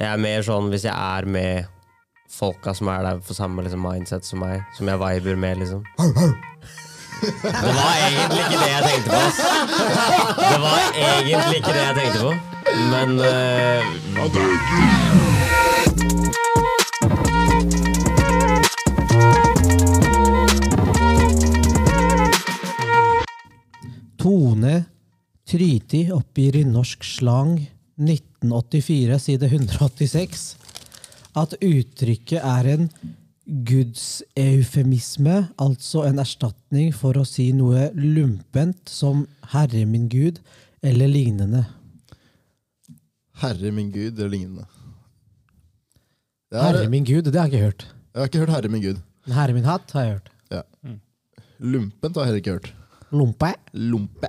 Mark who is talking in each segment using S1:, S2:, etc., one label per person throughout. S1: Jeg er mer sånn hvis jeg er med folka som er der for samme liksom, mindset som meg, som jeg viber med, liksom. Det var egentlig ikke det jeg tenkte på. ass. Det var egentlig ikke det jeg tenkte på. Men eh,
S2: Tone Tryti oppgir i Norsk slang 1984, side 186, at uttrykket er en gudseufemisme, altså en erstatning for å si noe lumpent som 'herre min gud' eller lignende.
S3: Herre min gud eller lignende. Det er,
S2: Herre min gud, det har jeg ikke hørt.
S3: jeg har ikke hørt herre min gud.
S2: Men Herre min hatt har jeg hørt.
S3: Ja. Lumpent har jeg heller ikke hørt.
S2: Lompe.
S3: Lompe.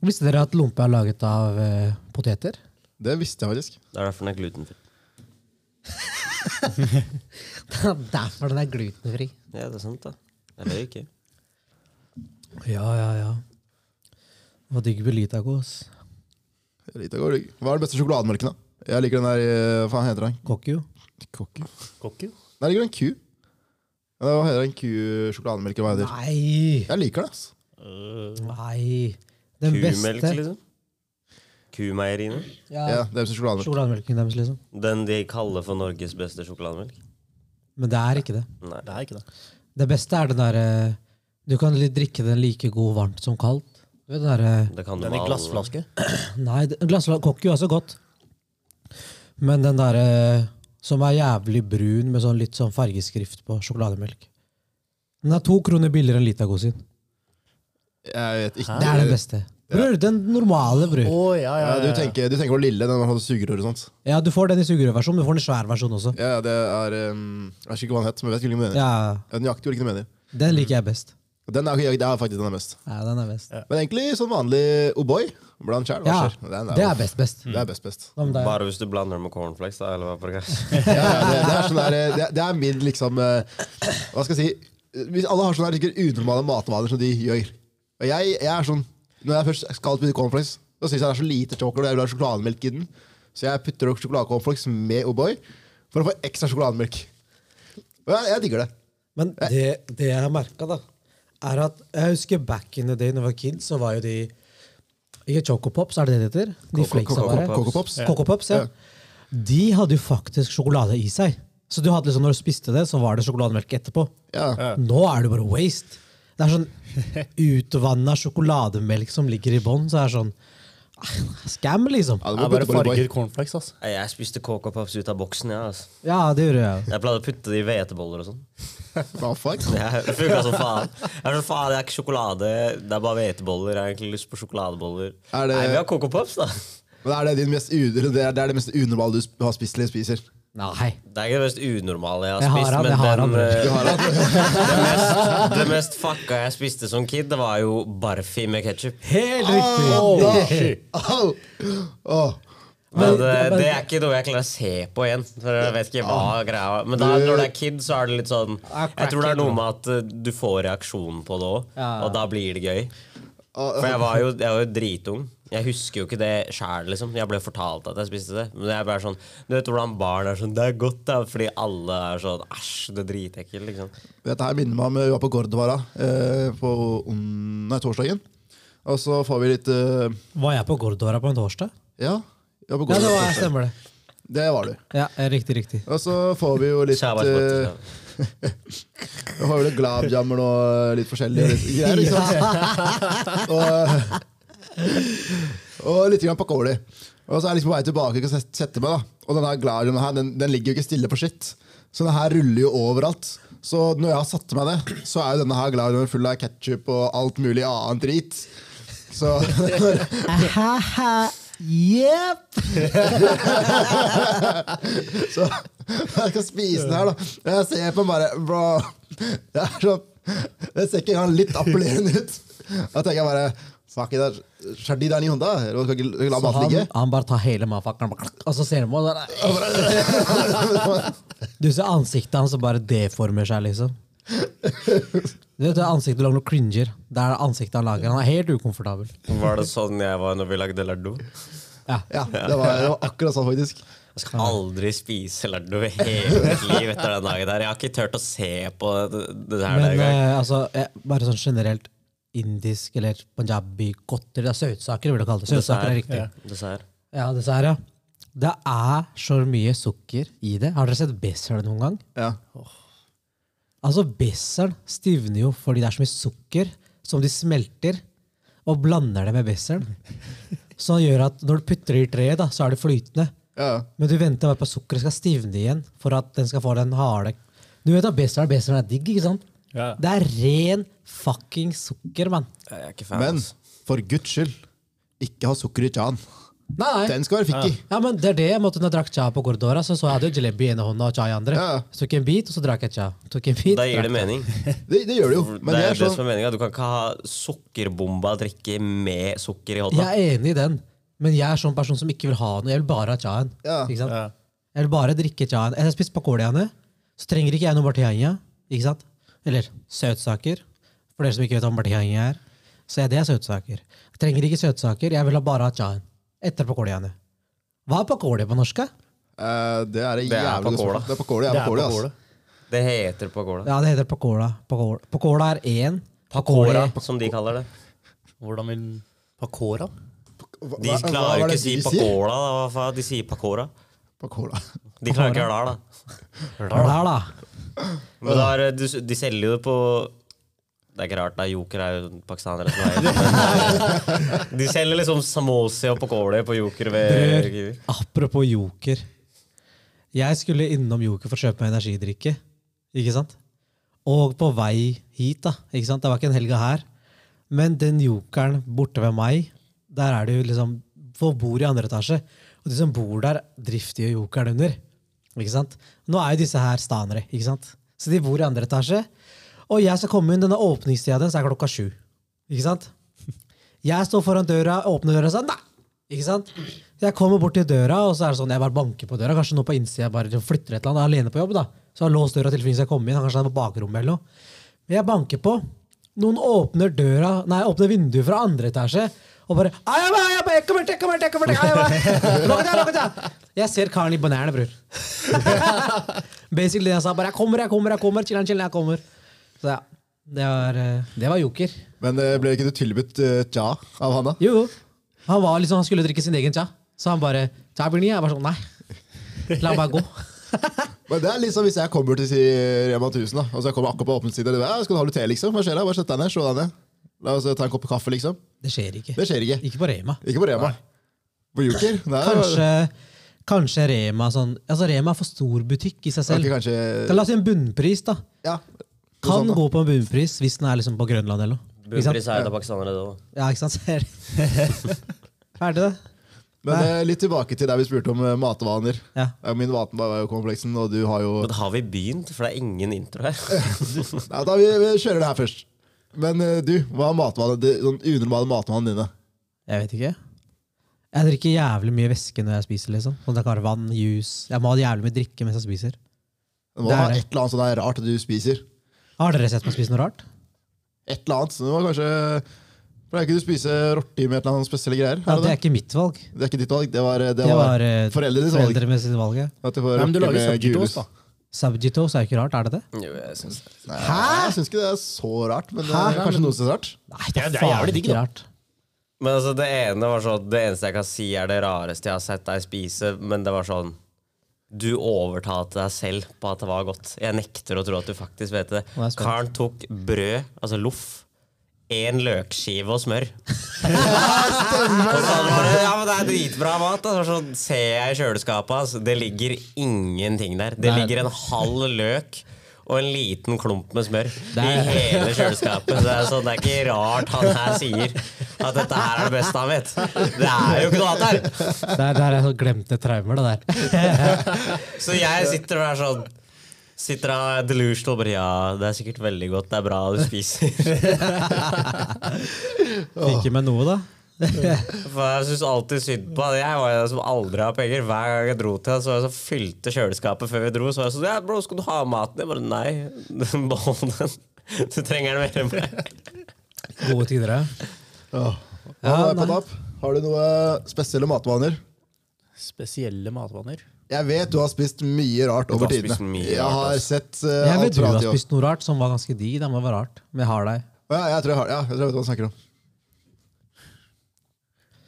S2: Visste dere at lompe er laget av eh, poteter?
S3: Det visste jeg faktisk.
S1: det er derfor den er glutenfri.
S2: Derfor den er glutenfri.
S1: Ja, det er sant, da. Jeg løy ikke.
S2: Ja, ja, ja. Hva digg Belitaco, ass.
S3: Lite går det. Hva er den beste sjokolademerken, da? Jeg liker den der eh, Hva faen heter den?
S2: Kokkjo.
S3: Kokku. Der ligger det en ku. Ja, Hva heter den ku-sjokolademelken? Hva heter den?
S2: Nei!
S3: Jeg liker den, ass.
S2: Nei. Den
S1: Kumelk,
S2: beste
S1: liksom. Kumeieriene.
S3: Ja,
S2: ja,
S3: det er sjokolademelk.
S2: sjokolademelken deres, liksom.
S1: Den de kaller for Norges beste sjokolademelk.
S2: Men det er ikke det.
S1: Nei.
S4: Det er ikke det.
S2: Det beste er den derre Du kan li- drikke den like god varmt som kaldt. Du vet Den derre
S1: Det kan du
S4: Den i
S1: med alle.
S4: glassflaske.
S2: Nei, det- glassla- kokkjo er så godt. Men den derre som er jævlig brun med sånn litt sånn fargeskrift på sjokolademelk. Den er to kroner billigere enn Litago sin.
S3: Jeg vet ikke.
S2: Det er det beste. Bror, den normale,
S4: Å,
S2: bror.
S4: ja, ja,
S3: Ja,
S4: ja,
S3: du,
S4: ja.
S3: tenker, du tenker på lille, den med sugerør og sånt.
S2: Ja, du får den i sugerørversjon, men du får den i svær versjon også.
S3: Ja, ja, det er um, Jeg vet ikke hva den heter, men jeg vet ikke hvilken du mener.
S2: Ja,
S3: Jeg vet nøyaktig hvilken du mener.
S2: Den liker jeg best.
S3: Den er, det er faktisk den er best.
S2: Ja, den er best.
S3: Men egentlig sånn vanlig O'boy. Blant kjær, hva
S2: Ja,
S3: skjer? Den
S2: det er best, best.
S3: Det er best, best.
S2: Hva med deg?
S1: Bare hvis du blander med cornflakes, da. Eller hva for det er.
S3: Ja, ja, det, det, er sånn der, eh, det, det er min liksom eh, Hva skal jeg si Hvis Alle har sånne her sikkert unormale matvaner som de gjør. Og jeg, jeg er sånn Når jeg først skal spise cornflakes, da syns jeg det er så lite chocolate, og jeg vil ha sjokolademelk i den. Så jeg putter opp sjokoladecornflakes med O'boy for å få ekstra sjokolademelk. Og jeg, jeg digger det.
S2: Men det, det jeg har merka, da, er at jeg husker back in the day når vi var kids, så var jo de Ikke Choco Pops, er det det det heter? De
S3: Coco-
S2: flakesa
S3: Coco-
S2: bare.
S3: Coco Pops. Ja.
S2: Coco Pops, ja. De hadde jo faktisk sjokolade i seg. Så du hadde liksom, når du spiste det, så var det sjokolademelk etterpå.
S3: Ja.
S2: Nå er det bare waste. Det er sånn utvanna sjokolademelk som ligger i bånn. Så er det sånn ah, Scam, liksom.
S3: Ja,
S4: Det
S3: du må
S4: er bare
S3: putte på O'boy.
S4: farger cornflakes, ass.
S1: Nei, Jeg spiste Coco Pops ut av boksen, jeg. Ja, altså.
S2: Ja, det gjorde jeg.
S1: Jeg pleide å putte det i hveteboller og sånn.
S3: Hva faen?
S1: Jeg- Det funka som faen. Jeg er sånn, faen, Det er ikke sjokolade, det er bare hveteboller. Jeg har egentlig lyst på sjokoladeboller.
S3: Er det-
S1: Nei, vi har Coco Pops, da.
S3: Men er det, din mest, u- det er det er det mest unormale du sp- har spist eller spiser?
S2: Nei.
S1: Det er ikke det mest unormale jeg har
S2: Jeg har
S1: spist,
S2: han,
S1: men
S2: jeg har han,
S1: den,
S2: bror.
S1: eh,
S3: Du har det?
S1: det mest fucka jeg spiste som kid, det var jo barfi med ketsjup.
S2: Helt riktig.
S3: Au! Åh.
S1: Men
S2: Men-
S1: eh,
S2: men-
S1: det er ikke noe jeg klarer å se på igjen. For jeg vet ikke hva greia var. Men da, når du er kid, så er det litt sånn Jeg tror det er noe med at eh, du får reaksjonen på det òg,
S2: Ja.
S1: og da blir det gøy.
S3: Åh,
S1: For jeg var jo, jeg var jo dritung. Jeg husker jo ikke det sjæl, liksom. Jeg ble fortalt at jeg spiste det. Men jeg bare sånn Du vet hvordan barn er sånn Det er godt, da. Fordi alle er sånn Æsj, det er dritekkelt, liksom.
S3: Dette her minner meg om vi var på Gordvara eh, på on- nei, torsdagen. Og så får vi litt eh,
S2: Var jeg på Gordora på en torsdag?
S3: Ja,
S2: Ja,
S3: vi var på
S2: det
S3: Gordvara
S2: var jeg,
S3: torsdag.
S2: stemmer det.
S3: Det var du.
S2: Ja, eh, Riktig, riktig.
S3: Og så får vi jo litt
S1: Kjære
S3: eh,
S1: barn.
S3: Vi får jo litt gladjammer og eh, litt forskjellig og litt greier, ikke sant? og, eh, og litt grann pakoli. Og så er jeg liksom på vei tilbake og sette sette meg, da. Og denne gladjammen her, den, den ligger jo ikke stille for sitt. Så den her ruller jo overalt. Så når jeg har satt meg det, så er jo denne her gladjammen full av ketsjup og alt mulig annet drit. Så
S2: Jepp!
S3: Så jeg skal spise den her, da. Jeg ser på den bare Bro. Jeg er sånn Det ser ikke engang litt appellerende ut. Da tenker jeg bare Fuck it, det er- Shardi, det er ni Honda. Du skal ikke- du skal ikke la
S2: Så
S3: maten
S2: han,
S3: ligge.
S2: han bare tar hele matpakken, bare klakk, og så ser han på meg og bare- Du ser ansiktet hans som bare deformer seg, liksom. Du vet det ansiktet du lager når du cringer. Det er det ansiktet han lager. Han er helt ukomfortabel.
S1: Var det sånn jeg var når vi lagde lardo?
S2: Ja.
S3: Ja, det var, det var akkurat sånn, faktisk.
S1: Jeg skal aldri spise eller noe i hele mitt liv etter den dagen der. Jeg har ikke turt å se på det, det her
S2: Men
S1: der engang.
S2: eh, altså, eh, bare sånn generelt indisk eller punjabi, godteri, det er søtsaker, vil jeg kalle det. Søtsaker er riktig.
S1: Dessert.
S2: Ja, dessverre. Det er så mye sukker i det. Har dere sett Besseren noen gang?
S3: Ja.
S2: Altså, Besseren stivner jo fordi det er så mye sukker som de smelter, og blander det med Besseren. Som gjør at når du putter det i treet, da, så er det flytende.
S3: Ja.
S2: Men du venter bare på at sukkeret skal stivne igjen for at den skal få den harde Du vet at Besseren Besseren er digg, ikke sant?
S4: Ja.
S2: Det er ren fucking sukker, mann.
S1: Jeg er ikke fan. altså.
S3: Men
S1: ass.
S3: for guds skyld, ikke ha sukker i chan.
S2: Nei, nei.
S3: Den skal være fikk i.
S2: Ja, men det er det jeg måtte når jeg drakk cha på Gordora. Så, så jeg hadde jo jalebi i ene hånda og cha i andre.
S3: Ja.
S2: Så tok jeg en bit, og så drakk jeg cha. Tok en bit,
S1: Da gir
S2: drakk
S1: det mening.
S3: Det, det gjør det jo. Men
S1: det
S3: det
S1: er
S3: er
S1: det som
S3: sånn
S1: er meningen. Du kan ikke ha sukkerbomba og drikke med sukker i
S2: Jeg
S1: hånda.
S2: er enig i den, men jeg er sånn person som ikke vil ha noe. Jeg vil bare ha chaen.
S3: Ja.
S2: Ikke sant?
S4: Ja.
S2: Jeg vil bare drikke chaen. Jeg har spist pakoliaene, så trenger ikke jeg noe bartiania. Ikke sant? Eller søtsaker, for dere som ikke vet hva bartiania er. Så er det søtsaker. Jeg trenger ikke søtsaker, jeg vil ha bare ha chaen. Etter pakoliaene. Hva er pakoli på norsk? da?
S3: eh, Det er et
S1: Det er
S3: jævlig godt
S1: på
S3: spørsmål.
S1: cola.
S3: Det er på cola. Det er på cola, ass.
S1: Det heter pakola.
S2: Ja, det heter pakola. Pakola, pakola er én. Pakoli-
S1: Kåra, som de kaller det.
S4: Hvordan vil Pakora?
S3: Hva-
S1: De
S3: hva- hva
S1: klarer
S3: var
S1: jo
S3: det
S1: ikke å si
S3: de sier?
S1: pakola. da. Hva faen? De sier pakora.
S3: På cola.
S1: De klarer ikke å gjøre det her, da.
S2: Hva er det her, da?
S1: Men da er, du, de selger jo det på Det er ikke rart, da. Joker er jo pakistanere som er De selger liksom samosi og pakoli på Joker ved
S2: Brød. Apropos Joker. Jeg skulle innom Joker for å kjøpe meg energidrikke. Ikke sant? Og på vei hit, da. ikke sant? Det var ikke en helga her. Men den jokeren borte ved meg, der er det jo liksom Folk bor i andre etasje. Og de som bor der, drifter jo jokeren under. Ikke sant? Nå er jo disse her stanere, ikke sant? Så de bor i andre etasje. Og jeg skal komme inn denne åpningstida den, så er klokka sju. Ikke sant? Jeg står foran døra, åpner døra og sier nei. Ikke sant? Jeg kommer bort til døra, og så er det sånn, jeg bare banker på døra. Kanskje nå på innsida jeg bare flytter et eller annet. Jeg er alene på jobb, da. Så jeg har låst døra til finnes jeg kommer inn. Kanskje han er på bakrommet eller noe. Men jeg banker på. Noen åpner døra, nei, åpner vinduet fra andre etasje. Og bare «Ai, ai, ai, ai, kom hit, kom hit, kom hit, ai, ai, lukk deg, lukk deg!» Jeg ser karen i banærene, bror. Basically det jeg sa. Bare 'jeg kommer, jeg kommer, jeg kommer'. Chiller'n, chiller'n, jeg kommer. Så ja. Det var, eh, det var joker.
S3: Men eh, ble ikke du tilbudt eh, cha av han, da?
S2: Jo, jo. Han, var liksom, han skulle drikke sin egen cha. Så han bare cha bini. Jeg var sånn, nei. La meg gå.
S3: Men det er liksom Hvis jeg kommer til si Rema 1000, da, og så jeg kommer akkurat på åpningstiden og de bare, «Ja, Skal du ha litt te, liksom? Hva skjer da? Bare sett deg ned, slå deg ned. La oss eh, ta en kopp kaffe, liksom.
S2: Det skjer ikke.
S3: Det skjer ikke.
S2: Ikke på Rema.
S3: Ikke på Rema. På Joker? Nei,
S2: Kanskje, kanskje Rema sånn Altså, Rema er for stor butikk i seg selv.
S3: Ok, kanskje-
S2: Da La oss si en bunnpris, da.
S3: Ja.
S2: Kan
S3: Sånn, da.
S2: gå på en bunnpris hvis den er liksom på Grønland eller noe. Ikke sant?
S1: Bumpris er jo da pakistanere, det òg.
S2: Ja, ikke sant? Ser Ferdig, det.
S3: Men eh, litt tilbake til der vi spurte om eh, matvaner.
S2: Ja.
S3: Ja, Min matvaner er jo kompleksen, og du har jo
S1: Men har vi begynt? For det er ingen intro her.
S3: Nei, da, vi, vi kjører det her først. Men eh, du, hva er matvanene, de, sånn unormale matvanene dine?
S2: Jeg vet ikke. Jeg drikker jævlig mye væske når jeg spiser. liksom. Sånn at jeg kan ha vann, juice. Jeg må ha jævlig mye drikke mens jeg spiser.
S3: Du må
S2: Det er
S3: ha
S2: det.
S3: et eller annet sånn der rart du spiser.
S2: Har dere sett meg spise noe rart?
S3: Et eller annet. Så du må kanskje Pleier ikke du spise rotti med et eller annet spesielle greier?
S2: Ja,
S3: Er
S2: det
S3: det,
S2: er
S3: det?
S2: ikke mitt valg.
S3: det er ikke ditt valg, det var, det
S2: Det
S3: var,
S2: var eh,
S3: foreldrenes valg.
S2: foreldre med sitt valg. ja.
S3: At du får
S4: Nei, men du
S3: rotti
S4: lager
S3: med
S4: subjektos,
S3: gulost.
S4: da.
S2: Subject toast er jo ikke rart, er det det?
S1: Jo, jeg synes det.
S3: Nei, Jeg syns ikke det er så rart, men det
S2: Hæ?
S3: er kanskje noe som er rart.
S2: Nei,
S4: Ja, det er jævlig digg, da.
S2: rart.
S1: Men altså, det ene var sånn Det eneste jeg kan si er det rareste jeg har sett deg spise, men det var sånn Du overtalte deg selv på at det var godt. Jeg nekter å tro at du faktisk vet det.
S2: Nå er jeg spent.
S1: Karen tok brød, altså loff, én løkskive og smør. Og så bare, ja, men det er dritbra mat. Altså, sånn ser jeg i kjøleskapet altså, Det ligger ingenting der. Det
S2: Nei.
S1: ligger en halv løk og en liten klump med smør i
S2: er-
S1: hele kjøleskapet. Så det, er sånn, det er ikke rart han her sier at dette her er det beste han vet. Det er jo ikke noe annet her!
S2: Det er, det er sånn glemte traumer, det der.
S1: Så jeg sitter og er sånn Sitter av delusional og bare Ja, det er sikkert veldig godt. Det er bra du spiser.
S2: Fikk i meg noe, da.
S1: For jeg syns alltid synd på han. Jeg var jo den som aldri har penger. Hver gang jeg dro til han, så var jeg så fylte kjøleskapet før vi dro. Så var jeg sånn Ja, bro, skal du ha maten? Jeg bare Nei, behold den. Du trenger den mer enn meg.
S2: Gode tider, ja.
S3: Åh. Hva
S2: Ja,
S3: var det på
S2: nei.
S3: tapp? eh, Har du noen spesielle matvaner?
S4: Spesielle matvaner.
S3: Jeg vet du har spist mye rart over
S1: har spist
S3: tidene.
S1: mye
S3: Jeg
S1: rart,
S3: har
S1: ass.
S3: sett uh,
S2: Jeg vet du har
S3: i år.
S2: spist noe rart som var ganske digg. Det må være rart. Men jeg har deg.
S3: Ja, jeg tror jeg har ja, jeg tror jeg vet hva du snakker om.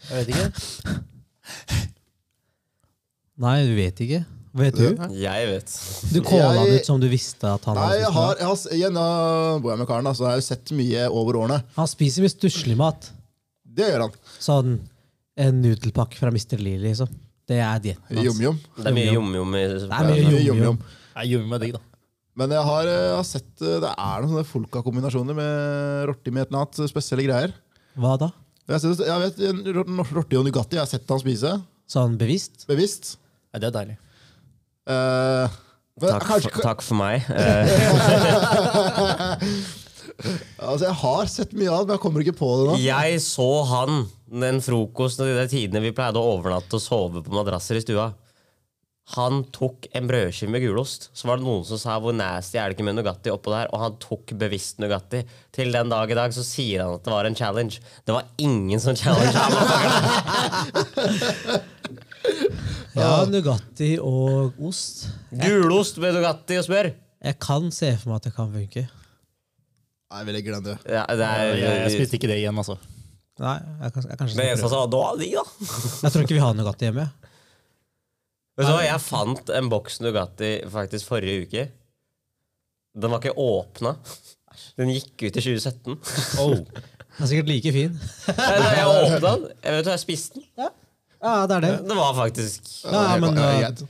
S4: Jeg vet ikke.
S2: Nei, du vet ikke. Vet du?
S1: Jeg vet.
S2: Du calla
S3: Jeg-
S2: det ut som du visste at han
S3: Nei,
S2: hadde
S3: jeg
S2: spist noe.
S3: har, jeg har, igjen, da bor jeg med karen, da, så jeg har jo sett mye over årene.
S2: Han spiser mye stusslig mat.
S3: Det gjør han.
S2: Sånn en nudelpakke fra Mr. Lee, liksom. Det er dietten altså. hans.
S3: Jom-jom.
S1: Det er mye jom-jom i
S2: er mye
S3: Mye
S2: Jom-jom.
S3: jom-jom.
S4: Nei, Gjør meg digg, da.
S3: Men jeg har, eh, har sett eh, det er noen sånne folka-kombinasjoner med rorti med et eller annet, eh, spesielle greier.
S2: Hva da?
S3: Jeg, har sett- jeg vet, en ror- Rorti og Nugatti jeg har sett han spise,
S2: Sånn bevisst?
S3: bevisst.
S4: Nei, det er deilig.
S3: Eh, men
S1: Takk,
S3: kanskje,
S1: for, takk for meg. Eh,
S3: altså, jeg har sett mye av det, men jeg kommer ikke på det nå.
S1: jeg så han den frokosten og de der tidene vi pleide å overnatte og sove på madrasser i stua. Han tok en brødskive med gulost. Så var det noen som sa 'hvor nasty er det ikke med Nugatti?' oppå der, og han tok bevisst Nugatti. Til den dag i dag så sier han at det var en challenge. Det var ingen som challenge ham.
S2: Ja, Nugatti og ost.
S1: Gulost med Nugatti og smør!
S2: Jeg kan se for meg at det kan funke.
S3: Nei, vil jeg glemme det.
S1: Ja, det er,
S4: Jeg, jeg spiste ikke det igjen, altså.
S2: Nei, jeg, kan, jeg
S1: det
S2: kanskje skal
S1: eneste han
S2: prøve.
S1: sa, da digg, da.
S2: Jeg tror ikke vi har Nugatti hjemme.
S1: Vet du hva, jeg fant en boks Nugatti faktisk forrige uke. Den var ikke åpna. Den gikk ut i 2017.
S4: Oh.
S2: Den er sikkert like fin.
S1: Nei, nei, jeg åpna den. Jeg vet hva, jeg spiste den.
S2: Ja, det er det.
S1: Det var faktisk
S2: Ja,
S3: Det er
S2: men,
S3: bare-
S2: eh,
S3: ja, greit.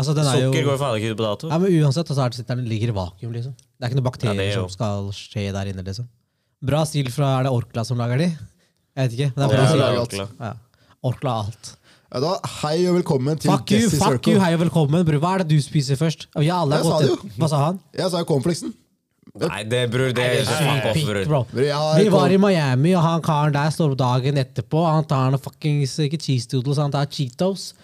S2: Altså, den er jo
S1: Sukker går jo faen ikke ut på dato.
S2: Ja, men uansett, altså, er det- sitter den ligger i vakuum, liksom. Det er ikke noen
S1: Ja,
S2: bakterier
S1: det er jo-
S2: som skal skje der inne, liksom. Bra stil fra Er det Orkla som lager de? Jeg vet ikke. Men
S1: Ja,
S2: det er bra
S1: det
S2: stil.
S1: er
S3: alt.
S1: ordentlig.
S2: Ja. Orkla er alt.
S3: Ja, da, hei og velkommen til
S2: Fuck you,
S3: Guess i
S2: fuck
S3: Circle.
S2: you, hei og velkommen, bror. Hva er det du spiser først? Ja, alle har
S3: Jeg sa
S2: gått
S3: det
S2: inn. Hva sa han?
S3: Jeg sa jo cornflakesen.
S1: Nei, det bror, det er fuck off,
S2: Pikk,
S1: bror.
S2: bro.
S3: Bror, jeg har
S2: Vi var
S3: corn-
S2: i Miami, og han karen der står opp dagen etterpå. Han tar noen fuckings ikke cheese doodles, han tar Cheetos.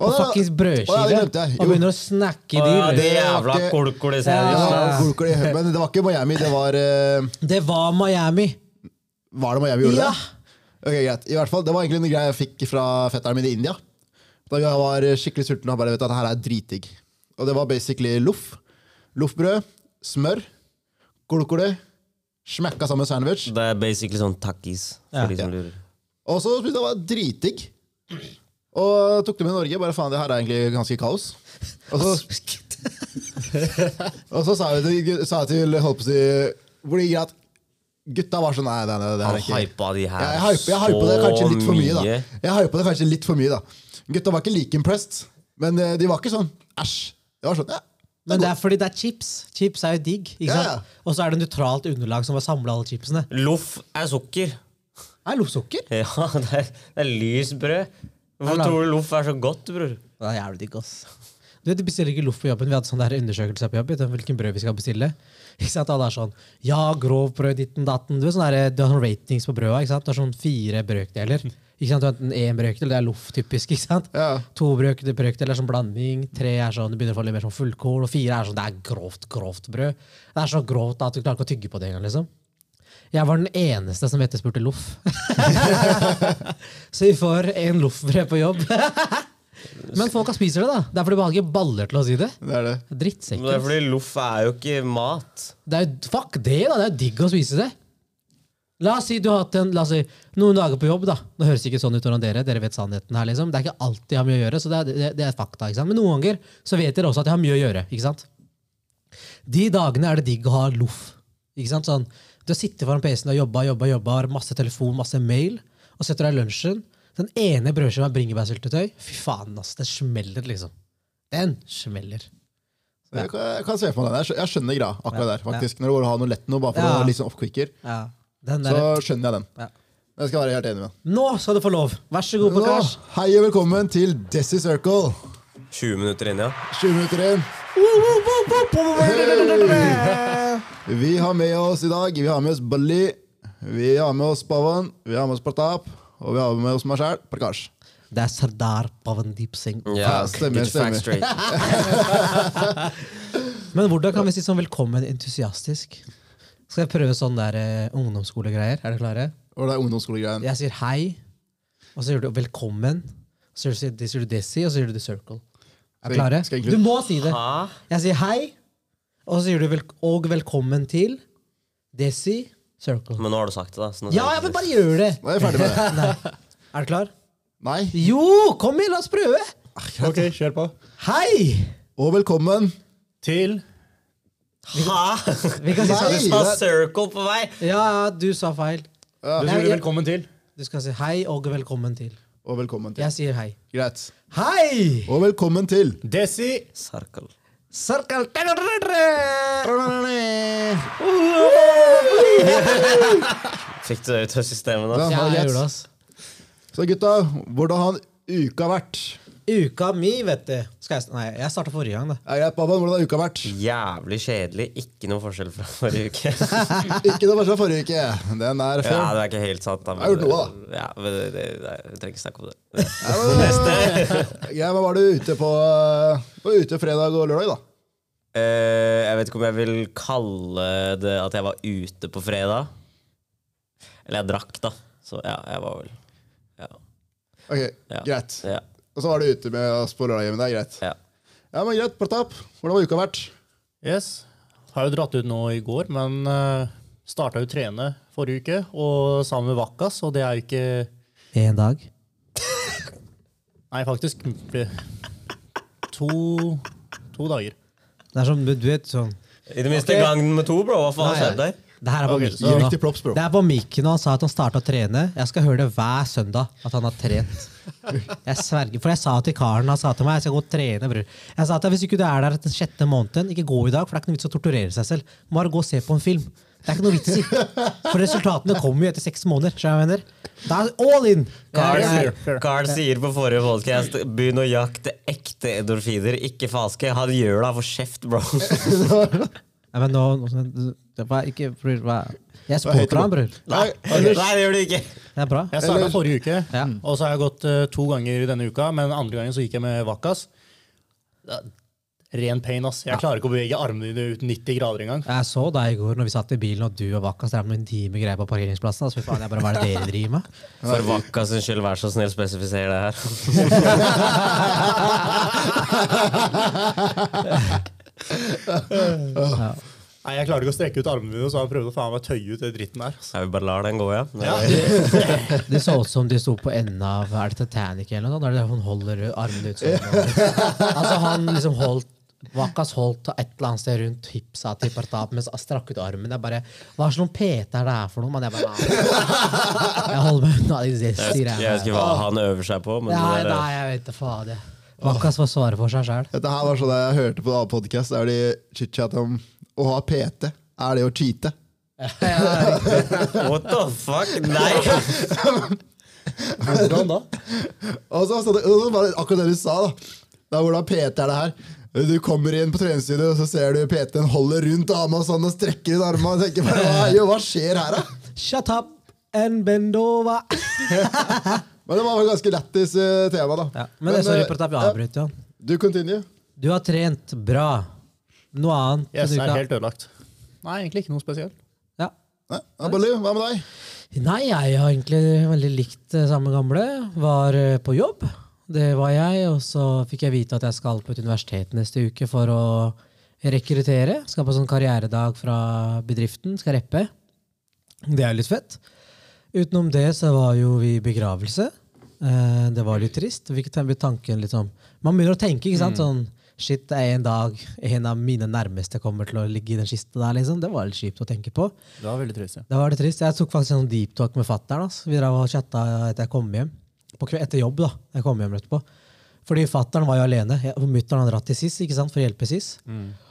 S2: Og
S3: Å, ja.
S2: fuckings
S3: Å, ja,
S2: brødskive.
S3: det glemte jeg. Jo.
S2: Og begynner å snakke
S1: Å,
S2: i
S1: ja,
S2: de.
S1: det jævla
S3: det-
S1: kolkoliserien.
S3: Ja, Golkol i hø- Men det var ikke Miami, det var eh,
S2: Det var Miami.
S3: Var det Miami gjorde
S2: Ja.
S3: det? Ok, greit. I hvert fall, Det var egentlig en greie jeg fikk fra fetteren min i India. Da jeg var skikkelig sulten og bare vet at det her er dritdigg. Og det var basically loff. Loffbrød, smør, kolkole, smekka sammen sandwich.
S1: Det er basically sånn takkis,
S2: Ja.
S1: for de som lurer.
S3: Og så spiste jeg bare dritdigg. Og tok det med Norge. Bare faen, det her er egentlig ganske kaos. Og så, og så sa jeg til, sa jeg til holdt på å si Hvor det gikk at gutta var sånn Nei, nei, nei det her
S1: Han
S3: er ikke
S1: hypa de her
S3: Jeg, jeg, hyper, jeg hyper det kanskje litt for mye,
S1: mye.
S3: da. Jeg hyper det kanskje litt for mye, da. Gutta var ikke like impressed, men eh, de var ikke sånn æsj. Det var sånn, ja.
S2: Men det er fordi det er chips. Chips er jo digg. ikke
S3: Ja,
S2: sant? Og så er det nøytralt underlag som har samla alle chipsene.
S1: Loff er sukker.
S2: Er det loffsukker?
S1: Ja, det er, det er lyst brød. Hvorfor
S2: Eller-
S1: tror du loff er så godt, bror?
S2: Det er jævlig digg, ass. Du vet, De bestiller ikke loff på jobben. Vi hadde sånn der undersøkelse på jobb. vet du, om Hvilken brød vi skal bestille. Ikke sant? Alle er sånn Ja, grovbrød, ditten, datten. Du vet, sånn der, du har sånn ratings på brøda. ikke sant? Du har sånn fire brøkdeler. Ikke sant? Du har enten én brøkdel, det er loff typisk. ikke sant?
S3: Ja.
S2: To brøkdeler, brøkdeler er sånn blanding. Tre er sånn, det begynner å få litt mer sånn fullkorn. Og fire er sånn, det er grovt, grovt brød. Det er så grovt at du klarer ikke å tygge på det engang. liksom. Jeg var den eneste som etterspurte loff. så vi får en loffbrød på jobb. Men folka spiser det, da. Det er fordi vi har ikke baller til å si det.
S3: Det er det.
S1: Men det er
S2: Drittsekker.
S1: fordi loff er jo ikke mat.
S2: Det er jo, fuck det, da! Det er jo digg å spise det. La oss si du har hatt en, la oss si, noen dager på jobb. da. Nå høres det ikke sånn ut foran dere. Dere vet sannheten her, liksom. Det er ikke alltid jeg har mye å gjøre, så det er, det, det er fakta. ikke sant? Men noen ganger så vet dere også at jeg har mye å gjøre. ikke sant? De dagene er det digg å ha loff. ikke sant? Sånn, Du har sittet foran PC-en og jobba, jobba, jobba, har masse telefon, masse mail, og setter deg i lunsjen. Den ene brødskiva er bringebærsyltetøy. Fy faen, ass. Den smeller, liksom. Den smeller.
S3: Jeg kan, jeg kan se for meg den. Jeg skjø- Jeg skjønner greia akkurat der. faktisk. Når du går og har noe lett noe, bare for
S2: Ja.
S3: å liksom off-quicker,
S2: Ja, den
S3: så
S2: der.
S3: skjønner jeg den.
S2: Ja.
S3: Jeg skal være helt enig med den.
S2: Nå skal du få lov. Vær så god,
S3: Nå,
S2: Pokash.
S3: hei og velkommen til Desi Circle.
S1: 20 minutter inn, ja.
S3: 20 minutter inn. Vi har med oss i dag Vi har med oss Bali, vi har med oss Pavan, vi har med oss Pratap, og vi har med oss meg sjæl, Prakash.
S2: Det er Sardar Pavandeep Singh.
S1: Ja,
S3: stemmer,
S1: get your facts straight.
S2: Men hvordan kan vi si sånn velkommen entusiastisk? Skal jeg prøve sånn der eh, ungdomsskolegreier? Er dere klare?
S3: Og det er ungdomsskolegreien.
S2: Jeg sier hei. og så gjør du 'velkommen'. Så sier du- sier du 'Desi', og så sier du 'The Circle'. Er
S3: Skal-
S2: vi klare?
S3: skal jeg
S2: Du
S3: ikke-
S2: må si det. Jeg sier hei, og så sier du vel og velkommen til Desi Circle.
S1: Men nå har du sagt det, da. Så nå
S2: Ja, ja, men bare gjør det!
S3: Nå er jeg ferdig med det.
S2: Er du klar?
S3: Nei.
S2: Jo, kom igjen, la oss prøve!
S4: Ok, kjør på.
S2: Hei!
S3: Og velkommen.
S4: Til
S1: Hæ?
S2: Vi kan si
S3: Nei.
S2: sånn.
S1: Du sa circle på vei.
S2: Ja, ja, du sa feil.
S4: Du
S2: Nei,
S4: sier
S2: jeg-
S4: velkommen til.
S2: Du skal si hei og velkommen til.
S3: Og velkommen til.
S2: Jeg sier hei.
S3: Greit.
S2: Hei!
S3: Og velkommen til.
S4: Desi
S1: Circle.
S2: Circle
S3: Ja,
S1: Fikk du det ut av systemet da?
S2: Ja,
S3: har
S2: jeg
S3: greit.
S2: gjorde det, ass.
S3: Så gutta, hvordan har uka vært?
S2: Uka mi, vet du. Skal jeg, nei, jeg starta forrige gang, da.
S3: Er greit, Baban, hvordan har uka vært?
S1: Jævlig kjedelig. Ikke noe forskjell fra forrige uke.
S3: Ikke noe verste fra forrige uke. Den er
S1: Ja,
S3: før.
S1: det er ikke helt sant. Da, men-
S3: Jeg har gjort noe,
S1: Ja, men det, det, det, jeg trenger ikke snakke om det.
S3: Ja, men var du ute på du var ute fredag og lørdag, da?
S1: Eh, jeg vet ikke om jeg vil kalle det at jeg var ute på fredag. Eller jeg drakk, da. Så ja, jeg var vel Ja.
S3: Ok,
S1: Ja.
S3: Greit.
S1: ja,
S3: Og så var du ute med oss på lørdagshjemmet. Det er greit.
S1: ja.
S3: Ja, men greit, Pratap. Hvordan har uka vært?
S4: Yes. Har jo dratt ut nå i går, men uh, starta jo trene forrige uke, og sammen med Vakkas, og det er jo ikke
S2: En dag.
S4: Nei, faktisk ble- to, to dager.
S2: Det er som, du vet, sånn
S1: I det minste
S2: Ok.
S1: gangen med to, bro. Hva faen har
S2: Nei.
S1: skjedd der?
S2: Det her er på
S4: Ok,
S2: mikken
S4: så-
S2: nå.
S3: Riktig props, bro.
S2: Det er på mikken nå. Han sa at han starta å trene. Jeg skal høre det hver søndag at han har trent. Jeg sverger, For jeg sa til karen han sa til meg jeg skal gå og trene. bror. Jeg sa til deg, Hvis ikke du er der den sjette måneden, ikke gå i dag, for det er ikke noe vits å torturere seg selv. Bare gå og se på en film. Det er ikke noe vits i. For resultatene kommer jo etter seks måneder. skjønner du hva jeg mener? Da er all in!
S1: Carl,
S2: Jeg-
S4: fair, fair.
S1: Carl sier på forrige podcast begynn å jakte ekte endorfiner, ikke falske. Han gjør deg for kjeft, bro.
S2: Nei, men nå, det var ikke, bror, hva- Jeg
S3: Hva heter
S2: supporter han,
S3: du?
S2: bror.
S1: Nei,
S3: Anders.
S1: Nei det gjør du ikke.
S2: Det er bra.
S4: Jeg starta
S3: Eller-
S4: forrige uke,
S2: Ja.
S4: og så har jeg gått eh, to ganger denne uka. Men andre gangen så gikk jeg med Vakkas. Det er Ren pain, ass. Jeg klarer ikke å bevege armene dine ut 90 grader engang.
S2: Jeg så deg i går når vi satt i bilen, og du og Vakkas drev med intime greier på parkeringsplassen. Altså, fy faen, jeg bare, Hva er det dere driver med?
S1: For Vakka sin skyld, vær så snill, spesifiser det her.
S4: Nei, Jeg klarer ikke å strekke ut armene mine, så har jeg prøvd å faen meg tøye ut det dritten der. ass.
S1: Så vi bare lar den gå, ja.
S4: Ja.
S2: Det så ut som de sto på enden av er det Titanic eller noe sånt. Der hun holder armene ut sånn. Altså, han liksom holdt Vakkas holdt et eller annet sted rundt hipsa til Partap mens han strakk ut armen. Jeg bare Hva slags PT er det her for noe? Men jeg bare «Ah, Jeg holder meg unna de
S1: Jeg
S2: zesty
S1: vet ikke- jeg vet
S2: greiene.
S1: ikke hva han øver seg på, men
S2: Nei,
S1: det er-
S2: nei, jeg vet da faen. jeg. Vakkas får svare for seg sjæl.
S3: Dette her var sånn jeg hørte på en annen podkast, der de chit-chat om å ha PT. Er det å cheate?
S1: eh, What the fuck? Nei!
S4: Hvordan da?
S3: Og så, så, og så var det akkurat det du sa, da. Det er hvordan PT er det her. Du kommer inn på treningsstudio, og så ser du PT-en holder rundt dama sånn og strekker ut armene. Og tenker bare, hva, jo, hva skjer her, da?
S2: Shut up and bend over.
S3: Men det var vel ganske lættis eh, tema, da.
S2: Ja, men, det, sorry,
S3: eh,
S2: Pratap,
S3: ja,
S2: jeg avbryter. han.
S3: Du continue.
S2: Du har trent bra. Noe annet?
S4: Yes,
S2: du
S4: den
S2: ikke
S4: er
S2: har-
S4: helt ødelagt. Nei, egentlig ikke noe spesielt.
S2: ja.
S3: Nei, Abali, hva med deg?
S2: Nei, jeg har egentlig veldig likt eh, samme gamle. Var eh, på jobb, det var jeg. Og så fikk jeg vite at jeg skal på et universitet neste uke for å rekruttere. Skal på sånn karrieredag fra bedriften, skal reppe. Det er jo litt fett. Utenom det så var jo vi i begravelse. Eh, Det var litt trist. Vi fikk ten- tanken litt sånn Man begynner å tenke, ikke sant? Sånn Shit, det er en dag en av mine nærmeste kommer til å ligge i den kista der, liksom. Det var litt kjipt å tenke på.
S4: Det var veldig trist, ja.
S2: Da var det trist. Jeg tok faktisk en sånn deep talk med fatter'n. ass. Vi drev og chatta etter jeg kom hjem. På kve etter jobb, da. Jeg kom hjem etterpå. Fordi fatter'n var jo alene. Mutter'n hadde dratt til SIS ikke sant? for å hjelpe SIS.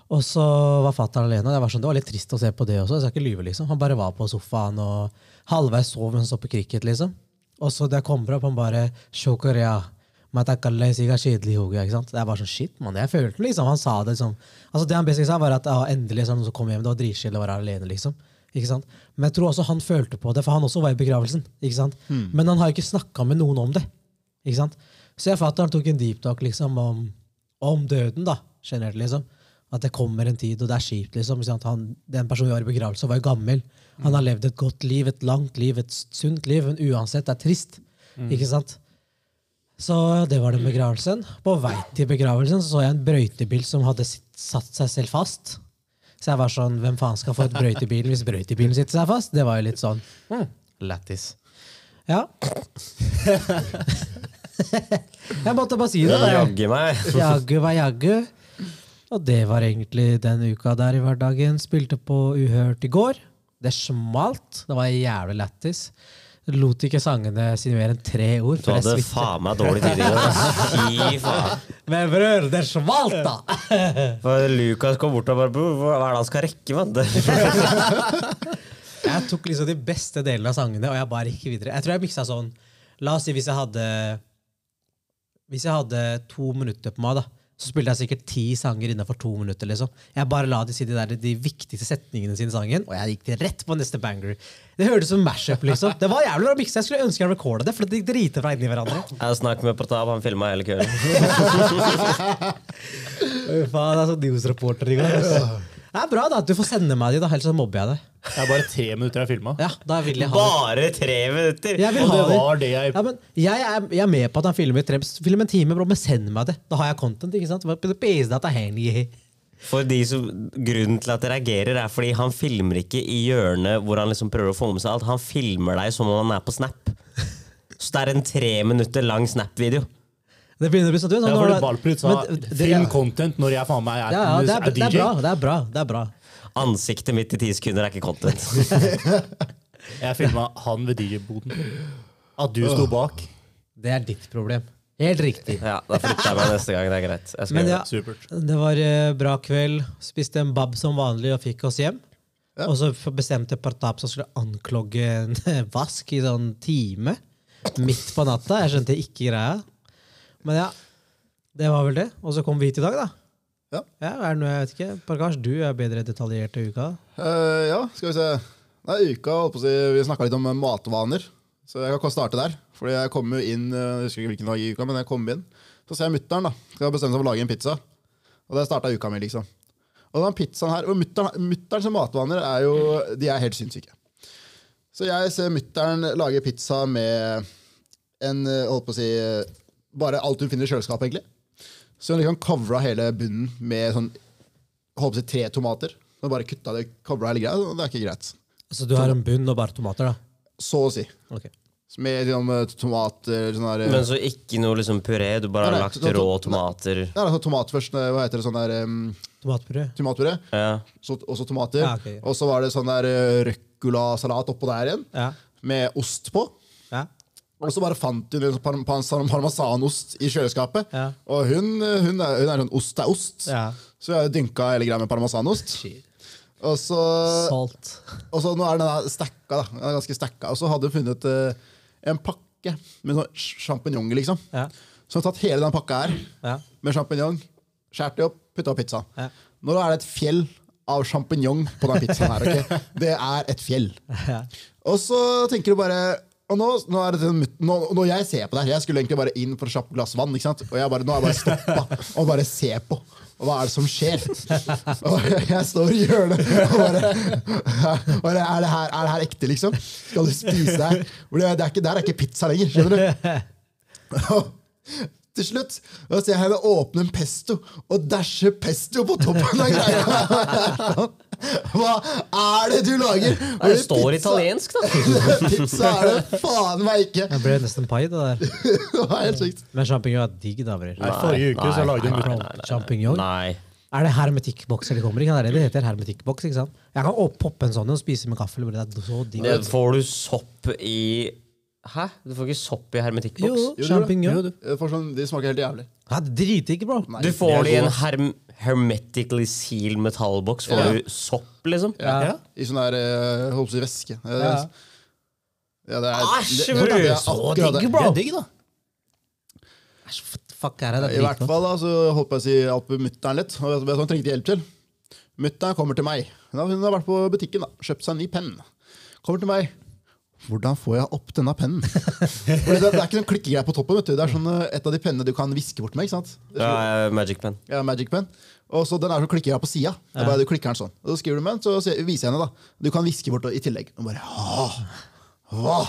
S2: Og så var fatter'n alene. og Det var, sånn, det var litt trist å se på det også. Jeg skal ikke lyve, liksom. Han bare var på sofaen og halvveis sov mens han så på cricket, liksom. Og så da jeg kommer opp, han bare «Sjå Korea. Men det er ikke alle sikkert kjedelig i hodet, ikke sant? Det er bare sånn shit, mann. Jeg følte liksom, han sa det liksom. Altså det han basically sa var at ja, endelig så er det noen som kommer hjem, det var dritkjedelig å være alene, liksom. Ikke sant? Men jeg tror også han følte på det, for han også var i begravelsen, ikke sant? Men han har jo ikke snakket med noen om det, ikke sant? Så jeg fattet han tok en deep talk liksom om, om døden da, generelt liksom. At det kommer en tid, og det er kjipt liksom. ikke sant? Han, den personen vi var i begravelse var jo gammel. Han har levd et godt liv, et langt liv, et sunt liv, men uansett, det er trist. Ikke sant? Så det var den begravelsen. På vei til begravelsen så, så jeg en brøytebil som hadde sitt- satt seg selv fast. Så jeg var sånn, hvem faen skal få et brøytebil hvis brøytebilen sitter seg fast? Det var jo litt sånn,
S1: Lættis.
S2: ja. jeg måtte bare si det. da.
S1: Jaggu meg.
S2: Jaggu var jaggu. Og det var egentlig den uka der i hverdagen. Spilte på Uhørt i går. Det smalt. Det var jævlig lættis. Lot ikke sangene si mer enn tre ord.
S1: Du
S2: for jeg
S1: hadde
S2: svitte.
S1: faen meg dårlig tid i går. ass. Fy faen.
S2: Men bror, det smalt, da!
S1: For Lukas kom bort og bare "Bro, Hva er det han skal rekke, mann? Det-
S2: Jeg tok liksom de beste delene av sangene, og jeg bare gikk videre. Jeg tror jeg miksa sånn La oss si hvis jeg hadde Hvis jeg hadde to minutter på meg, da, så spilte jeg sikkert ti sanger innenfor to minutter. liksom. Jeg bare la de si de, der, de viktigste setningene sine i sangen, og jeg gikk til rett på neste banger. Det hørtes ut som mash-up, liksom. Det var jævlig bra miksa. Jeg skulle ønske jeg recorda det, for det gikk driter fra inni hverandre.
S1: Jeg snakket med Pratap, han filma hele kvelden.
S2: Fy Faen, det er sånn news-reporter i går. altså. Det er bra da, at du får sende meg de, da, ellers så mobber jeg deg.
S4: Det er bare tre minutter jeg har filma.
S2: Ja, da vil jeg ha det.
S1: Bare tre minutter!
S2: Jeg vil
S4: Og
S2: ha
S4: det var det jeg
S2: Ja, men jeg, er, jeg er med på at han filmer tre Film en time, bro, men send meg det. Da har jeg content. ikke sant? Bare pese at det er hengelig.
S1: For de som, Grunnen til at jeg reagerer, er fordi han filmer ikke i hjørnet hvor han liksom prøver å få med seg alt. Han filmer deg som om han er på Snap. Så det er en tre minutter lang Snap-video.
S2: Det begynner å bli sånn, du, sånn,
S4: Ja,
S2: nå
S4: for
S2: har
S4: det
S2: du-
S4: Ballprut sa
S2: men det-
S4: film
S2: ja,
S4: content når jeg faen meg er,
S2: ja, det, er, det
S4: DJ.
S2: er bra. det er bra, det er bra.
S1: Ansiktet mitt i ti sekunder er ikke content.
S4: Jeg filma han ved DJ-boden. At du sto bak.
S2: Det er ditt problem. Helt riktig.
S1: Ja, Da flytter jeg meg neste gang. Det er greit. Jeg skal
S2: Men
S1: gjøre
S2: ja,
S4: Supert.
S2: det var eh, bra kveld. Spiste en bab som vanlig og fikk oss hjem. Og så f- bestemte Partap som skulle anklogge en vask i sånn time. Midt på natta. Jeg skjønte ikke greia. Men ja, det var vel det. Og så kom vi hit i dag, da.
S3: Ja.
S2: er det noe jeg vet ikke? Parkasj, du er bedre detaljert i uka.
S3: Eh, ja, skal vi se. Nei, uka, holdt på å si, Vi snakka litt om eh, matvaner, så jeg kan ikke starte der. Fordi jeg kom jo inn, eh, jeg husker ikke hvilken dag i uka, men jeg kom inn. Så ser jeg mutter'n skal bestemme seg for å lage en pizza. Og det starta uka mi, liksom. Og den pizzaen her, og mutter'n som matvaner er jo De er helt sinnssyke. Så jeg ser mutter'n lage pizza med en eh, Holdt på å si eh, Bare alt hun finner i kjøleskapet, egentlig. Så hun liksom covra hele bunnen med sånn holdt på å si tre tomater. Så bare kutta det, kobla hele greia. og Det er ikke greit.
S2: Så du har en bunn og bare tomater, da?
S3: Så å si.
S2: Ok.
S3: Med liksom, eh, tomater sånn der, eh,
S1: Men så ikke noe liksom puré, du bare
S3: Nei,
S1: har
S3: nei,
S1: lagt
S3: da-
S1: rå
S3: da-
S1: tomater.
S3: Nei, altså tomat først. eh, Hva heter det? Sånn der um,
S2: Tomatpuré.
S3: tomatpuré.
S1: Ja.
S3: Så, også tomater.
S2: Ja, Ah, ok.
S3: Og så var det sånn der eh, ruccolasalat oppå der igjen.
S2: Ja.
S3: Med ost på.
S2: Ja.
S3: Og så bare fant hun en sånn parm- parmesan- parmesanost i kjøleskapet.
S2: Ja.
S3: Og hun, eh, hun, er, hun er sånn ost er ost.
S2: Ja.
S3: Så jeg dynka hele greia med parmesanost. Og så
S2: Salt.
S3: Og så nå er den her stacka, da. Den er ganske stacka. Og så hadde hun funnet eh, en pakke med sånn sjampinjonger, liksom.
S2: Ja.
S3: Så hun har tatt hele den pakka her
S2: Ja.
S3: med sjampinjong, skåret det opp, putta opp pizza.
S2: Ja.
S3: Nå er det et fjell av sjampinjong på den pizzaen her. ok? Det er et fjell.
S2: Ja.
S3: Og så tenker du bare og nå, nå er det den mutt- nå, når jeg ser på det her Jeg skulle egentlig bare inn for å kjappe glass vann. ikke sant? Og jeg bare, nå er jeg bare stoppa og bare ser på. Og hva er det som skjer? Og jeg står i hjørnet og bare, og bare er, det her, er det her ekte, liksom? Skal du spise det her? For Det er- det er ikke, der er ikke pizza lenger. skjønner du? Til slutt da ser jeg henne åpne en pesto og dæsje pesto på toppen av greia. Hva er det du lager?
S1: Nei, det står italiensk, da!
S3: Pizza er det faen meg ikke!
S2: Det ble nesten pai, det der.
S3: Det var helt sykt.
S2: Men sjampinjong er digg, da, bror.
S4: Nei, forrige uke
S1: nei,
S4: så lagde hun
S1: nei,
S4: mutter.
S1: nei, nei.
S2: Champignon?
S1: Nei.
S2: Er det hermetikkboks eller kommer ikke? Det er det det heter hermetikkboks, ikke sant? Jeg kan opp- poppe en sånn og spise med gaffel. bror. Det er så digg.
S1: Det får du sopp i Hæ? Du får ikke sopp i hermetikkboks?
S2: Jo, sjampinjong.
S3: For sånn, de smaker helt jævlig.
S2: Ja, det Dritdigg, bro.
S1: Du får det
S4: det
S1: i
S4: er
S1: en
S4: god.
S1: herm hermetically sealed metallboks. Får
S3: Ja.
S1: du sopp, liksom?
S4: Ja.
S3: I sånn der eh, holdt på å si væske. Eh,
S2: Ja.
S3: ja, det er-
S1: Æsj,
S3: det- det- det er
S1: så
S3: akkurat det.
S2: digg,
S4: Det
S2: bro.
S4: er digg, da.
S2: Æsj, f- Fuck, er det det
S3: I
S2: er
S3: hvert
S2: dritgodt.
S3: fall da, så holdt på å si opp mutter'n litt. Og vet du hva hun trengte hjelp til. Mutter'n kommer til meg. Hun har, hun har vært på butikken, da. kjøpt seg en ny penn. Kommer til meg. Hvordan får jeg opp denne pennen? Fordi det, det er ikke noen klikkegreier på toppen. vet du. Det er sånn eh, et av de pennene du kan viske bort med. ikke sant? Det
S1: Ja, eh, Magic pen.
S3: Ja, Magic Pen. Og så Den er så klikker jeg på sida. Det er bare Du klikker den sånn. Og så skriver du med den, så se- viser jeg henne. da Du kan hviske bort i tillegg. Og bare «Åh, Hva?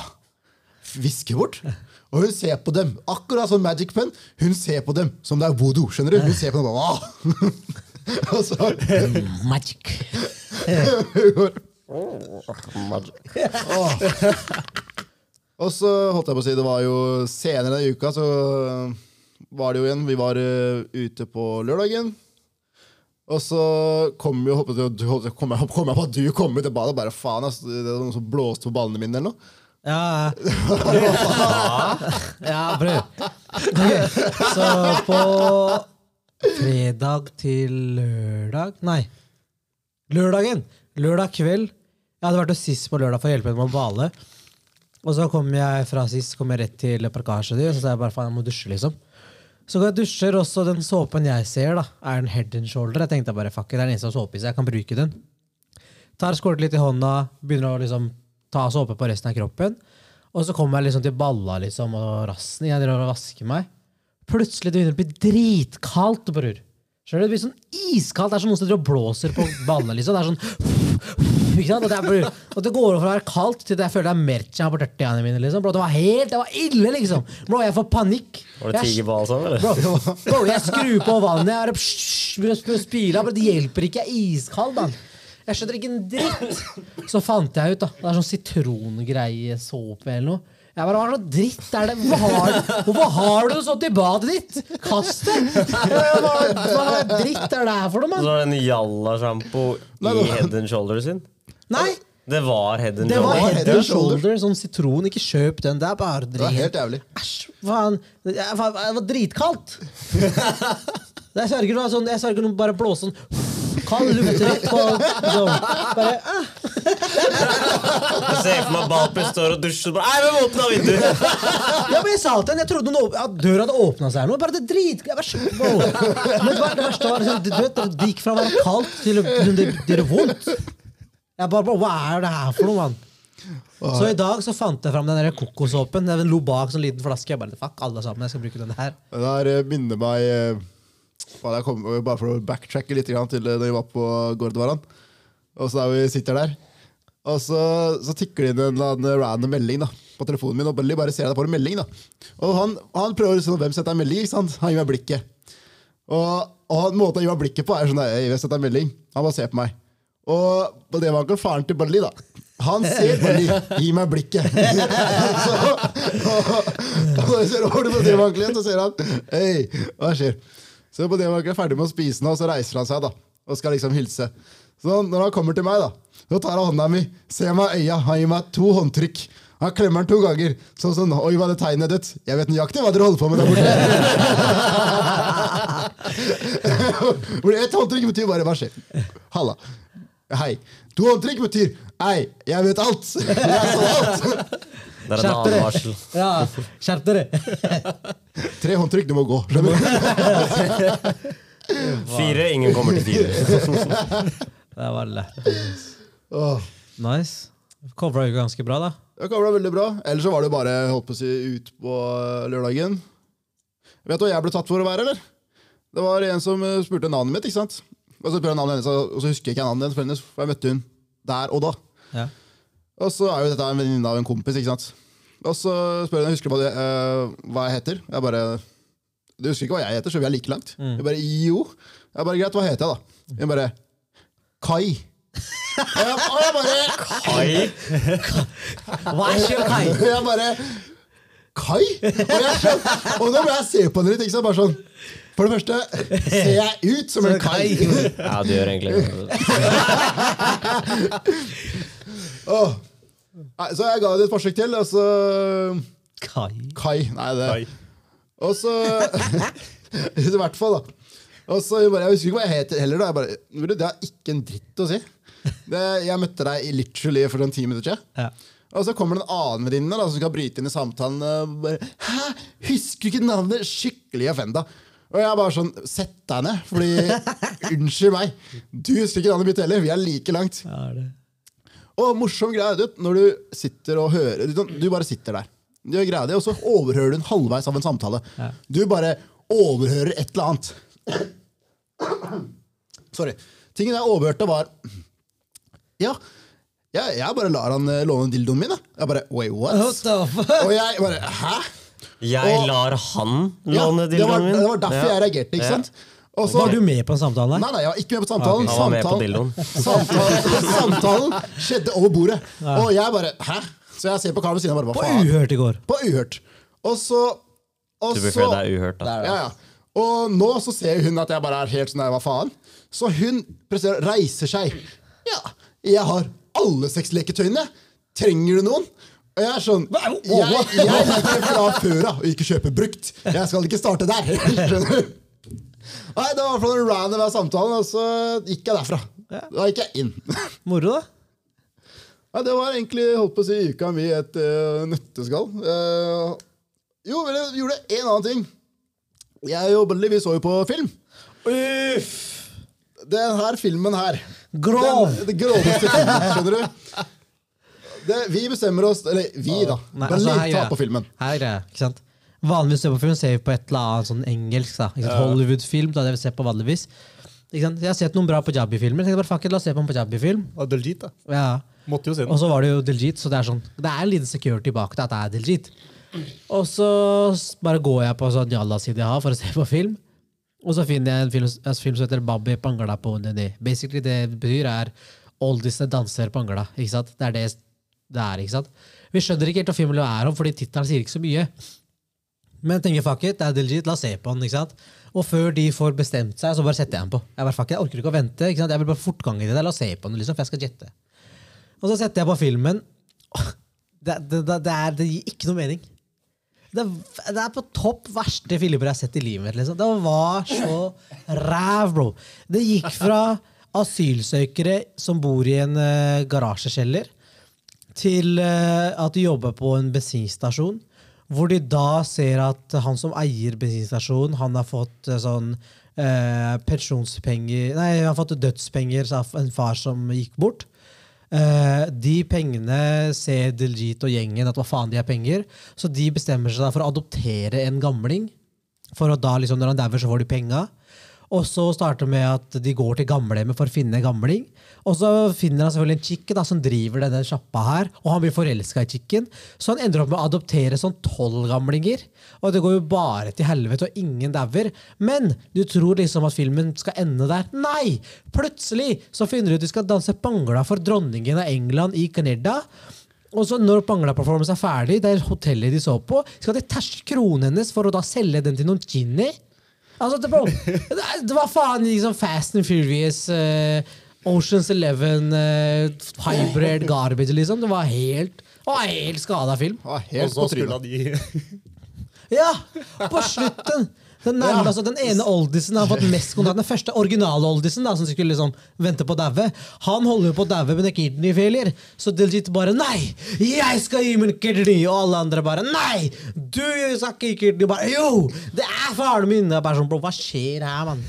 S3: Hviske bort? Og hun ser på dem, akkurat som Magic Pen. Hun ser på dem som det er voodoo. skjønner du? Hun ser på dem og bare, «Åh!» Og så
S2: Magic.
S3: Og så holdt jeg på å si, det var jo senere i uka, så var det jo igjen. Vi var eh, ute på lørdagen. Og så kom, jo, håpet jeg- håpet jeg- kom, jeg, kom jeg på at du kom ut i badet og bare faen, ass, det var noen som blåste på ballene mine eller noe.
S2: Ja, ja prøv. Ok, Så på fredag til lørdag Nei, lørdagen. Lørdag kveld. Jeg hadde vært hos SIS på lørdag for å hjelpe henne med å bale. Og så kom jeg fra SIS kom jeg rett til parkasjen din, og så sa jeg bare faen, jeg må dusje, liksom. Så går jeg og dusjer, og så den såpen jeg ser, da, er en head and shoulder. Jeg tenkte bare fuck it, det er den eneste såpe i seg, jeg kan bruke den. Tar skålet litt i hånda, begynner å liksom ta såpe på resten av kroppen. Og så kommer jeg liksom til balla liksom, og rassen. Jeg driver og vasker meg. Plutselig det begynner å bli dritkaldt, bror. Skjønner du? Det blir sånn iskaldt. Det er som noen som driver og blåser på ballene. liksom. Det er sånn ikke sant? Og det, er, bror, og det går over fra å være kaldt til det jeg føler det er mercha på tørtøyene mine. liksom. Bro, det var helt, det var ille, liksom! Bro, jeg får panikk.
S1: Var det
S2: Jeg-
S1: tigerball sånn, eller?
S2: Bro, bro, jeg skrur på vannet, jeg bare psh, begynner å sp- spyle, men det hjelper ikke, jeg er iskald, mann. Jeg skjønner ikke en dritt. Så fant jeg ut, da. Det er sånn sitrongreie, såpe eller noe. Jeg bare, Hva er det noe dritt er det? Hvorfor har, hvorfor har du det sånt i badet ditt? Kast det! Hva, hva dritt er det her for noe,
S1: Så
S2: mann?
S1: var det en jalla-sjampo
S3: Nei,
S1: i
S3: det var-
S1: head and shoulder sin.
S2: Nei!
S1: Det var head and
S2: Det var
S1: shoulder.
S2: head and shoulder, sånn sitron. Ikke kjøp den. Det er bare
S3: Det var
S2: dritt.
S3: helt jævlig.
S2: Æsj, faen. Det jeg- faen, det var dritkaldt. Jeg sverger det var sånn, jeg sverger noen bare blåse sånn kald luft rett på liksom. bare, ah.
S1: Jeg ser for meg Balper står og dusjer og bare Nei, vi må åpne vinduet!
S2: Ja, men jeg sa til henne, jeg trodde hun åp- at døra hadde åpna seg. eller noe, Bare det drit... Jeg bare, skjønner, bro. Men det, var, det verste var liksom, du vet, det gikk fra å være kaldt til å til det det gjorde vondt. Jeg bare, bro, Hva er det her for noe, mann? Så i dag så fant jeg fram den der kokosåpen. Den lå bak sånn liten flaske. Jeg bare, fuck alle sammen, jeg skal bruke den her.
S3: Det her eh, minner meg eh, faen, jeg kom, Bare for å backtracke litt grann til eh, da vi var på Gordvaran. Og så er vi sitter der. Og så, så tikker det inn en eller annen random melding da, på telefonen min. Og Belly bare ser at jeg får en melding. da. Og han, han prøver å si hvem setter en melding. ikke sant? Han gir meg blikket. Og, og han- måten han gir meg blikket på, er sånn der, «Hei, hvem setter en melding? Han bare ser på meg. Og på det var ikke faren til Belly, da. Han ser Belly, gi meg blikket. så, og, og når jeg ser over til Devankelen igjen, så ser han Hei, hva skjer? Så på Devankelen er ferdig med å spise nå, og så reiser han seg da og skal liksom hilse. Så han- når han kommer til meg, da, så tar han hånda mi, ser meg i øya, han gir meg to håndtrykk. Han klemmer den to ganger. Sånn sånn, oi, var det tegnet ditt? Jeg vet nøyaktig hva dere holder på med der borte. Hvor Ett håndtrykk betyr bare hva skjer? Halla. Hei. To håndtrykk betyr hei, jeg vet alt. Jeg så alt.
S1: Det er en annen varsel.
S2: Ja, Skjerp dere!
S3: Tre håndtrykk, du må gå. Skjønner du?
S1: Fire, ingen kommer til fire.
S2: Det var lættis.
S3: Åh.
S2: Nice. Covra jo ganske bra, da.
S3: Det var veldig bra. Ellers så var det jo bare holdt på å si, ut på lørdagen. Vet du hva jeg ble tatt for å være, eller? Det var en som eh, spurte navnet mitt, ikke sant? Og så, spør jeg navnet hennes, og så husker jeg ikke navnet hennes, for jeg møtte hun der og da.
S2: Ja.
S3: Og så er jo dette en venninne av en kompis, ikke sant? Og så spør hun, husker du hva, det, eh, hva jeg heter? Jeg bare, du husker ikke hva jeg heter, så vi er like langt. Jeg bare, jo. Jeg bare, greit, hva heter jeg da? Hun bare, Kai. Og jeg, og jeg bare,
S1: Oi.
S2: Hva er Kai?
S3: Og jeg bare Kai? Og, jeg, skjøn- og nå må jeg se på dere litt. Ikke sant? Bare sånn. For det første, ser jeg ut som en kai?
S1: Ja, du gjør egentlig det.
S3: Åh. Nei, Så jeg ga det et forsøk til, og så
S2: Kai.
S3: Kai. Nei, det
S4: Nei.
S3: Og så I hvert fall, da. Og så bare, Jeg husker ikke hva jeg heter heller. da jeg bare, «Bror, Det har ikke en dritt å si. Det, jeg møtte deg i literally for sånn ti minutter siden.
S2: Ja.
S3: Og så kommer det en annen venninne da, som skal bryte inn i samtalen. Og bare, Hæ? Husker du ikke navnet? Skikkelig offenda. Og jeg bare sånn Sett deg ned, fordi Unnskyld meg. Du husker ikke navnet mitt heller. Vi er like langt.
S2: Ja, er det.
S3: Og morsom greie er det når du sitter og hører Du, sånn, du bare sitter der, du gjør greia di, og så overhører du en halvveis av en samtale. Du bare overhører et eller annet. Sorry. Tingen jeg overhørte, var Ja, jeg, jeg bare lar han eh, låne dildoen min. da. Jeg bare Wait, what?
S2: What the fuck?
S3: Og jeg bare Hæ?
S1: Jeg
S3: Og-
S1: lar han
S3: Ja,
S1: låne
S3: det, var,
S1: dildoen min.
S3: det var derfor jeg reagerte. ikke
S1: Ja.
S3: sant? Og så-
S2: Var du med på en samtale der?
S3: Nei, nei, jeg var ikke med på samtalen.
S1: Ah, Ok. Han var med på
S3: samtalen,
S1: dildoen.
S3: samtalen, samtalen skjedde over bordet. Og jeg bare Hæ? Så jeg ser på karen ved siden av og bare
S2: På
S3: Hva faen?
S2: Uhørt i går.
S3: På uhørt. Og så og
S1: Du bør
S3: så-
S1: føle deg uhørt, da.
S3: Ja, ja. Og nå så ser hun at jeg bare er helt sånn der, hva faen? Så hun presterer, reiser seg. Ja, jeg har alle sexleketøyene. Trenger du noen? Og jeg er sånn Jeg, jeg liker fra før av å ikke kjøpe brukt. Jeg skal ikke starte der. Skjønner du? Nei, Det var i hvert fall en random av samtalen, og så gikk jeg derfra. Da gikk jeg inn.
S2: Moro, da?
S3: Ja, det var egentlig holdt på å si uka mi et eh, nøtteskall. Eh, jo, men jeg gjorde en annen ting. Jeg og Bolly, vi så jo på film.
S2: Uff!
S3: Den her filmen her.
S2: Grov!
S3: Den, den groveste filmen, skjønner du? Det, vi bestemmer oss Eller vi, da.
S2: Nei,
S3: Bolly
S2: altså, her er
S3: tar
S2: greia.
S3: på filmen.
S2: Her er greia, ikke sant? Vanligvis ser vi på film, ser vi på et eller annet sånn engelsk. da. Ikke sant? Hollywood-film. da det vi ser på vanligvis. Ikke sant? Jeg har sett noen bra punjabi-filmer. tenkte bare, fuck it, la oss se på en punjabi-film.
S4: Ja, Daljeet, da.
S2: Ja.
S4: Måtte jo se
S2: Og
S4: den.
S2: så var det jo Diljit, så det er sånn, det er en liten security bak det at det er Diljit. Og så s- bare går jeg på sånn jalla-side jeg har for å se på film. Og så finner jeg en film, en film som heter Babi Pangala på Nene. Basically det betyr er oldisene danser Pangala. Ikke sant? Det er det det er. ikke sant? Vi skjønner ikke helt hva filmen er om, fordi tittelen sier ikke så mye. Men jeg tenker fuck it, det er Diljit, la oss se på den. ikke sant? Og før de får bestemt seg, så bare setter jeg den på. Jeg bare fuck it, jeg orker ikke å vente. ikke sant? Jeg vil bare fortgang i det der, la oss se på den, liksom, for jeg skal jette. Og så setter jeg på filmen. Det, det, det, det, er, det gir ikke noe mening. Det, er- det er på topp verste filmer jeg har sett i livet mitt. Liksom. Det var så ræv, bro. Det gikk fra asylsøkere som bor i en eh, garasjekjeller, til eh, at de jobber på en bensinstasjon. Hvor de da ser at han som eier bensinstasjonen, han har fått eh, sånn eh, pensjonspenger Nei, han har fått dødspenger av en far som gikk bort. Eh, de pengene ser Diljit og gjengen at hva faen de er penger, så de bestemmer seg da for å adoptere en gamling. For å da liksom, når han dauer, så får de penga. Og så starter det med at de går til gamlehjemmet for å finne en gamling. Og så finner han selvfølgelig en chicken da, som driver denne sjappa her, og han blir forelska i chicken. Så han ender opp med å adoptere sånn tolv gamlinger. Og det går jo bare til helvete, og ingen dauer. Men du tror liksom at filmen skal ende der. Nei! Plutselig så finner du ut de skal danse bangla for dronningen av England i Canada. Og så når Bangla-performance er ferdig, det er hotellet de så på, skal de terske kronen hennes for å da selge den til noen genie? Altså, det, bro, det, er- det var faen liksom Fast and Furious, eh, Oceans Eleven, eh, hybrid garbage, liksom. Det var helt, det var helt skada film.
S3: Jeg var
S4: Og
S3: helt
S4: så
S3: på
S4: skulle
S3: trynet.
S4: de
S2: Ja! På slutten! Den, nærmeste, altså, den ene oldisen har fått mest kontakt. Den første originale oldisen da, som skulle liksom vente på å daue. Han holder jo på å daue med en kidneyfailer. Så Diljit bare 'Nei! Jeg skal gi min kidney!' Og alle andre bare 'Nei! Du skal ikke gi kidney!' Bare 'Jo! Det er faren min!' Jeg bare sånn, bro, hva skjer her, mann?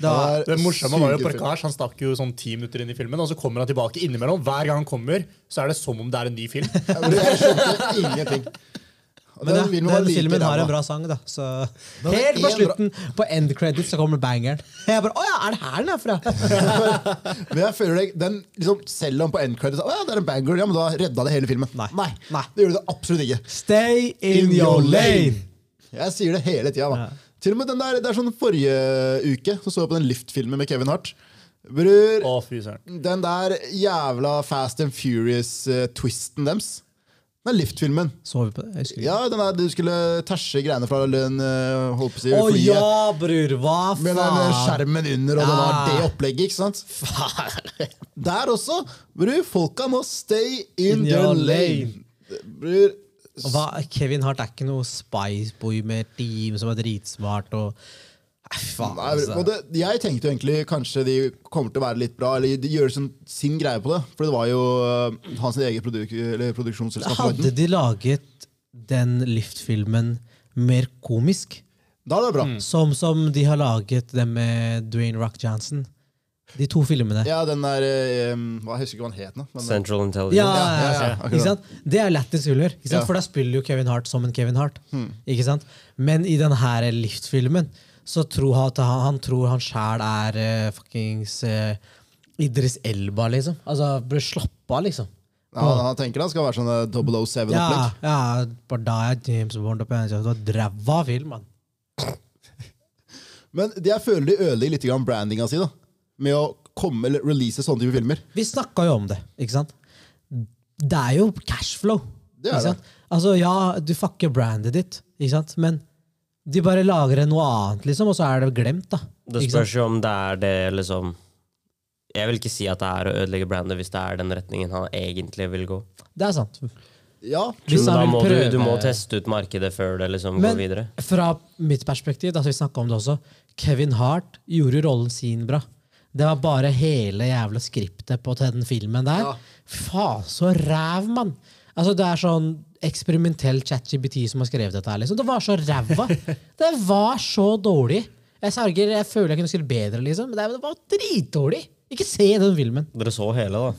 S2: Det var-
S4: Det morsomme var jo
S3: Sugefilm.
S4: Parkasj. Han stakk jo sånn ti minutter inn i filmen, og så kommer han tilbake innimellom. Hver gang han kommer, så er det som om det er en ny film.
S3: Ja, men Jeg skjønte ingenting.
S2: Men
S3: Den
S2: ja,
S3: filmen
S2: den,
S3: var like
S2: filmen har
S3: ræva.
S2: en bra sang, da. Så
S3: Den har
S2: helt på
S3: en bra-
S2: slutten, på end credit, så kommer bangeren. Jeg bare 'Å ja, er det her den er fra?'
S3: Men jeg føler det, den liksom, Selv om på end credit Å ja, det er en banger, ja, men da redda det hele filmen.
S2: Nei. Nei.
S3: Det gjorde det absolutt ikke.
S2: Stay in your lane!
S3: Jeg sier det hele tida. da. Til og med den der, det er sånn Forrige uke så så jeg på den Lift-filmen med Kevin Hart. Bror,
S4: Å, fy søren.
S3: den der jævla Fast and Furious-twisten deres. Den Lift-filmen.
S2: Så vi på det? Jeg husker ikke.
S3: Ja, den der du skulle tæsje greiene fra den eh, holdt på å si,
S2: Å
S3: flyet.
S2: ja, bror! Hva
S3: Med den eh,
S2: faen?
S3: skjermen under, og det var
S2: Ja.
S3: det opplegget, ikke sant? Der også, bror, folka må stay in,
S2: In
S3: your
S2: your
S3: lane. Bror,
S2: Hva, Kevin Hart er ikke noe spiceboy med team som er dritsmart og Nei, faen,
S3: Nei, men
S2: altså.
S3: det, jeg tenkte jo egentlig kanskje de kommer til å være litt bra, eller de gjør sin, sin greie på det. For det var jo øh, hans eget produk eller produksjonsselskap. som lagde
S2: Hadde
S3: den.
S2: de laget den Lift-filmen mer komisk,
S3: Da er det bra.
S2: som, som de har laget den med Dwayne Rock Johnson De to filmene.
S3: Ja, den der øh, em, hva, Jeg husker ikke hva den het nå. Men,
S1: Central Intelligence.
S2: Ja,
S3: Ja, ja,
S2: ja,
S3: ja, akkurat.
S2: Ikke sant? Det er lættis huller, ikke sant?
S3: Ja. Hmm.
S2: for da spiller jo Kevin Hart som en Kevin Hart. Ikke sant? Men i den her Lift-filmen så tror han, at han, han tror han sjæl er eh, fuckings eh, Idris Elba, liksom. Altså, bør slappe av, liksom.
S3: Ja, han tenker han skal være sånn 007-opplegg.
S2: Ja, ja, bare da er James Bond oppe i en kjeft. Det var dræva film, mann.
S3: Men det jeg føler de ødelegger litt grann brandinga si, da. Med å komme eller release sånne type filmer.
S2: Vi snakka jo om det, ikke sant? Det er jo cashflow.
S3: Det er
S2: ikke sant? Altså, ja, du fucker brandet ditt, ikke sant? men de bare lager noe annet, liksom, og så er det glemt, da.
S1: Det
S2: Ikke sant?
S1: spørs jo om det er det liksom Jeg vil ikke si at det er å ødelegge brandet hvis det er den retningen han egentlig vil gå.
S2: Det er sant.
S3: Ja,
S2: Hvis
S1: Men da
S2: han vil
S1: må du,
S2: prøve-
S1: du må teste ut markedet før det liksom går videre.
S2: Men fra mitt perspektiv, da, så vi snakket om det også, Kevin Hart gjorde rollen sin bra. Det var bare hele jævla skriptet på til den filmen der.
S3: Ja.
S2: Faen, så ræv, mann! Altså, det er sånn eksperimentell ChatGPT som har skrevet dette her. liksom. Det var så ræva! det var så dårlig! Jeg sverger, jeg føler jeg kunne skrevet bedre, liksom. Men det det var dritdårlig! Ikke se den filmen.
S1: Dere så hele, da.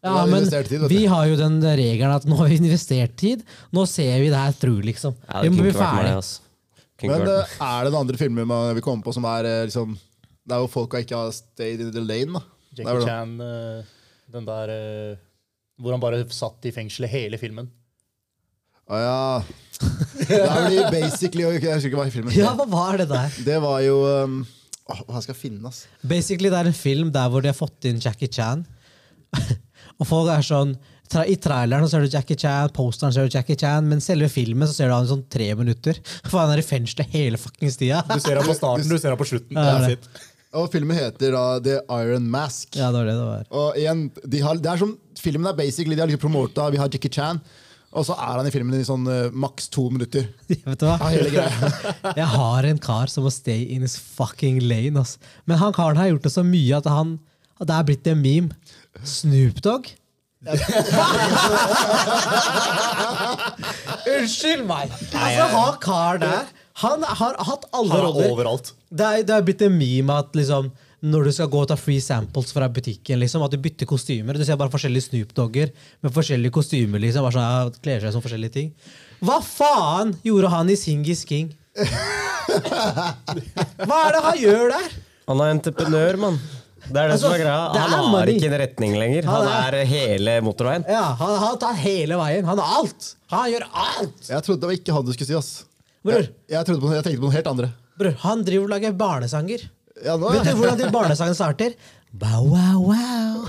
S3: Vi
S2: Ja,
S3: har
S2: men
S3: investert tid, vet du.
S2: vi har jo den regelen at nå har vi investert tid. Nå ser vi det her through, liksom.
S1: Ja,
S2: vi
S1: det
S2: må
S1: kunne
S2: bli
S1: ikke vært meg,
S2: ferdig.
S1: ass. Kunne
S3: Men
S1: ikke vært
S3: eh, er det noen andre filmer man vil komme på som er eh, liksom Det er jo folk som ikke har stayed in the lane, da. Det er
S4: Jackie
S3: vel det.
S4: Chan, eh, den der eh, Hvor han bare satt i fengselet hele filmen.
S3: Å ja. Det er vel de basically Jeg husker ikke hva filmen
S2: Ja,
S3: heter.
S2: hva var det der?
S3: Det var jo um, åh, Hva skal jeg finne, ass?
S2: Basically, det er en film der hvor de har fått inn Jackie Chan. og folk er sånn tra I traileren så ser du Jackie Chan, posteren ser du Jackie Chan, men selve filmen så ser du han i sånn tre minutter. For han er i fengselet hele fuckings tida.
S4: Du ser ham på starten, du ser ham på slutten.
S2: Ja, det er
S4: That's it.
S3: Og filmen heter da The Iron Mask.
S2: Ja, det var det det var.
S3: Og igjen, de har, det er som, filmen er basically De har liksom promota, vi har Jackie Chan, og så er han i filmen i sånn eh, maks to minutter.
S2: Vet du hva?
S3: Av hele greia.
S2: Jeg har en kar som må stay in his fucking lane. Ass. Men han karen har gjort det så mye at han at det er blitt en meme. Snoop Dogg? Unnskyld meg! Altså, han karen der Han har hatt alle
S4: Han er
S2: roller.
S4: overalt.
S2: Det er, det er blitt en meme at liksom, når du skal gå og ta free samples fra butikken, liksom, at du bytter kostymer. Du ser bare forskjellige Snoop Dogger med forskjellige kostymer. liksom, bare sånn, ja, kler seg som forskjellige ting. Hva faen gjorde han i Singis King? Hva er det han gjør der?
S1: med. Han er entreprenør, mann. Det er det
S2: eh, Altså,
S1: som er greia.
S2: det
S1: Han
S2: er
S1: har
S2: money.
S1: ikke en retning lenger. Han
S2: Han
S1: er hele motorveien.
S2: Ja, han, han tar hele veien. Han har alt! Han gjør alt!
S3: Jeg trodde det var ikke han du skulle si, ass.
S2: Bror.
S3: Jeg, jeg, trodde på, jeg tenkte på noen helt andre.
S2: Bror, han driver og lager barnesanger.
S3: Ja, nå,
S2: Vet du hvordan de barnesangene starter? Bow, wow, wow.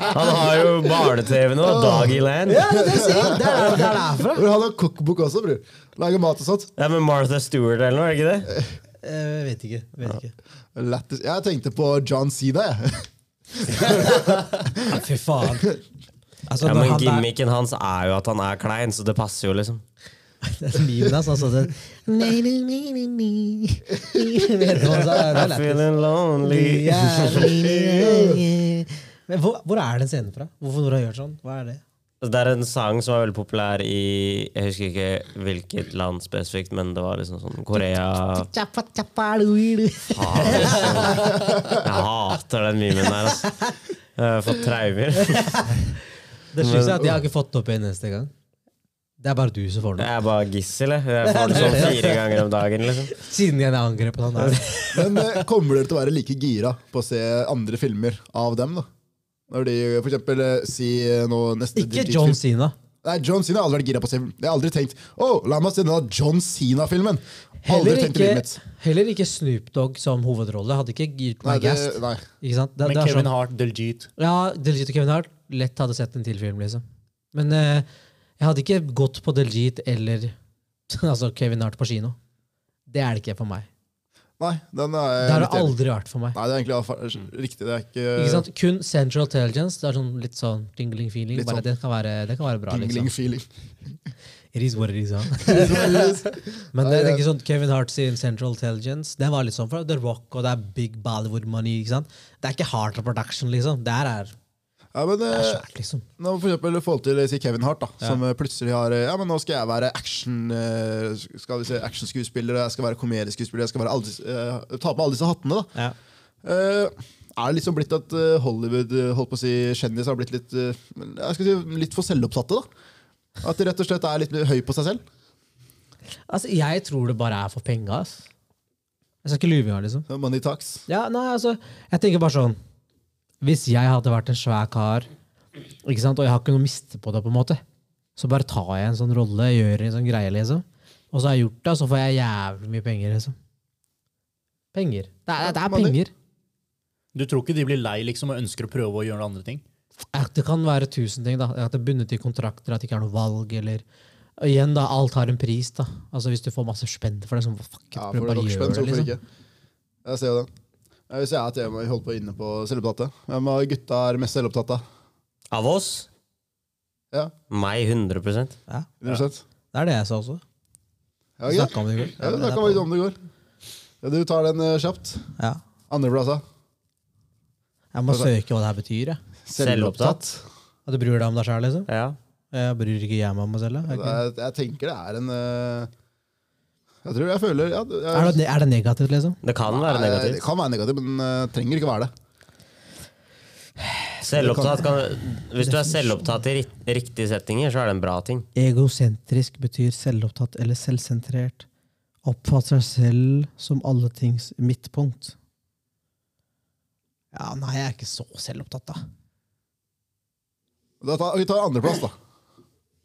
S1: Han har jo barne-TV nå. Doggyland.
S2: Ja, det er det jeg sier. Det er der det er derfra.
S3: Bror, han har cookbook også, bror. Lager mat og sånt.
S1: Det er med Martha Stewart eller noe, er det ikke det?
S2: Eh, vet ikke. Vet ikke.
S3: Lættis. Jeg tenkte på John Cena, jeg.
S2: Ja, fy faen.
S1: Ja,
S2: Altså, når
S1: men
S2: han der-
S1: gimmicken hans er jo at han er klein, så det passer jo, liksom.
S2: Det er memen hans, altså. Det, nei, nei, nei, nei, nei. Jeg vet ikke hva det er, det er
S1: I'm
S2: lættis.
S1: feeling lonely.
S2: Ja, nei, nei, nei. Men hvor, hvor er den scenen fra? Hvorfor Nora gjør sånn? Hva er det?
S1: Altså, Det er en sang som er veldig populær i Jeg husker ikke hvilket land spesifikt, men det var liksom sånn Korea
S2: Tjappa, tjappa, luilu.
S1: Faen, liksom. Jeg hater den memen der, altså. Jeg har fått traumer.
S2: Det syns jeg at jeg har ikke fått det opp igjen neste gang. Det er bare du som får
S1: Jeg
S2: det.
S1: er bare gissel, jeg. Jeg får det sånn fire ganger om dagen, liksom.
S2: Siden jeg angrep han der.
S3: Men eh, kommer dere til å være like gira på å se andre filmer av dem, da? Når de eh, for eksempel eh, si eh, nå neste
S2: Ikke
S3: Dirty
S2: John
S3: Film-
S2: Sina.
S3: Nei, John Cena har aldri vært gira på å se Jeg har aldri tenkt oh, la meg se denne John Cena-filmen. Aldri
S2: Heller
S3: tenkt i
S2: ikke,
S3: livet mitt.
S2: heller ikke Snoop Dogg som hovedrolle. Hadde ikke gitt
S3: Nei,
S2: meg
S3: det,
S2: gassed.
S3: nei.
S2: Ikke sant? Det, det
S4: Men
S2: er sånn-
S4: Kevin Hart, Deljeet
S2: Ja, Deljeet og Kevin Hart lett hadde sett en til film, liksom. Men eh, jeg hadde ikke gått på Deljeet eller altså Kevin Hart på kino. Det er det ikke for meg.
S3: nei, den er
S2: Det har det aldri vært for meg.
S3: Nei, det er egentlig fa- riktig. Det er ikke,
S2: Ikke sant? Kun Central Intelligence. Det er sånn litt sånn tingling feeling.
S3: Litt
S2: Bare
S3: sånn
S2: det kan være, det kan være bra,
S3: Dingling
S2: liksom.
S3: feeling.
S2: It is what it is, ja. Men det, jeg tenker sånn Kevin Hart sin Central Intelligence, det var litt sånn for The Rock, og det er big Bollywood money, ikke sant? Det er ikke hard production, liksom. Det her er
S3: Ja, men,
S2: det er
S3: eh,
S2: svært, liksom.
S3: Nå for eksempel forhold til si Kevin Hart, da, som eh, plutselig har eh, Ja, men nå skal jeg være action eh, Skal vi si actionskuespiller, jeg skal være komedieskuespiller, jeg skal være alle, disse- eh, ta på alle disse hattene. da
S2: Ja.
S3: Eh, Er det liksom blitt at eh, Hollywood eh, holdt på å si kjendiser har blitt litt eh, Jeg skal si litt for selvopptatte? da At de rett og slett er litt høy på seg selv?
S2: Altså, jeg tror det bare er for penga, ass. Jeg skal ikke lyve engang, liksom.
S3: Money talks.
S2: Ja, nei, altså, jeg tenker bare sånn Hvis jeg hadde vært en svær kar Ikke sant? Og jeg har ikke noe å miste på det, på en måte. Så bare tar jeg en sånn rolle, gjør en sånn greie, liksom. Og så har jeg gjort det, og så får jeg jævlig mye penger, liksom. Penger. Det er, det er
S3: Money.
S2: penger.
S4: Du tror ikke de blir lei liksom og ønsker å prøve å gjøre andre ting?
S2: At det kan være tusen ting. da. At det er bundet i kontrakter, at det ikke er noe valg. eller... Og igjen da, Alt har en pris. da. Altså Hvis du får masse spenn for det, så fuck it,
S3: Ja,
S2: prøv
S3: for det er
S2: bare å gjøre
S3: rockspenn, så
S2: det.
S3: hvorfor
S2: liksom.
S3: ikke? Jeg ser jo det. Ja, Hvis jeg er tema, holder på inne på celleplate. Hvem av gutta er mest selvopptatt av?
S1: Av oss?
S3: Ja,
S1: Meg 100
S2: Ja,
S3: 100
S2: Det er det jeg sa også.
S3: Ja,
S2: Vi
S3: greit.
S2: snakket om det i går.
S3: Ja, men
S2: det
S3: da
S2: er
S3: kan vi
S2: på-
S3: om det går. Ja, du tar den eh, kjapt.
S2: ja.
S3: Andreplass, da.
S2: Jeg må søke hva det her betyr. Jeg.
S1: Selvopptatt.
S2: At du bryr deg om deg sjøl, liksom.
S1: Ja.
S2: Jeg bryr ikke jeg meg om meg selv. Jeg.
S3: Det
S2: Er ikke-
S3: er- Jeg tenker det er en eh, Jeg tror jeg føler ja, det- jeg,
S2: Er det, er det negativt, liksom?
S1: Det kan være
S3: Nei, Det
S1: negativt.
S3: kan være negativt, men eh, trenger ikke være det.
S1: Selvopptatt kan, hvis du er selvopptatt i ri- riktige settinger, så er det en bra ting.
S2: Egosentrisk betyr selvopptatt eller selvsentrert. Oppfatter seg selv som alle tings midtpunkt. Ja, nei, jeg er ikke så selvopptatt, da.
S3: Da tar, vi tar andreplass, da.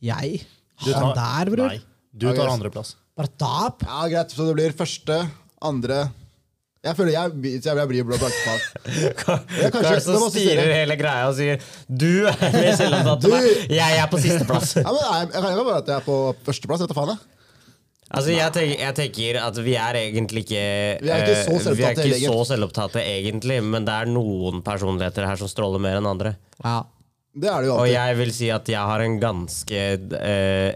S2: Jeg?
S4: Du
S2: Han der, bror?
S4: Nei, du
S3: Ja,
S4: tar
S3: greit.
S4: andreplass.
S2: Bare tap?
S3: Ja, Greit, så det blir første, andre Jeg føler jeg, blir- jeg, blir blå blankefag.
S1: Hva
S3: kanskje-
S1: er det som
S3: det var siste
S1: styrer
S3: gang.
S1: hele greia og sier 'du er mer selvopptatt enn meg', jeg er på sisteplass?
S3: Ja, men jeg, jeg kan ikke være at jeg er på førsteplass. Vet du faen, jeg.
S1: Altså, jeg, tenker, jeg tenker at vi er egentlig ikke
S3: Vi er ikke så
S1: eh, vi er
S3: selvopptatte
S1: ikke
S3: lenger.
S1: så selvopptatte egentlig, men det er noen personligheter her som stråler mer enn andre.
S2: Ja.
S3: Det er det jo
S1: Og
S3: alltid.
S1: jeg vil si at jeg har en ganske eh,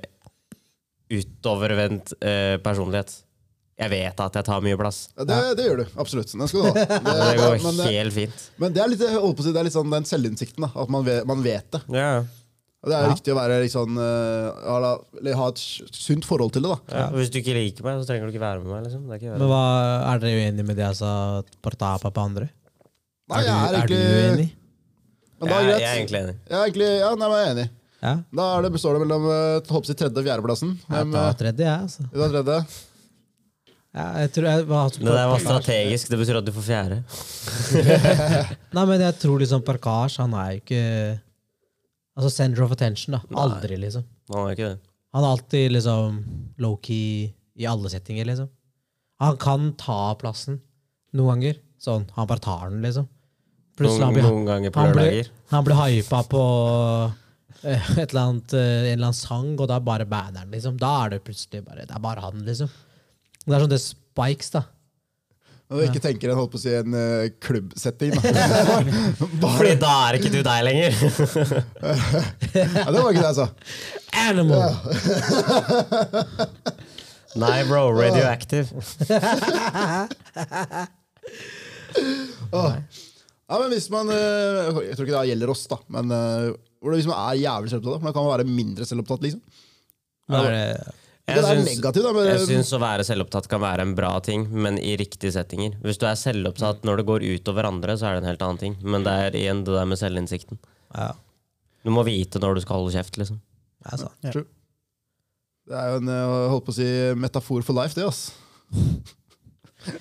S1: utovervendt eh, personlighet. Jeg vet at jeg tar mye plass.
S3: Ja, Det, det gjør du, absolutt. Den skal du ha. Det,
S1: Det går
S3: men, det,
S1: helt fint.
S3: men det er litt, jeg holdt på å si, det er litt sånn den selvinnsikten. da, At man vet, man vet det.
S1: Ja.
S3: Og Det er viktig å være litt sånn, eh, ha da- eller ha et sunt forhold til det. da.
S1: Ja. og Hvis du ikke liker meg, så trenger du ikke være med meg. Liksom. Det er ikke
S2: Men hva, er dere uenige med det jeg sa? at Bare tapa på andre?
S3: Nei, jeg er,
S2: du, er du
S3: egentlig,
S2: uenig?
S3: men da,
S1: jeg,
S3: er
S1: jeg
S3: greit.
S1: er egentlig enig.
S3: Jeg er egentlig, ja, nei, men jeg er enig.
S2: Ja.
S3: Da er det, består det mellom eh, håper jeg, tredje og fjerdeplassen.
S2: Jeg
S3: Hvem,
S2: tar
S3: eh,
S2: tredje, jeg, altså.
S3: vi tar tredje.
S2: Ja, jeg tror jeg var
S1: Det der var strategisk. Det betyr at du får fjerde.
S2: Nei, men jeg tror liksom Parkage, han er jo ikke Altså center of attention, da. Aldri, liksom.
S1: Han er ikke det.
S2: Han er alltid liksom low-key i alle settinger, liksom. Han kan ta plassen noen ganger. Sånn, han bare tar den, liksom. Plutselig han
S1: Noen,
S2: blir,
S1: noen ganger på
S2: han blir,
S1: lørdager.
S2: han blir hypa på eh, et eller annet, eh, en eller annen sang, og da er bare banneren, liksom. Da er det plutselig bare Det er bare han, liksom. Det er sånn det Spikes, da.
S3: Når du ikke tenker en, holdt på å si, en eh, klubbsetting. Da.
S1: Fordi da er ikke du deg lenger.
S3: Ja, det var ikke det jeg sa.
S2: Animal!
S1: Nei, bro. Radioactive.
S3: Ja, men hvis man, eh, Jeg tror ikke det gjelder oss, da. Men eh, hvor det- hvis man er jævlig selvopptatt, da, men da kan man være mindre selvopptatt. liksom.
S2: Da er det
S3: Det er negativt, da. Men,
S1: Jeg syns å være selvopptatt kan være en bra ting, men i riktige settinger. Hvis du er selvopptatt når det går utover andre, så er det en helt annen ting. Men det er igjen det der med selvinnsikten.
S2: Ja,
S1: Du må vite når du skal holde kjeft, liksom.
S2: det er sant.
S3: True. Det er jo en eh, holdt på å si, metafor for life, det. ass.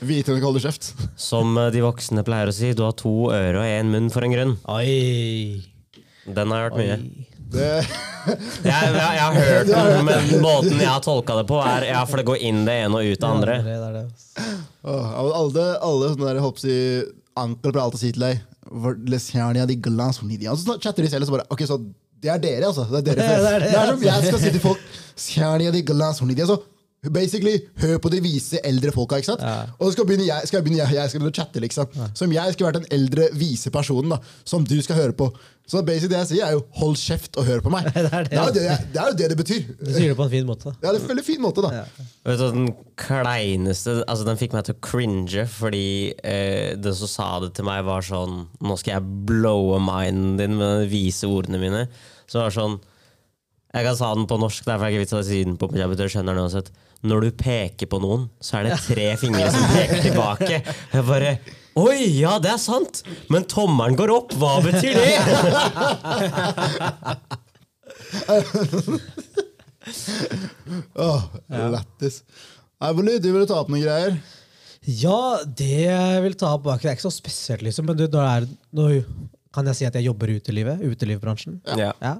S3: Vite når du ikke holder kjeft.
S1: Som eh, de voksne pleier å si, du har to ører og én munn for en grunn.
S2: Oi!
S1: Den har jeg hørt mye.
S3: Det,
S1: Jeg, jeg, jeg har hørt den, men måten jeg har tolka det på, er ja, for det går inn det ene og ut det andre.
S2: Det er det.
S3: åh, ja, men alle, alle sånne der, holdt på å si, ankler pleier alltid å si til deg «Hvor les gjerne jeg de glass for nidia?» Og Så chatter de selv, og så bare Ok, så det er dere, altså. Det er
S2: Ja,
S3: dere det
S2: det er
S3: er,
S2: det,
S3: som jeg skal si til folk. «Gjerne jeg de glass for nidia», Så Altså, basically, hør på de vise eldre folka, ikke sant? Og så skal begynne jeg, skal begynne jeg, jeg skal begynne å chatte, liksom. Som jeg skulle vært den eldre vise personen, da. Som du skal høre på. Så basically det jeg sier, er jo hold kjeft og hør på meg. Det
S2: er det.
S3: er jo det jeg- det er jo det det betyr.
S2: Du sier det på en fin måte.
S3: Ja, det er en veldig fin måte, da.
S1: Vet du, hva, den kleineste Altså Den fikk meg til å cringe, fordi eh, det som sa det til meg, var sånn Nå skal jeg blowe minden din med de vise ordene mine. Så det var sånn Jeg kan sa den på norsk, derfor er det ikke vits i å si den på punjabi. Du skjønner den uansett. Når du peker på noen, så er det tre fingre som peker tilbake. Jeg bare Oi, ja, det er sant! Men tommelen går opp! Hva betyr det?
S3: Åh, lættis. Nei, Bolly, du ville ta opp noen greier.
S2: Ja, det jeg vil ta opp bak, det er ikke så spesielt, liksom. Men du, når det er når Kan jeg si at jeg jobber i utelivet? Utelivsbransjen?
S1: Ja.
S2: Ja.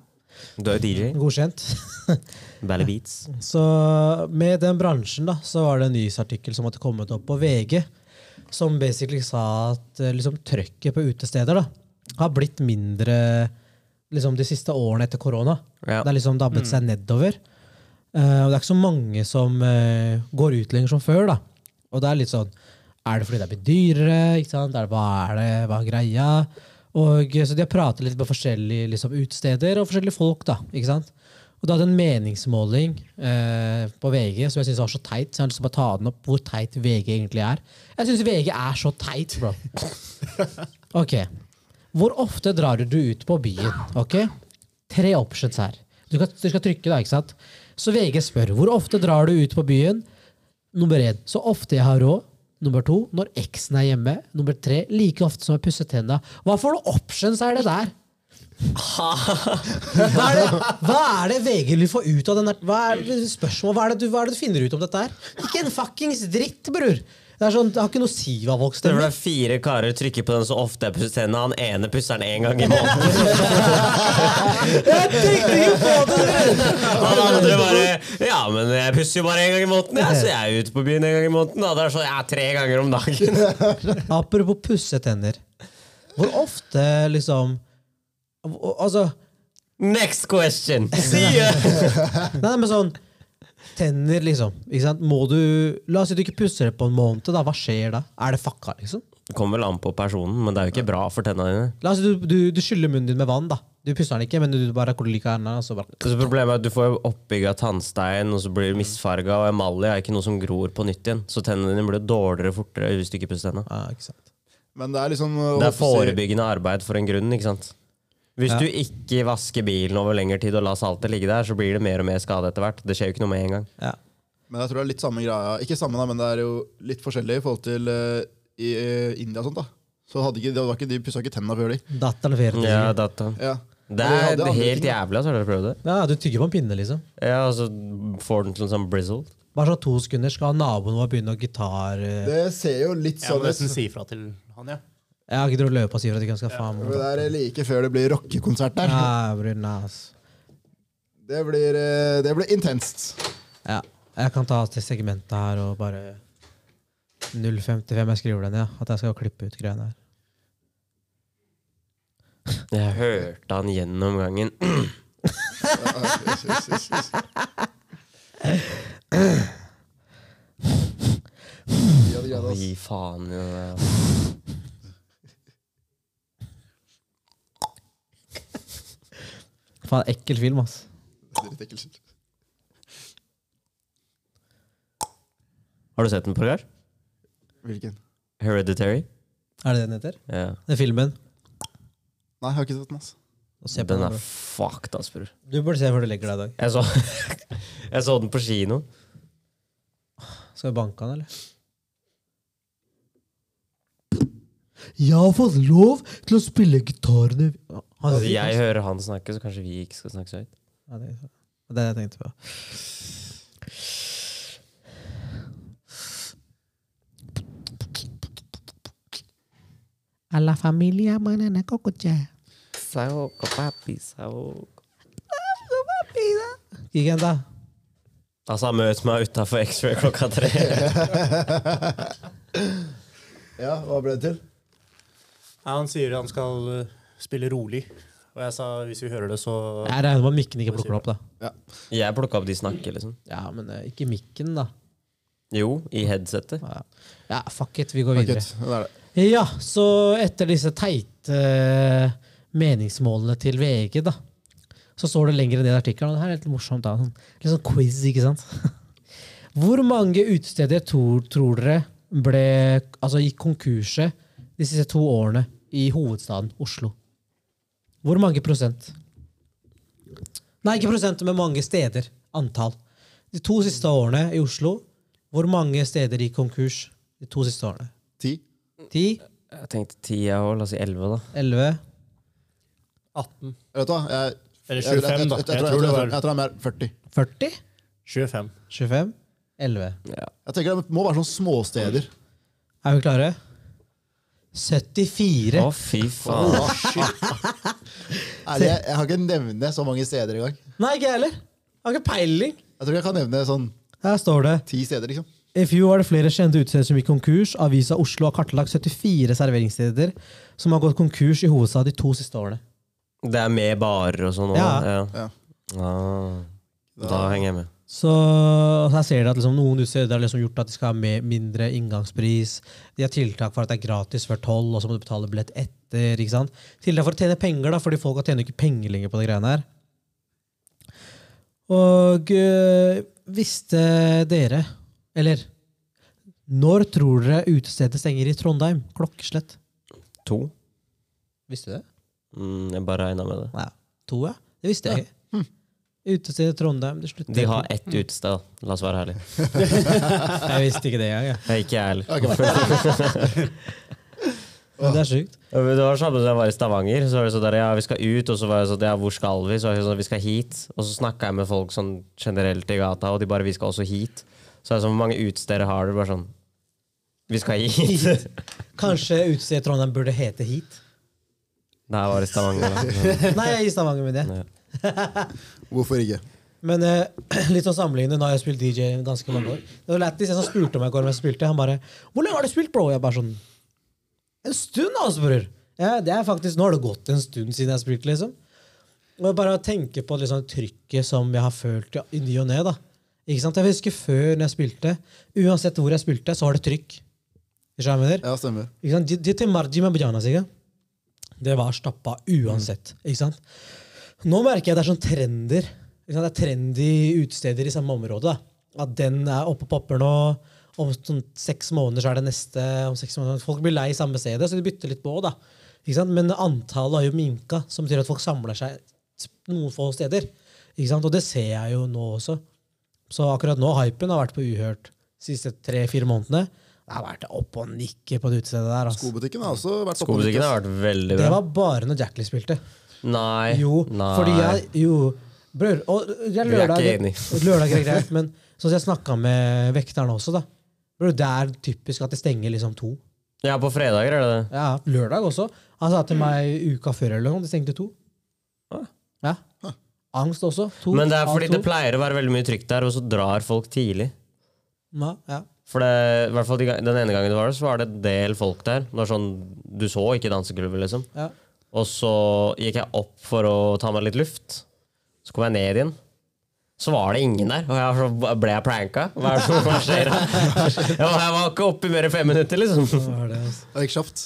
S1: Du er jo DJ.
S2: Godkjent.
S1: Valley Beats.
S2: Så med den bransjen da, så var det en nyhetsartikkel som hadde kommet opp på VG, som basically sa at eh, liksom, trøkket på utesteder da, har blitt mindre liksom, de siste årene etter korona.
S1: Ja.
S2: Det har liksom dabbet seg nedover. Eh, og det er ikke så mange som eh, går ut lenger som før. da. Og det er litt sånn Er det fordi det er blitt dyrere? Ikke sant? Er det, hva er det? Hva er greia? Og eh, Så de har pratet litt med forskjellige liksom, utesteder og forskjellige folk. da, ikke sant? Og du hadde en meningsmåling eh, på VG som jeg synes var så teit. så jeg har lyst til å bare ta den opp, Hvor teit VG egentlig er. Jeg syns VG er så teit, bro. Ok. Hvor ofte drar du ut på byen? Ok? Tre options her. Du skal, du skal trykke, da, ikke sant? Så VG spør hvor ofte drar du ut på byen. Nummer én så ofte jeg har råd. Nummer to når eksen er hjemme. Nummer tre like ofte som jeg pusser tenna. Hva for noen options er det der? Hva er det, hva er det VG vil få ut av den der? Hva er det, spørsmål, hva er det, du, hva er det du finner ut om dette her? Ikke en fuckings dritt, bror! Det er sånn, det har ikke noe å si hva folk
S1: Det er
S2: stemmer.
S1: fordi fire karer trykker på den så ofte jeg pusser tennene. Han ene pusser den én gang i måneden.
S2: Jeg tenkte ikke på det! dere.
S1: Han andre bare Ja, men jeg pusser jo bare én gang i måneden, jeg, så jeg er ute på byen en gang i måneden. Da. Det er sånn, ja, tre ganger om dagen.
S2: Apropos pusse tenner. Hvor ofte, liksom al- Altså
S1: Next question! See you!
S2: Nei, nei, men sånn Tenner, liksom. Ikke sant? Må du La oss si du ikke pusser det på en måned. da Hva skjer da? Er det fucka, liksom?
S1: Det kommer vel an på personen, men det er jo ikke bra for tennene dine.
S2: La oss si du, du, du skyller munnen din med vann. da Du pusser den ikke, men du bare kolika hendene. og Så bare
S1: Så problemet er at Du får jo oppbygga tannstein, og så blir du misfarga. Og emalje er ikke noe som gror på nytt igjen. Så tennene dine blir dårligere fortere hvis du ikke pusser tennene.
S2: ja, ikke sant.
S3: Men det er liksom
S1: Det er forebyggende arbeid for en grunn, ikke sant? Hvis du ikke vasker bilen over lengre tid og lar saltet ligge der, så blir det mer og mer skade etter hvert. Det skjer jo ikke noe med en gang.
S2: Ja.
S3: Men jeg tror det er litt samme greia. Ikke samme, da, men det er jo litt forskjellig i forhold til eh, i eh, India og sånt. da. Så hadde ikke, det var ikke, De pussa ikke tenna før de.
S2: Datteren feirer til
S1: Ja,
S2: jul.
S1: data.
S3: Ja.
S1: Det
S3: Og de hadde
S1: er
S3: andre ting,
S1: helt
S3: da.
S1: jævlig, altså. Har dere prøvd det?
S2: Ja, du tygger på en pinne, liksom.
S1: Ja, og så får den til en sånn brizzle.
S2: Bare sånn to sekunder skal naboen vår begynne å gitar... eh,
S3: Det ser jo litt
S4: Jeg må
S3: sånn ut.
S4: nesten si ifra til han, ja.
S2: Jeg har ikke dratt løpet og sier at ikke han skal faen meg
S3: Men Det er eh, like før det blir rockekonsert der.
S2: Ja, bror, nei, ass.
S3: Det blir, eh, det blir intenst.
S2: Ja. Jeg kan ta til segmentet her og bare 0,55. Jeg skriver den, ja. At jeg skal klippe ut greiene her.
S1: Jeg hørte han gjennom gangen.
S3: Ja, det altså- gjør det, ass.
S1: Gi faen i det. der.
S2: Faen, ekkel film, ass.
S3: Dritekkelt.
S1: Har du sett den på rør?
S3: Hvilken?
S1: Hereditary?
S2: Er det det den heter?
S1: Ja.
S2: Den filmen?
S3: Nei, jeg har ikke sett den. ass.
S2: Nå ser jeg på
S1: Den
S2: den,
S1: er
S2: bror.
S1: fucked, ass, bror.
S2: Du burde se før du legger deg i dag.
S1: Jeg så, jeg så den på kino.
S2: Skal vi banke han, eller? Jeg har fått lov til å spille gitarene Han
S1: Altså, jeg hører han snakke, så kanskje vi ikke skal snakke så høyt.
S2: Ja, det det er det jeg tenkte på. A la familia manana cococha.
S1: Saoko, papi, saoko.
S2: Gikk igjen, da.
S1: Altså, møt meg utafor X-ray klokka tre.
S3: Ja, Hva ble det til?
S4: Nei, Han sier han skal eh, spille rolig. Og jeg sa hvis vi hører det, så
S2: Jeg regner med at mikken ikke plukker det opp, da.
S1: Jeg plukka opp de snakker, liksom.
S2: Ja, men eh, ikke mikken, da.
S1: Jo, i headsetet.
S2: Ja. Ja, fuck it, vi går videre.
S3: Kutt. Det er det.
S2: Ja, så etter disse teite eh, meningsmålene til VG, da, så står det lenger ned i artikkelen, og det her er litt morsomt, da. sånn- Litt sånn quiz, ikke sant? Hvor mange utesteder tror, tror dere ble altså, gikk konkurset de siste to årene i hovedstaden Oslo? Hvor mange prosent? Nei, ikke prosent, men mange steder. Antall. De to siste årene i Oslo, hvor mange steder gikk konkurs de to siste årene?
S3: Ti?
S2: 10,
S1: Jeg tenkte ti, jeg òg. La oss si elleve, da.
S2: 11
S4: 18.
S3: Vet du hva? Jeg,
S4: Eller
S3: jeg, jeg,
S4: 25, da.
S3: jeg, jeg,
S4: Jeg
S3: tror-
S4: tror det
S3: jeg,
S4: var
S3: jeg tror det er mer 40.
S2: 40?
S4: 25.
S2: 25? 11.
S3: Jeg tenker Det må være sånne småsteder.
S2: Er vi klare? 74!
S1: Å, fy faen.
S3: Er det, jeg kan ikke nevne så mange steder engang.
S2: Nei, ikke jeg heller. Jeg har ikke peiling.
S3: Jeg tror jeg kan nevne sånn
S2: Her står det
S3: ti steder, liksom.
S2: I fjor var det flere kjente utesteder som gikk konkurs. Avisa Oslo har kartlagt 74 serveringssteder som har gått konkurs i hovedstad de to siste årene.
S1: Det er med barer og sånn òg?
S2: Ja.
S3: Ja.
S1: Ah, da henger jeg med.
S2: Så her ser dere at liksom, noen utsteder har liksom gjort at de skal ha med mindre inngangspris. De har tiltak for at det er gratis før tolv, og så må du betale billett etter. ikke sant? Tiltak for å tjene penger, da, fordi folk tjener jo ikke penger lenger på de greiene her. Og øh, visste dere, eller Når tror dere utestedet stenger i Trondheim? Klokkeslett.
S1: To?
S2: Visste du det?
S1: Mm, jeg bare regna med det.
S2: Nei, to, ja. Det visste jeg ikke. Utestedet Trondheim. Det slutter
S1: Hm. De har ett utested. La oss være ærlige.
S2: Jeg visste ikke det engang. jeg.
S1: Nei, Ikke jeg heller.
S2: Men Det er sjukt.
S1: Ja, men Det var det samme som jeg var i Stavanger. Så var det sånn der, ja, vi skal ut, og så var jeg sånn, ja, hvor skal vi? Så var jeg sånn, vi skal hit. Og så snakka jeg med folk sånn generelt i gata, og de bare, vi skal også hit. Så er det sånn, hvor mange utesteder har du? Bare sånn, vi skal hit.
S2: Kanskje utestedet Trondheim burde hete Hit?
S1: Nei, jeg var i Stavanger. Da.
S2: Nei, jeg er i Stavanger med det.
S3: Hvorfor ikke?
S2: Men eh, litt sånn sammenlignende, nå har jeg spilt DJ i ganske mange år. Det var Lattis, en som spurte meg i går om jeg spilte. Han bare 'Hvor lenge har du spilt, bro?' Jeg bare sånn En stund, altså, bror! Ja, det er faktisk, nå har det gått en stund siden jeg spilte, liksom. Og jeg bare tenker på liksom, trykket som jeg har følt i- i ny og ne. da. Ikke sant? Jeg husker før når jeg spilte, uansett hvor jeg spilte, så var det trykk. Skjønner du hva jeg mener?
S3: Ja, stemmer.
S2: Ikke sant? De, de til Marji med Bajana, sikkert. Det var stappa uansett. Ikke sant? Nå merker jeg det er sånn trender. Ikke sant? Det er trendy utesteder i samme område. Da. At den er oppe og popper nå. Om sånn seks måneder så er det neste. Om seks måneder. Folk blir lei samme stedet, så de bytter litt på. da. Ikke sant? Men antallet har jo minka, som betyr at folk samler seg noen få steder. Ikke sant? Og det ser jeg jo nå også. Så akkurat nå, hypen har vært på uhørt de siste tre-fire månedene. Det har vært opp og nikke på det utestedet der. Altså.
S3: Skobutikken har også vært oppe.
S1: Skobutikken har vært veldig
S2: Det
S1: bra.
S2: var bare når Jackley spilte.
S1: Nei.
S2: Jo,
S1: Eh, Nei.
S2: fordi jeg Jo, bror. Og jeg
S1: Vi er
S2: lørdag,
S1: ikke enig.
S2: lørdag er greit, men sånn som jeg snakka med vekterne også, da. Bror, det er typisk at de stenger liksom to.
S1: Ja, på fredager er det det.
S2: Ja, lørdag også. Han sa til meg uka før eller noe, de stengte to. Ja. Angst også. To.
S1: Ah. Men det er fordi
S2: Angst
S1: det
S2: to.
S1: pleier å være veldig mye trykk der, og så drar folk tidlig.
S2: Ja, ja.
S1: For det, i hvert fall de, ga- Den ene gangen det var der, så var det en del folk der. Det var sånn, Du så ikke danseklubben, liksom.
S2: Ja.
S1: Og så gikk jeg opp for å ta meg litt luft. Så kom jeg ned igjen. Så var det ingen der, og jeg, så ble jeg pranka. Hva er det som skjer? Jeg var, jeg var ikke oppe i mer enn fem minutter, liksom.
S2: Hva er det, altså?
S3: Det gikk kjapt.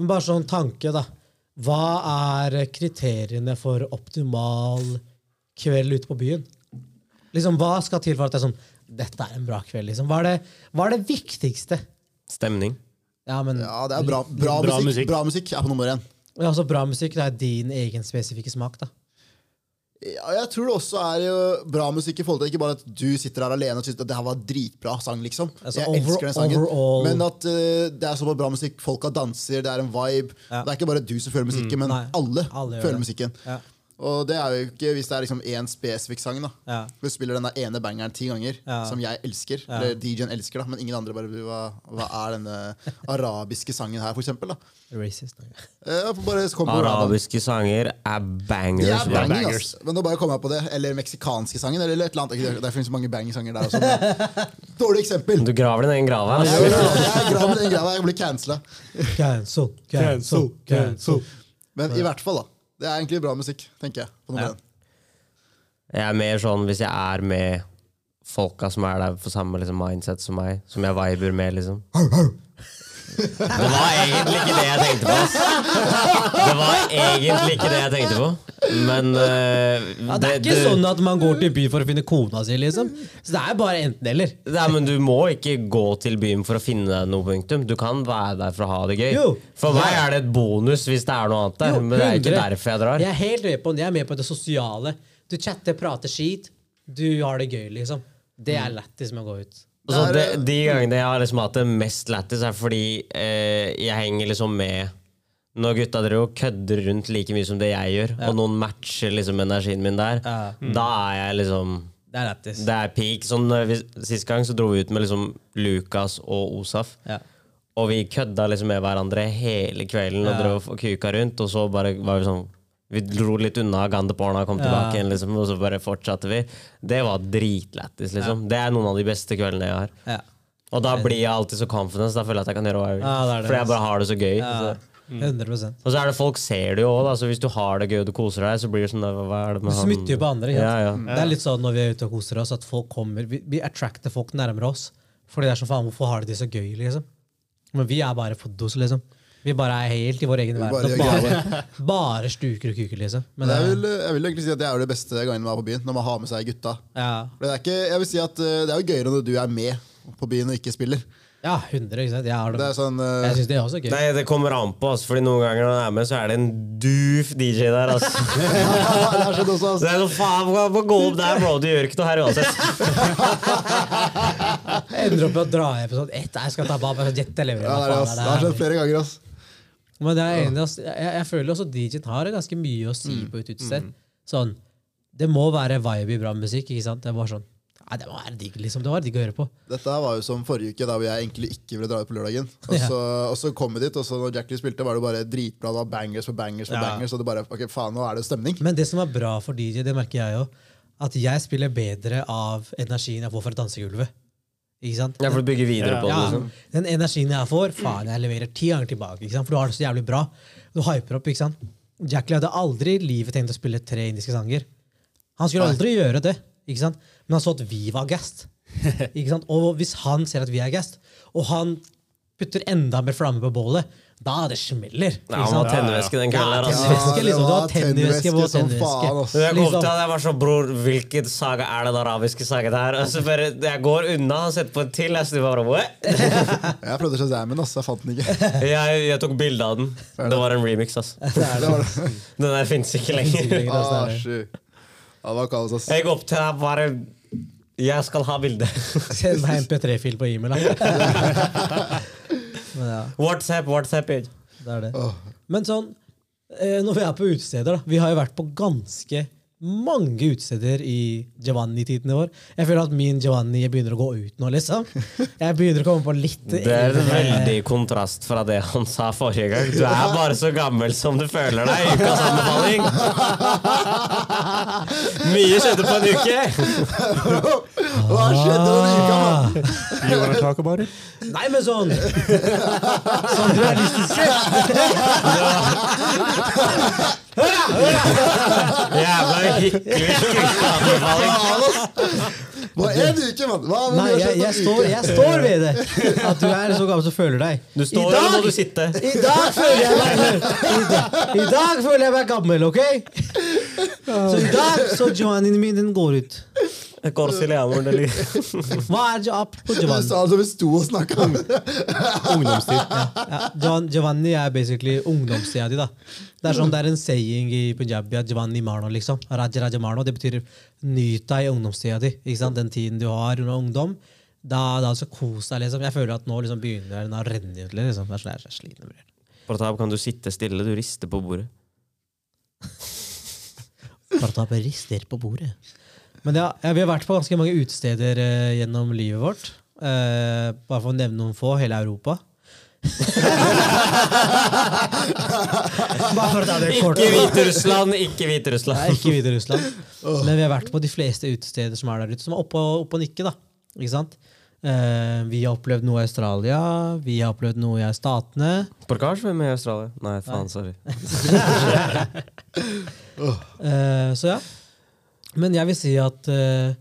S2: Men bare sånn tanke, da. Hva er kriteriene for optimal kveld ute på byen? Liksom, Hva skal til for at det er sånn Dette er en bra kveld, liksom. Hva er det, hva er det viktigste?
S1: Stemning.
S2: Ja, men
S3: Ja, det er bra, bra,
S4: Bra
S3: musikk.
S4: musikk.
S3: Bra musikk er på nummer én.
S2: men altså, Bra musikk det er din egen spesifikke smak, da.
S3: Ja, jeg tror det også er jo bra musikk i forhold til ikke bare at du sitter her alene og synes at det her var dritbra sang, liksom.
S2: Altså,
S3: jeg
S2: over-
S3: elsker den sangen.
S2: overall-
S3: Men at eh, det er såpass bra musikk, folka danser, det er en vibe. Det er ikke bare du som føler musikken, men
S2: Mm, Nei.
S3: alle,
S2: Alle gjør
S3: føler
S2: det.
S3: musikken.
S2: Ja.
S3: Og det er jo ikke hvis det er liksom én spesifikk sang, da.
S2: Ja.
S3: Du spiller den der ene bangeren ti ganger,
S2: Ja.
S3: som jeg elsker, eller DJ-en elsker, da, men ingen andre bare hva, hva er denne arabiske sangen her, for eksempel, da?
S2: Racist.
S3: Eh, bare kom på radaren.
S1: Arabiske sanger er bangers.
S3: Ja,
S1: bro.
S3: banging, ass. Men nå bare kom jeg på det. Eller meksikanske sangen, eller et eller annet. Det er ikke- Det finnes mange banging-sanger der også. men- Dårlig eksempel.
S1: Du graver din egen grav her.
S3: Jeg
S1: altså.
S3: er glad med den greia, jeg blir cancela.
S2: Cancel, cancel, cancel.
S3: Men i hvert fall, da. Det er egentlig bra musikk, tenker jeg. På nummer én.
S1: Jeg er mer sånn hvis jeg er med folka som er der på samme liksom, mindset som meg, som jeg viber med, liksom. Det var egentlig ikke det jeg tenkte på. ass. Det var egentlig ikke det jeg tenkte på. Men eh,
S2: Ja, det er ikke
S1: du-
S2: sånn at man går til byen for å finne kona si, liksom. Så det er bare enten-eller.
S1: Nei, men Du må ikke gå til byen for å finne noe punktum. Du kan være der for å ha det gøy.
S2: Jo.
S1: For meg er det et bonus hvis det er noe annet der.
S2: Jo,
S1: men det er ikke
S2: 100.
S1: derfor jeg drar.
S2: Jeg er helt med på den. Jeg er med på det sosiale. Du chatter, prater skit. Du har det gøy, liksom. Det
S1: Mm.
S2: er lættis med å gå ut.
S1: Altså, de,
S3: Det er-
S1: de gangene jeg har liksom hatt det mest lættis, er fordi eh, jeg henger liksom med når gutta driver og kødder rundt like mye som det jeg gjør, og noen matcher liksom energien min der,
S2: Ja.
S1: da er jeg liksom
S2: Det er lættis.
S1: Det er peak. Sånn, eh, hvis- Sist gang så dro vi ut med liksom Lukas og Osaf.
S2: Ja.
S1: Og vi kødda liksom med hverandre hele kvelden og drev og kuka rundt. Og så bare var vi sånn Vi dro litt unna Gandeporna og kom tilbake igjen, liksom, og så bare fortsatte vi. Det var dritlættis, liksom. Det er noen av de beste kveldene jeg har.
S5: Ja.
S1: Og da blir jeg alltid så confidence. Da føler jeg at jeg kan gjøre hva jeg vil.
S2: Ja, det er det.
S1: Fordi jeg bare har det så gøy.
S5: Ja.
S1: Så.
S2: 100
S1: Og så er det folk ser det jo òg, da. Så hvis du har det gøy og du koser deg, så blir det sånn Hva hva er det med
S2: Du smitter jo på andre. Helt.
S1: Ja, ja.
S2: Det er litt sånn når vi er ute og koser oss, at folk kommer Vi, vi attracter folk nærmere oss. Fordi det er sånn, faen, hvorfor har de det så gøy, liksom? Men vi er bare på dos, liksom. Vi bare er helt i vår egen
S3: bare
S2: verden. og
S3: gjør
S2: Bare, bare stuker og kuker, liksom. Men det
S3: Jeg
S2: er,
S3: vil, jeg vil egentlig si at det er jo det beste gangen man er på byen, når man har med seg gutta.
S2: ja,
S3: For det, er ikke, jeg vil si at eh, det er jo gøyere når du er med på byen og ikke spiller.
S2: ja, 100, ikke sant? Jeg, har
S3: Det
S2: det.
S3: er sånn, eh,
S2: jeg syns det er også gøy.
S1: Nei, det kommer an på, ass, fordi noen ganger når han er med, så er det en doof DJ der, ass.
S3: det er sånn også,
S1: Så det er sånn, faen, hva- hva gå opp der, bro? Du gjør ikke noe her uansett.
S2: Jeg ender opp med å dra hjem på sånn ett, jeg skal ta bab, jeg skal jette lever.
S3: Ja, det, er, det, ass. det har skjedd flere ganger. Ass.
S2: Men det er enig, ass. jeg, jeg føler også DJ-en har ganske mye å
S3: Mm,
S2: si på et utested. Sånn, det må være vibe i bra musikk, ikke sant? Det var sånn, nei, det må være digg, liksom. Det var digg å høre på.
S3: Dette her var jo som forrige uke, da hvor jeg egentlig ikke ville dra ut på lørdagen. Og så, og så kom vi dit, og så når Jackie spilte, var det bare dritbra. Det var bangers på bangers på bangers. Og det bare, ok, faen, nå er det stemning.
S2: Men det som er bra for DJ, det merker jeg jo, at jeg spiller bedre av energien jeg får fra dansegulvet. Ikke sant?
S1: Jeg får bygge videre på det.
S2: Ja,
S1: Liksom.
S2: den energien jeg får, faen, jeg leverer ti ganger tilbake. Ikke sant? For du har det så jævlig bra. Du hyper opp, ikke sant? Jackie hadde aldri i livet tenkt å spille tre indiske sanger. Han skulle aldri gjøre det, ikke sant? Men han så at vi var gassed. Ikke sant? Og hvis han ser at vi er gassed, og han putter enda mer flamme på bålet, da det smeller.
S1: Ja,
S2: ikke
S1: han
S2: sant?
S1: har tennvæske den kvelden her, ass.
S2: Ja, tennisvæske,
S3: det
S2: liksom. Du
S3: var
S2: har tennisvæske på
S3: tennisvæske som
S2: tennisvæske.
S3: faen, ass.
S1: Jeg kom til
S2: Liksom.
S1: han, jeg var sånn, bror, hvilken saga er den arabiske sagaen her? Og så bare, jeg går unna, han setter på en til, jeg snur bare, what?
S3: Jeg prøvde Shazamen, ass. Jeg fant den ikke.
S1: Jeg, jeg tok bilde av den. Det var en remix, ass.
S3: Det var det.
S1: Den der finnes ikke lenger.
S3: Ah, sju. Ja, det var kaos, ass.
S1: Jeg går opp til deg bare, jeg skal ha bildet.
S2: Send meg en MP3-fil på e-mail. da. Men ja,
S1: WhatsApp, WhatsApp. page.
S2: det er det. Men sånn, eh, når vi er på utesteder, da. Vi har jo vært på ganske mange utesteder i Giovanni-tidene våre. Jeg føler at min Giovanni begynner å gå ut nå, liksom. Jeg begynner å komme på litt
S1: Det er en veldig kontrast fra det han sa forrige gang. Du er bare så gammel som du føler deg. Ukas anbefaling. Mye skjedde på en uke.
S3: Hva skjedde denne uka, mann?
S6: Jordan Tacobarer.
S2: Nei, men sånn Sånn realistiske!
S1: Jævla hyggelig ukesanbefaling.
S3: Hva er en uke, mann? Hva, hva
S2: Nei,
S3: har
S2: jeg, jeg,
S3: skjedd denne
S2: står,
S3: uka?
S2: jeg står ved det. At du er så gammel som føler deg.
S1: Du står, eller må du sitte?
S2: I dag føler jeg meg i dag, I dag føler jeg meg gammel, ok? Så i dag så Johannen min den går ut.
S1: Korsilianer, det lyder.
S2: Hva er jo- opp på
S3: Du
S2: Giovanni?
S3: sa det da vi sto og snakka.
S6: Ungdomstid.
S2: Ja, Gio- Giovanni er basically ungdomstida di, da. Det er sånn det er en saying i Punjabi at Giovanni Marno, liksom. Raja Raja Marno, det betyr nyt deg i ungdomstida di. Ikke sant? Den tiden du har under ungdom. Da, da altså, kos deg, liksom. Jeg føler at nå liksom, begynner den å renne ut litt. Liksom. Det er sånn, jeg er så sliten. bror.
S1: Portab, kan du sitte stille? Du rister på bordet.
S2: Bare ta på rister på bordet. Men ja, ja, vi har vært på ganske mange utesteder eh, gjennom livet vårt. Eh, bare for å nevne noen få. Hele Europa. bare for å ta det kort.
S1: Ikke Hviterussland, ikke
S2: Nei,
S1: Hviterussland.
S2: ikke Hviterussland. Men vi har vært på de fleste utesteder som er der ute, som er oppe og, oppe og nikke, da. Ikke sant? Eh, vi har opplevd noe i Australia, vi har opplevd noe i Statene.
S1: Porkasj, hvem er i Australia? Nei, faen, sorry.
S2: Eh, så ja. Men jeg vil si at eh,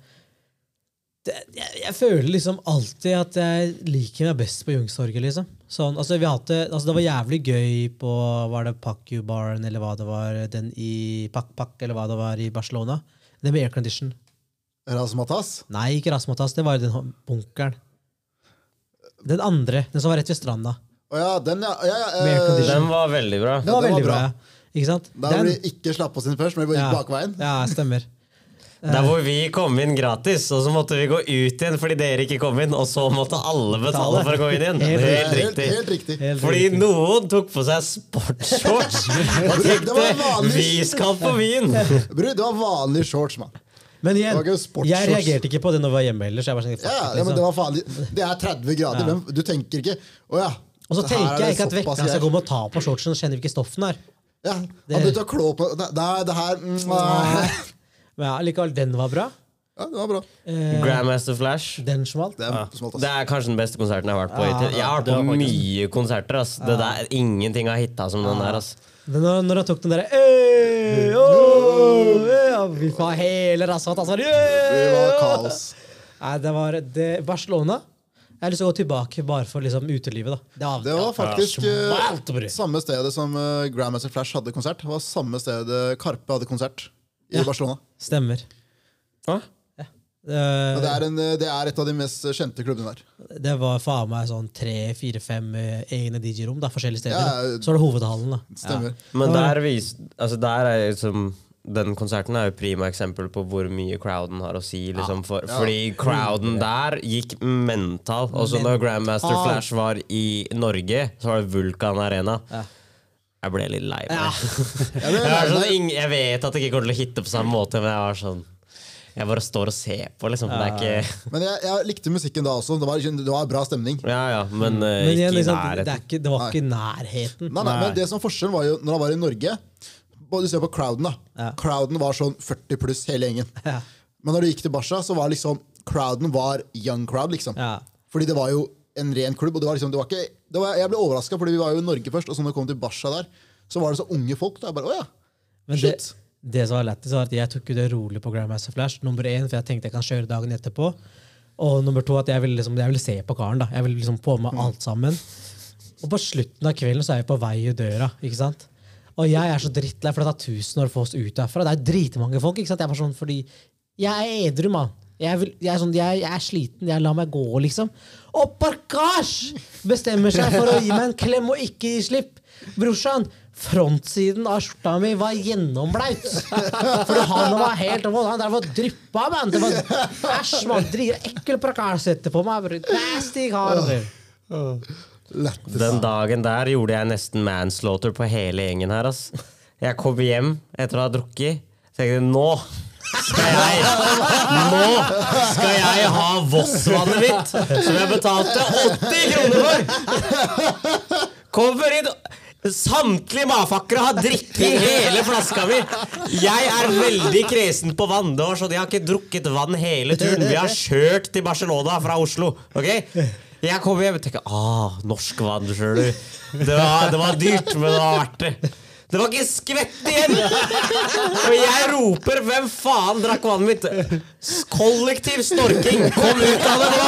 S2: det, jeg, jeg føler liksom alltid at jeg liker meg best på Youngstorget, liksom. Sånn, altså, vi har hatt det, altså, det var jævlig gøy på var det Pacu-baren eller hva det var, den i Pakpak, eller hva det var i Barcelona. Den med aircondition.
S3: Rasmatas?
S2: Nei, ikke Rasmatas, det var den hå- bunkeren. Den andre, den som var rett ved stranda.
S3: Å ja, den, ja. ja, ja
S2: Med
S3: eh,
S1: Den var veldig bra.
S2: Den var
S3: den var
S2: veldig bra.
S3: bra.
S2: ja. Ikke sant?
S3: der hvor de ikke slapp oss inn først, men vi gikk bakveien.
S2: Ja, stemmer.
S1: Der hvor vi kom inn gratis, og så måtte vi gå ut igjen fordi dere ikke kom inn, og så måtte alle betale for å gå inn igjen.
S2: Helt
S1: Helt
S3: Eh, Helt,
S1: riktig.
S3: helt riktig.
S2: Helt
S1: Fordi noen tok på seg sportsshorts og
S3: Det var
S1: tenkte
S3: vanlig.
S1: 'vi skal på Wien'.
S3: Bror, det var vanlige shorts, mann.
S2: Men
S3: Det var ikke
S2: igjen,
S3: sportsshorts.
S2: jeg reagerte ikke på det når vi var hjemme heller. Så jeg bare tenkte, sånn, fuck liksom. it,
S3: Ja, ja, men
S2: liksom.
S3: det var farlig. Det er 30 grader. Hvem, du tenker ikke Å ja.
S2: Og så
S3: Det her er
S2: tenker jeg
S3: det
S2: ikke at
S3: såpass
S2: vekterne skal
S3: jeg-
S2: gå med å ta på shortsen og kjenne hvilke stoffen er.
S3: Ja, Han begynte å klå på Nei, nei, det her mm, nei.
S2: Men ja, likevel, den var bra.
S3: Ja, det var bra.
S2: Eh,
S1: Grandmaster Flash.
S2: den smalt.
S3: Det er smalt,
S1: Det
S3: ass.
S1: er kanskje den beste konserten jeg har vært på
S2: Ja,
S1: hittil. Jeg har vært
S4: det
S1: på
S4: var faktisk-
S1: mye konserter, ass. Det der, ingenting har hitta som den der, ass.
S2: Men når, når han tok den derre «Øy, åh, øy», og Vi får hele rasshølet hans var
S3: Det var kaos.
S2: Nei, det var det, Barcelona. Jeg har lyst til å gå tilbake bare for liksom utelivet, da. Det var,
S3: Det var faktisk eh,
S2: smalt, bror.
S3: samme stedet som eh, Grandmaster Flash hadde konsert. Det var samme stedet Karpe hadde konsert i
S2: Ja.
S3: Barcelona.
S2: Stemmer.
S1: Hå?
S2: Eh,
S3: Og det, er en, eh, det er et av de mest kjente klubbene der.
S2: Det var faen meg sånn tre, fire, fem eh, egne DJ-rom. da, forskjellige steder.
S3: Ja,
S2: Så var det hovedhallen. da.
S3: Stemmer.
S1: Men der, vis, altså der er liksom den konserten er jo prima eksempel på hvor mye crowden har å si. Liksom, for, Fordi crowden der gikk mental. Også når Grandmaster
S2: Mm. Mental. Ah.
S1: Flash var i Norge, så var det Vulkan Arena.
S2: Ja.
S1: Jeg ble litt lei
S2: Ja.
S1: meg.
S3: Jeg
S1: Jeg,
S3: ble
S1: var
S3: lei
S1: sånn,
S3: meg.
S1: ing- jeg vet at det ikke kommer til å hitte på samme måte, men jeg var sånn Jeg bare står og ser på, liksom. for Det er ikke
S3: Men jeg, jeg likte musikken da også. Det var, det var bra stemning.
S1: Ja ja, men, eh,
S2: Men igjen,
S1: ikke i
S2: liksom, det,
S1: nærheten.
S2: er ikke, det var ikke i nærheten.
S3: Nei, nei, men det som var forskjellen var jo når han var i Norge bare Du ser på crowden, da.
S2: Ja.
S3: Crowden var sånn 40 pluss, hele gjengen.
S2: Ja.
S3: Men når du gikk til Barca, så var liksom crowden var young crowd, liksom.
S2: Ja.
S3: Fordi det var jo en ren klubb. Og det var liksom, det var ikke, det var, jeg ble overraska, fordi vi var jo i Norge først, og så når vi kom til Barca der, så var det så unge folk. Da. Jeg bare, å ja,
S2: Men det,
S3: shit.
S2: det som var lættis, var at jeg tok jo det rolig på Grandmaster Flash. Nummer én, for jeg tenkte jeg kan kjøre dagen etterpå. Og nummer to, at jeg ville, liksom, jeg ville se på karen. da. Jeg ville liksom få
S3: Mm.
S2: med alt sammen. Og på slutten av kvelden så er jeg på vei ut døra. ikke sant? Og jeg er så drittlei, for det tar tusen år å få oss ut derfra. Det er dritmange folk. ikke sant? Jeg er bare sånn, fordi jeg er edru, mann. Jeg, vil, jeg, er sånn, jeg, jeg er sliten, jeg lar meg gå, liksom. Og Parkasj bestemmer seg for å gi meg en klem og ikke gi slipp. Brorsan, frontsiden av skjorta mi var gjennomblaut. For han var helt Han der var dryppa, mann. Det var Æsj, mann. Driver ekkel Parkasj setter på meg. bror. Nasty kar. bror.
S1: Den dagen der gjorde jeg nesten manslaughter på hele gjengen her, ass. Jeg kom hjem etter å ha drukket. Tenkte nå skal jeg Nå skal jeg ha Voss-vannet mitt, som jeg betalte 80 kroner for! Kommer inn Samtlige matfakkere har drikke i hele flaska mi! Jeg er veldig kresen på vann. Det var sånn, Jeg har ikke drukket vann hele turen. Vi har kjørt til Barcelona fra Oslo. ok? Jeg kommer hjem og tenker ah, norsk vann, skjønner du. Det var, det var dyrt, men det var verdt det. Det var ikke skvett igjen! Og jeg roper 'Hvem faen drakk vannet mitt?' Kollektiv snorking! Kom ut av det nå!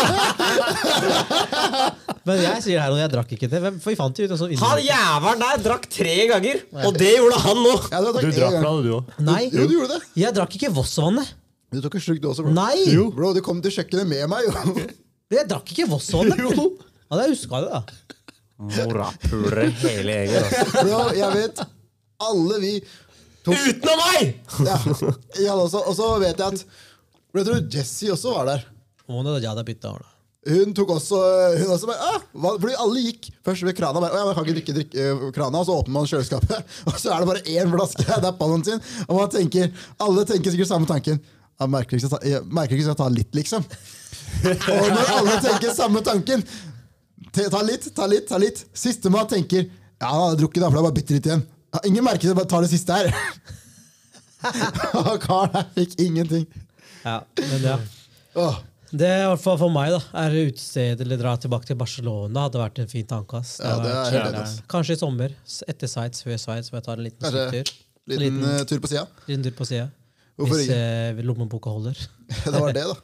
S2: Men jeg sier her, og jeg drakk ikke det. Hvem- For vi fant jo ut og så
S1: Han jævelen der drakk tre ganger, og det gjorde han nå.
S3: Ja, det var takk-
S6: Du drakk
S3: en gang.
S6: fra det, du òg.
S2: Nei,
S3: Jo, du gjorde det.
S2: jeg drakk ikke Voss-vannet.
S3: Du tok en slurk, du også, bro.
S2: Nei!
S3: Jo. Bro, du kom til kjøkkenet med meg, jo.
S2: Jeg drakk ikke Voss-vannet. Hadde jeg huska det, da.
S1: Morapulere hele gjengen. altså.
S3: Bro, jeg vet alle vi tok
S1: Utenom meg!
S3: ja, ja, også, Og så vet jeg at Vet du, Jesse også var der.
S2: Å, nå hadde jeg da byttet over, da.
S3: Hun tok også Hun også bare «Åh, hva? Fordi alle gikk først ved krana. Bare, «Åh, jeg kan ikke drikke, drikke eh, krana Og så åpner man kjøleskapet, og så er det bare én flaske. Det er pallen sin. Og man tenker, alle tenker sikkert samme tanken. Jeg merker ikke, jeg merker ikke så jeg tar litt, liksom. Og når alle tenker samme tanken te- Ta litt, ta litt, ta litt. Sistemann tenker Ja, han har drukket, da, for det er bare bitte litt igjen. Ja, Ingen merker det, bare ta det siste her. Og karen her fikk ingenting.
S2: Ja, men ja.
S3: Åh.
S2: Det er i hvert fall for meg, da. Er utestedet eller dra tilbake til Barcelona hadde vært en fin tankekast.
S3: Ja, det er helt enig.
S2: Kanskje i sommer. s- Etter Sveits, før Sveits, hvor jeg tar en liten
S3: Kanskje
S2: syktur. En
S3: Liten
S2: Liten,
S3: eh, tur på sida.
S2: liten tur på sida.
S3: Hvorfor
S2: Hvis eh, lommeboka holder.
S3: Det var det, da.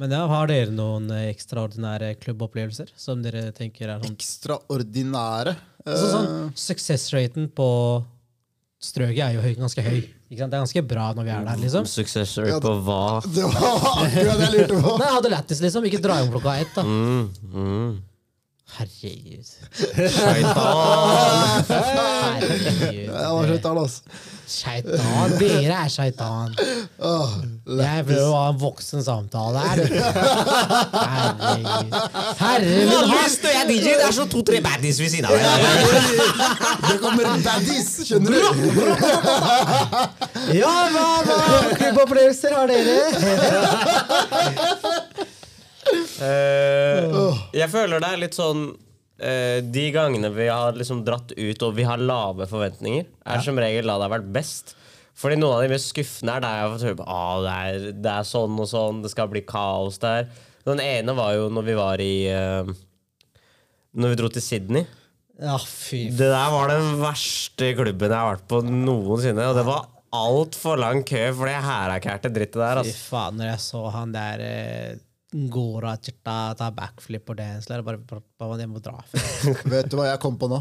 S2: Men ja, har dere noen eh, ekstraordinære klubbopplevelser som dere tenker er sånn
S3: ekstraordinære.
S2: Altså, sånn, Suksessraten på strøket er jo høy, ganske høy. Ikke sant? Det er ganske bra når vi er der, liksom.
S1: Success rate på hva?
S3: Det var akkurat det jeg lurte på!
S2: Nei, jeg hadde lættis, liksom. Ikke dra hjem klokka ett, da. Herregud. Herregud.
S3: Jeg var skjøttal, altså.
S2: Shaitan. Dere er shaitan.
S3: Åh,
S2: Jeg prøver å ha en voksen samtale her. Herregud. Herre min hatt!
S1: Lyst, og jeg er DJ, det er så to-tre baddies ved siden av meg.
S3: Det kommer baddies, skjønner du!
S2: Ja, hva, hva klubbopplevelser har dere?
S1: Eh, jeg føler det er litt sånn eh, de gangene vi har liksom dratt ut og vi har lave forventninger, er som regel da det har vært best. Fordi noen av de mest skuffende er der jeg har fått høre på ah, det, er, det er sånn og sånn, det skal bli kaos der. Den ene var jo når vi var i eh, Når vi dro til Sydney.
S7: Ja, fy
S1: Det der var den verste klubben jeg har vært på noensinne. Og det var altfor lang kø for det hærakærte drittet der.
S2: Fy
S1: Altså.
S2: faen, når jeg så han der eh, Gora Chirta ta backflip på dance, eller bare, bare, bare jeg må dra.
S3: Vet du hva jeg kom på nå?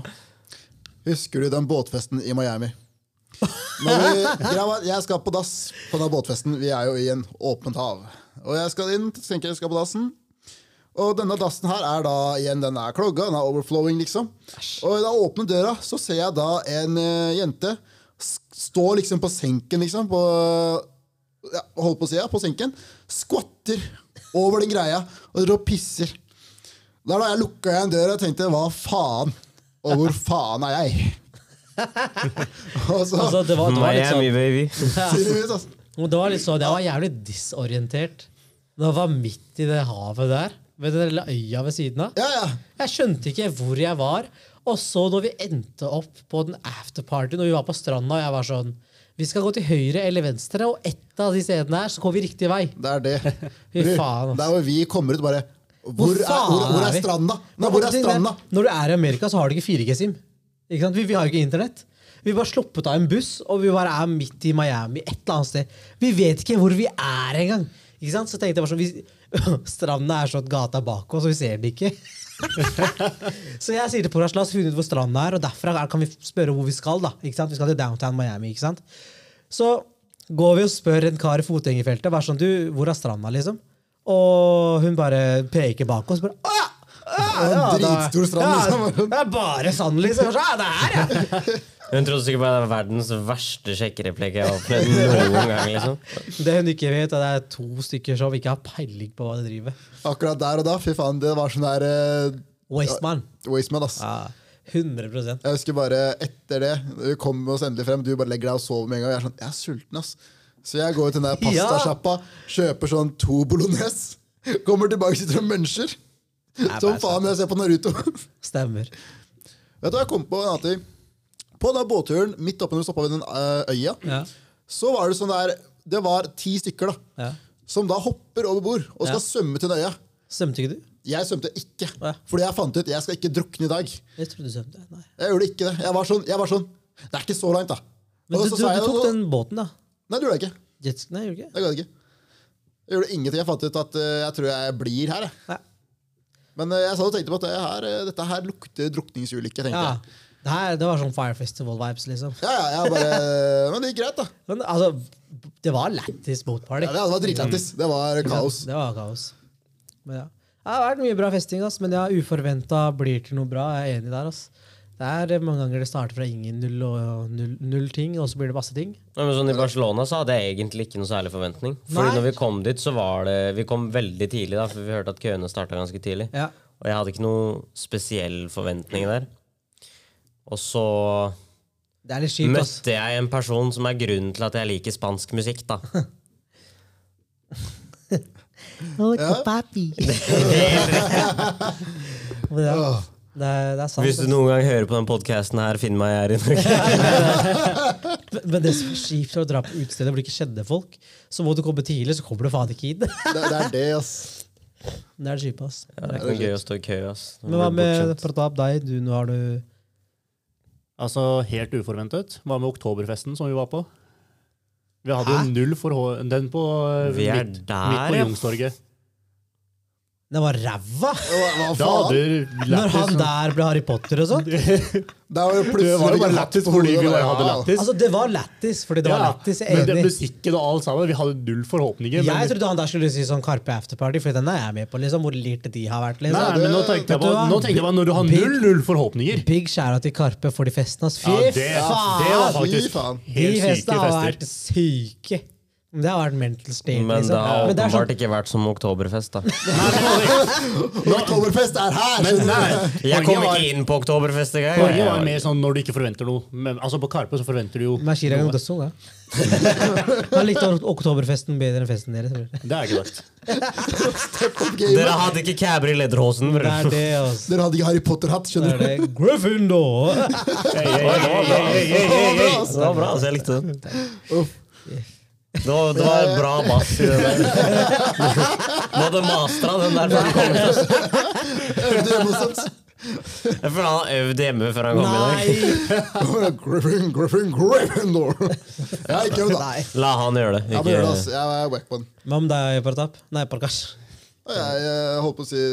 S3: Husker du den båtfesten i Miami? Når vi, greia var at jeg skal på dass på den båtfesten. Vi er jo i en åpent hav. Og jeg skal inn, tenker jeg skal på dassen. Og denne dassen her er da igjen, den er klogga, den er overflowing, liksom. Og da åpner døra, så ser jeg da en eh, jente s- stå liksom på senken, liksom, på ja, Holdt på å si, ja, på senken. Skvatter over den greia og drar og pisser. Da da jeg lukka igjen døra og tenkte hva faen? Og hvor faen er jeg? og så,
S2: Altså, det var, det var litt sånn
S1: Miami, baby.
S3: tydeligvis, altså.
S2: Men Det var litt sånn, jeg var jævlig disorientert. Når jeg var midt i det havet der, ved den lille øya ved siden av.
S3: Ja, ja.
S2: Jeg skjønte ikke hvor jeg var. Og så når vi endte opp på den afterparty, når vi var på stranda, og jeg var sånn Vi skal gå til høyre eller venstre, og ett av de stedene her, så går vi riktig vei.
S3: Det er det.
S2: Fy faen, ass.
S3: Der hvor vi kommer ut, bare Hvor, er,
S2: faen
S3: hvor, hvor
S2: er
S3: er
S2: vi?
S3: stranda? Nei,
S2: Men
S3: hvor
S2: også
S3: er
S2: ting
S3: stranda?
S2: der, Når du er i Amerika, så har du ikke 4G-SIM. Ikke sant? Vi, vi har jo ikke internett. Vi var sluppet av en buss, og vi bare er midt i Miami. et eller annet sted. Vi vet ikke hvor vi er engang. Ikke sant? Så tenkte jeg bare sånn, vi, Stranda er sånn at gata er bak oss, og vi ser den ikke. så jeg sier til Porash, la oss finne ut hvor stranda er, og derfra er- kan vi spørre hvor vi skal. da. Ikke sant? Vi skal til downtown Miami. ikke sant? Så går vi og spør en kar i fotgjengerfeltet hva er sånn, du, hvor er stranda. liksom? Og hun bare peker bak oss. bare, «Å ja,
S3: Det var en
S2: ja, da-
S3: dritstor strand,
S2: Ja,
S3: liksom.
S2: det er bare sand, liksom. Ja, det er ja.
S1: Hun trodde sikkert bare det var verdens verste sjekkereplikk jeg har opplevd noen gang. liksom.
S2: Det hun ikke vet, er at det er to stykker som ikke har peiling på hva de driver med.
S3: Akkurat der og da, fy faen, det var sånn der uh,
S2: Wasteman.
S3: Wasteman, ass.
S2: Ja, 100
S3: Jeg husker bare etter det, vi kom oss endelig frem, du bare legger deg og sover med en gang. Jeg er sånn, jeg er sulten, ass. Så jeg går ut til den der pastasjappa, kjøper sånn to bolognese, kommer tilbake og sitter og muncher. Som faen jeg ser på Naruto.
S2: Stemmer.
S3: Vet du hva jeg kom på en annen ting? På den båtturen midt oppe når vi stoppa ved den eh, øya,
S2: Ja.
S3: så var det sånn der Det var ti stykker da
S2: Ja.
S3: som da hopper over bord og skal
S2: Ja.
S3: svømme til den øya.
S2: Svømte ikke du?
S3: Jeg svømte ikke,
S2: Ja.
S3: fordi jeg fant ut jeg skal ikke drukne i dag.
S2: Jeg trodde du svømte. Nei.
S3: Jeg gjorde ikke det. Jeg var sånn, jeg var sånn Det er ikke så langt, da.
S2: Men
S3: Og
S2: du,
S3: så
S2: du,
S3: sa jeg
S2: du tok
S3: noe-
S2: den båten, da.
S3: Nei, det gjorde jeg ikke.
S2: Jetski? Nei, gjorde du ikke?
S3: Jeg, ikke. jeg gjorde ingenting. Jeg fant ut at eh, jeg tror jeg blir her. Jeg.
S2: Nei.
S3: Men eh, jeg satt og tenkte på at det her, eh, dette her lukter drukningsulykke. tenkte
S2: Ja.
S3: jeg.
S2: Det, her, det var sånn Fire Festival-vibes, liksom.
S3: Ja, ja, jeg bare, Men det gikk greit, da.
S2: Men altså, det var lættis båtparty.
S3: Ja, det var dritlættis. Det var kaos.
S2: Det var kaos. Men ja. Det har vært mye bra festing, ass, men ja, uforventa blir til noe bra. Jeg er enig der. Ass. Det er eh, mange ganger det starter fra ingen null og null, null ting, og så blir det masse ting.
S1: Nei, men sånn I Barcelona så hadde jeg egentlig ikke noe særlig forventning. Fordi
S2: Nei.
S1: når vi kom dit, så var det Vi kom veldig tidlig, da, for vi hørte at køene starta ganske tidlig.
S2: Ja.
S1: Og jeg hadde ikke noe spesiell forventning der. Og så
S2: Det er litt kjipt. Ass.
S1: møtte jeg en person som er grunnen til at jeg liker spansk musikk, da.
S2: Men ja, det, er, det er sant.
S1: Hvis du
S2: ass.
S1: noen gang hører på den podkasten her, finn meg her i Norge.
S2: Men det som er kjipt når du drar på utesteder hvor du ikke kjenner folk, så må du komme tidlig, så kommer du faen ikke inn. Det
S3: Det, det er det, ass.
S2: er det kjipe, ass.
S1: Det er ikke noe gøy å stå i kø, ass.
S2: Men hva med Pratap, deg? Du, nå har du
S4: Altså, helt uforventet. Hva med oktoberfesten som vi var på? Vi hadde jo null forhold Den på eh,
S1: Vi er
S4: midt, midt
S1: der,
S4: på
S1: ja.
S4: Youngstorget.
S2: Den var ræva!
S3: Hva, hva
S4: Da
S3: faen?
S4: hadde du
S2: Når han
S4: lættis.
S2: der ble Harry Potter og sånn.
S3: Det var jo
S4: Det
S3: plutselig
S4: var
S3: ikke
S4: jo bare
S3: lapp
S4: lættis
S3: på
S4: fordi
S3: hodet,
S4: vi
S3: ja.
S4: bare hadde lættis.
S2: Altså, det var lættis, fordi det var lættis. Jeg
S4: men
S2: er
S4: det,
S2: enig.
S4: musikken og alt sammen, vi hadde null forhåpninger. men-
S2: Jeg trodde han der skulle si sånn Karpe afterparty, for den er jeg med på. liksom, Hvor lirte de har vært.
S4: Nei,
S2: liksom.
S4: men nå tenkte jeg
S2: Vet du
S4: på,
S2: hva?
S4: nå tenkte jeg på når du har
S2: Big-
S4: null, null forhåpninger.
S2: Big skjæra til Karpe for de festene. ass. Fy
S4: Ja, det, det
S2: faen!
S4: var
S3: Fy
S4: faktisk
S3: faen.
S2: De
S4: helt syke
S2: festene har
S4: fester.
S2: vært syke. Men Det har vært mental state.
S1: Men det
S2: liksom.
S1: har
S2: Men det er
S1: åpenbart
S2: sånn,
S1: ikke vært som oktoberfest, da.
S3: Oktoberfest er her!
S4: Men nei,
S1: Jeg kom
S4: poenget var-
S1: ikke inn på oktoberfest engang.
S4: Poenget var
S1: Jeg-
S4: mer sånn når du ikke forventer noe. Men, altså På Karpe så forventer du jo
S2: men Chirag er jo
S4: noe.
S2: dødsung, da. Han likte oktoberfesten bedre enn festen deres. bror.
S4: Det er ikke sagt.
S1: Dere hadde ikke kæber i lederhosen,
S2: Det er
S1: bror.
S2: det, altså.
S3: Dere hadde ikke Harry Potter-hatt,
S2: Det
S3: skjønner
S2: er
S3: du?
S2: det. Gryffindor!
S4: Hey, hey, hey, hey, hey, hey,
S3: Det var
S4: hey, hey.
S3: bra, ass.
S1: Det var bra, altså. Jeg likte den. Det var, det var bra bass i det der. Du hadde mastra den der før han kom hit. ass.
S3: Øvde hjemme hos oss.
S1: Jeg føler han har øvd hjemme før han kom i dag.
S3: Griffin, Griffin, Gryffindor. Ja, ikke jo da.
S2: Nei.
S1: La han gjøre det.
S3: Ja, men gjør
S2: altså.
S3: det, ass. Jeg er whack one.
S2: Hva med deg, Partap? Nei, Parkash.
S3: Og jeg eh, holdt på å si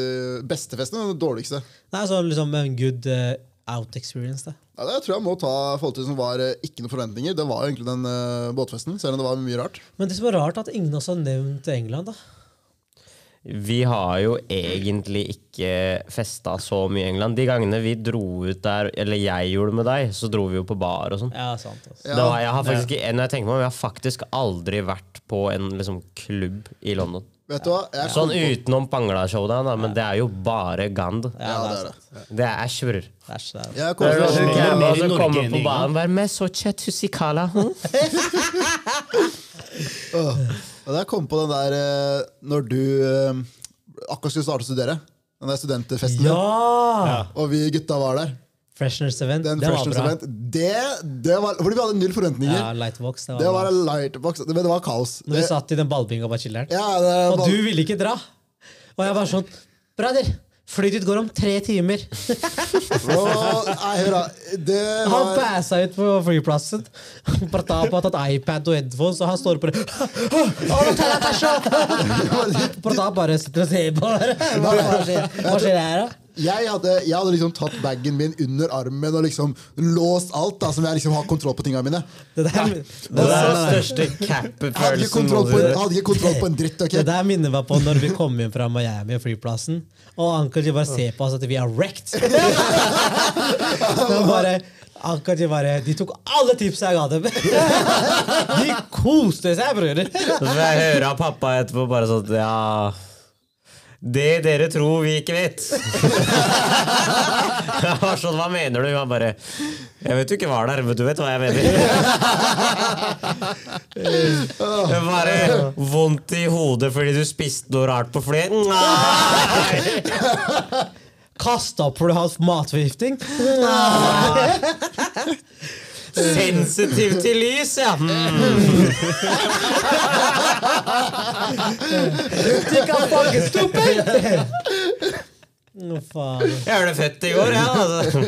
S3: bestefesten, men den dårligste.
S2: Nei, så liksom en good eh, out experience, da.
S3: Ja, det tror jeg må ta forhold til som var eh, ikke noen forventninger. Det var jo egentlig den eh, båtfesten, selv om det var mye rart.
S2: Men det som er rart, er at ingen også har nevnt England, da.
S1: Vi har jo egentlig ikke festa så mye i England. De gangene vi dro ut der, eller jeg gjorde med deg, så dro vi jo på bar og sånn.
S2: Ja, sant. Altså.
S1: Det var, jeg har faktisk, ikke- når jeg tenker meg om, jeg har faktisk aldri vært på en liksom, klubb i London.
S3: Vet du hva? Jeg kom
S1: Sånn utenom Pangla-showdown, da, men det er jo bare gand.
S2: Ja,
S3: Ja,
S2: det
S3: det er
S2: er
S3: det.
S2: sant.
S1: Det er æsjer.
S2: Det er så- det er-
S3: Jeg
S1: Det
S3: kom
S1: er
S3: fra
S1: sånn
S4: Norge
S1: gamle
S4: mer i
S1: som
S4: Norge
S1: kommer
S4: enn
S1: på
S4: i
S1: banen Vær med, så tjetusikala.
S3: Åh. Og da jeg kom på den der eh, Når du eh, akkurat skulle starte å studere. Den der studentfesten. din.
S2: Ja!
S3: Og vi gutta var der.
S2: Freshners event,
S3: Den
S2: det var
S3: freshners
S2: bra.
S3: event. Det, det var, fordi vi hadde null forventninger.
S2: Ja, Lightbox, det var,
S3: det
S2: bra.
S3: var en lightbox. Men det var kaos.
S2: Når vi
S3: Det-
S2: satt i den ballbinga på chilleren.
S3: ja, det
S2: Og
S3: var,
S2: du ville ikke dra. Og jeg var sånn Brader, flyet ditt går om tre timer.
S3: Åh, nei, hør da. Det
S2: Han
S3: var
S2: passa ut på flyplassen. Pratap har tatt iPad og headphones, og han står på det. «Åh, ta deg tasja!» Pratap bare sitter og ser på. Hva hva skjer, hva skjer her, da?
S3: jeg hadde, jeg hadde liksom tatt bagen min under armen og liksom låst alt, da, som jeg liksom har kontroll på tingene mine.
S2: Det der,
S1: Det
S2: det
S1: er
S2: der,
S1: den største
S3: Jeg hadde ikke
S1: cap-følelsen
S3: kontroll på, jeg
S1: noensinne.
S3: hadde ikke kontroll på en dritt. ok?
S2: det der minner meg på når vi kom hjem fra Miami og flyplassen, og Ankerji bare ser på oss at vi er wrecked. De bare, Ankerji bare De tok alle tipsa jeg ga dem! De koste seg, bror!
S1: Så får jeg høre av pappa etterpå bare sånn Ja Det dere tror vi ikke vet. Jeg var sånn, Hva mener du? Han bare Jeg vet du ikke var der, men du vet hva jeg mener. Det var bare vondt i hodet fordi du spiste noe rart på flyet. Nei!
S2: Kasta opp for du har hatt matforgifting?
S1: Sensitiv til lys, ja. Mm.
S2: De kan fucke stupid! Nå faen.
S1: Jeg ble født i går, ja. Altså.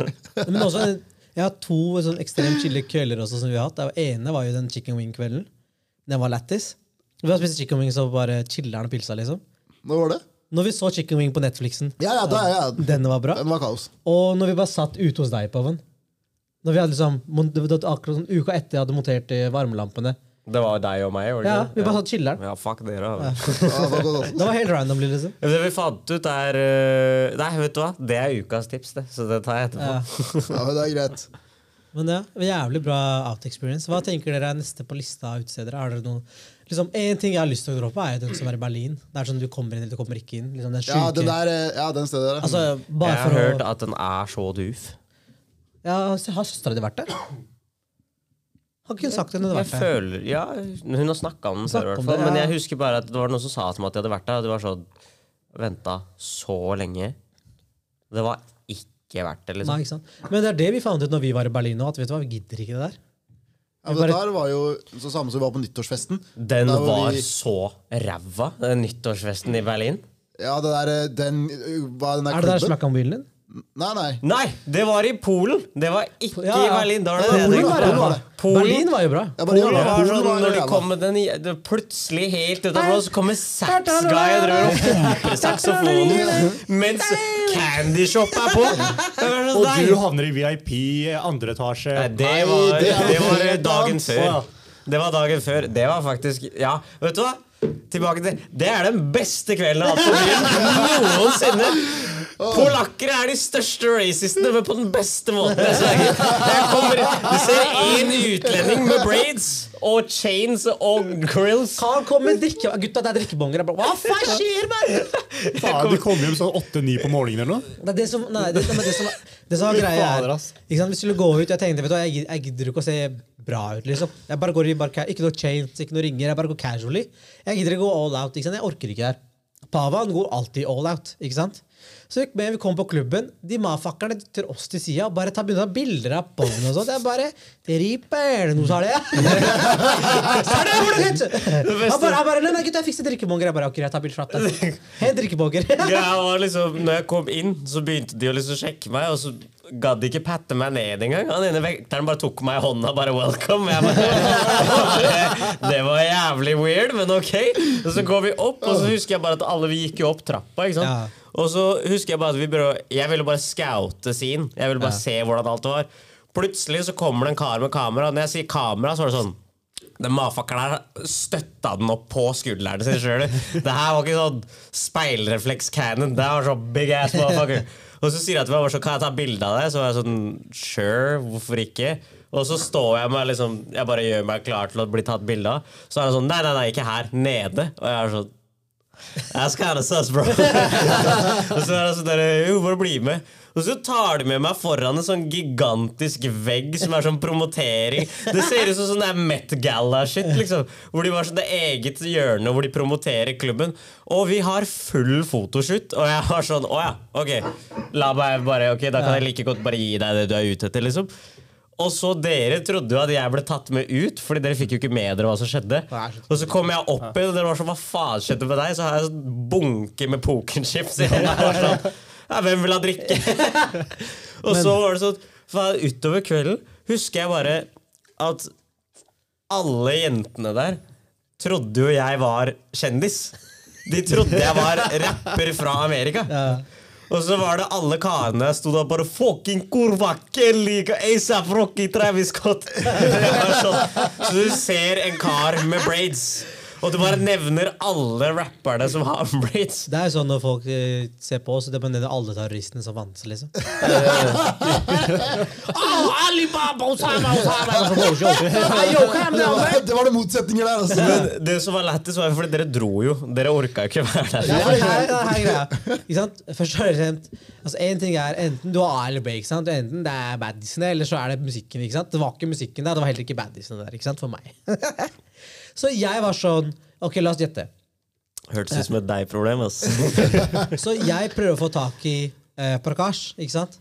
S2: Men også, jeg har to sånn ekstremt chille køller også som vi har hatt. Den ene var jo den chicken wing-kvelden. Den var lættis. Vi har spist chicken wing så bare chiller'n og pilsa, liksom.
S3: Når var det?
S2: Når vi så chicken wing på Netflixen,
S3: Ja, ja, da, ja, ja.
S2: denne var bra.
S3: Den var kaos.
S2: Og når vi bare satt ute hos deg, Paven. Når vi hadde liksom, mon- det var akkurat sånn Uka etter jeg hadde montert eh, varmelampene.
S1: Det var deg og meg, var det
S2: Ja,
S1: ikke?
S2: Vi bare satt chiller'n.
S1: Ja, fuck dere. altså.
S3: Ja, det var altså. godt også.
S2: Det var helt randomly, liksom.
S1: Ja, Det vi fant ut er øh, Nei, vet du hva? Det er ukas tips, det. Så det tar jeg etterpå.
S2: Ja.
S3: Ja, men det er greit.
S2: Men ja, det var jævlig bra out experience. Hva tenker dere er neste på lista av utesteder? Har dere noen liksom, En ting jeg har lyst til å dra på, er jo den som er i Berlin. Det er sånn du kommer inn eller du kommer ikke inn. Liksom, den
S3: Ja,
S2: sjuke.
S3: den der, eh, ja, den stedet der.
S2: altså, bare
S1: Jeg har
S2: for å
S1: hørt at den er så duf.
S2: Ja, så Har søstera di vært der? Har ikke hun sagt at hun har
S1: Jeg
S2: vært der?
S1: føler, ja, Hun har snakka om den før, i
S2: Snakket
S1: hvert fall.
S2: om det, ja.
S1: Men jeg husker bare at det var noen som sa til meg at de hadde vært der, og de var sånn Venta så lenge. Det var ikke verdt det,
S2: Nei,
S1: liksom.
S2: ikke sant? Men det er det vi fant ut når vi var i Berlin nå, at vet du hva, vi gidder ikke det der.
S3: Ja, men
S2: bare-
S3: det der var jo så samme som vi var på nyttårsfesten.
S1: Den
S3: Der hvor
S1: var
S3: vi-
S1: så ræva, den nyttårsfesten i Berlin.
S3: Ja, det der, eh, den, eh, hva, den der
S2: Er det der
S3: klubben?
S2: snakk om bilen din?
S3: Nei, nei.
S1: Nei, det var i Polen! Det var ikke
S2: Ja,
S1: i
S2: ja.
S1: Berlin. Da var det det
S2: Polen
S1: jeg
S2: var
S1: tenkte på.
S2: ræva.
S1: Polen-
S2: Berlin var jo bra.
S3: Ja, bare,
S1: Polen
S3: ja,
S1: var sånn,
S3: var
S1: når de
S3: ræva.
S1: kom med den det plutselig helt utenfor oss, så kommer sax-guy og driver og pumper saksofonen mens Candy Shop er på. Det var så
S4: Og du
S1: deilig.
S4: havner i VIP andre etasje.
S1: Nei, det var,
S3: det er
S1: det var
S3: helt
S1: dagen
S3: annet.
S1: før. Det var dagen før. Det var faktisk Ja, vet du hva? Tilbake til Det er den beste kvelden jeg har hatt på byen noensinne. Polakker er de største racistene, men på den beste måten. Jeg sverger. Jeg kommer, du ser én utlending med braids. og chains og grills.
S2: Carl kom med drikke... Gutta, det er drikkebonger. Jeg bare, Hva faen skjer, mann?!
S4: Faen, du kom hjem sånn åtte-ni på morgenen eller noe.
S2: Det er det som Nei, det, nei, men det som, det som var greia er
S1: Fader,
S2: ikke
S1: ass.
S2: sant, Vi skulle gå ut, jeg tenkte vet du, hva, jeg, gid- jeg gidder ikke å se bra ut, liksom. Jeg bare går i bare, ca- Ikke noe chains, ikke noe ringer. Jeg bare går casually. Jeg gidder ikke gå all out. ikke sant? Jeg orker ikke her. Pavan går alltid all out. ikke sant? Så gikk med, vi kom på klubben. De mafakkerne dytter oss til sida og bare tar begynner å ta bilder av bongen og sånt. Jeg bare Driper! Nå sa det jeg! Sa det, hvor er det, gutt? Han bare, han bare Nei, nei, gutt, jeg fikser drikkebonger. Jeg bare OK, jeg tar bilde fra deg. Helt drikkebonger.
S1: Ja, og liksom, når jeg kom inn, så begynte de å liksom sjekke meg, og så gadd de ikke patte meg ned engang. Han ene vekteren bare tok meg i hånda bare 'welcome'. Jeg bare, det var jævlig weird, men ok. Og så går vi opp, og så husker jeg bare at alle vi gikk jo opp trappa. ikke sant?
S2: Ja.
S1: liksom. Og så husker jeg bare at vi prøver, jeg ville bare scoute scene. Jeg ville bare se hvordan alt var. Plutselig så kommer det en kar med kamera, og når jeg sier kamera, så var det sånn den mafakkeren her støtta den opp på skuldrene sine sjøl. Det her var ikke sånn speilrefleks-cannon. Det her var sånn big ass motherfucker. Og så sier jeg til meg bare sånn, kan jeg ta bilde av det? Så var jeg sånn, sure, hvorfor ikke? Og så står jeg meg liksom, jeg bare gjør meg klar til å bli tatt bilde av. Så er han sånn, nei, nei, nei, ikke her, nede. Og jeg er sånn, That's kind of sus, bro. og så er det sånn der, jo, bare bli med. Og så tar de med meg foran en sånn gigantisk vegg som er sånn promotering. Det ser ut som sånn der Met Gala-shit, liksom. Hvor de var sånn det eget hjørne hvor de promoterer klubben. Og vi har full fotoshoot, og jeg var sånn, å ja, ok. La meg bare, ok, da kan jeg like godt bare gi deg det du er ute etter, liksom. Og så dere trodde jo at jeg ble tatt med ut, Fordi dere fikk jo ikke med dere hva som skjedde. Og så kom jeg opp igjen, og dere var sånn Hva faen skjedde med deg? Så har jeg en bunke med pokenchips i hånda. og Sånn, ja, hvem vil ha drikke? og så var det sånn faen, Utover kvelden husker jeg bare at alle jentene der trodde jo jeg var kjendis. De trodde jeg var rapper fra Amerika. Og så var det alle karene jeg sto der bare Fucking kurva, Kelly, ASAP Rocky, Travis Scott. Jeg var sånn. Så du ser en kar med braids, og du bare nevner alle rapperne som har braids.
S2: Det er jo sånn når folk eh, ser på oss, det er bare alle terroristene som vant, liksom.
S1: Oh, Alibaba, Osama, Osama.
S3: Det var det motsetninger der, altså.
S1: Men det som var lættis, var jo fordi dere dro jo. Dere orka jo ikke være der.
S2: Ja, for det her, det her er greia. Ikke sant? Først og fremst, altså en ting er enten du har A eller B, ikke sant? enten det er baddisen eller så er det musikken. ikke sant? Det var ikke musikken der, det var heller ikke baddisen der, ikke sant, for meg. Så jeg var sånn, ok, la oss gjette.
S1: Hørtes ut som et deg-problem. ass.
S2: Så jeg prøver å få tak i eh, Prakash, ikke sant?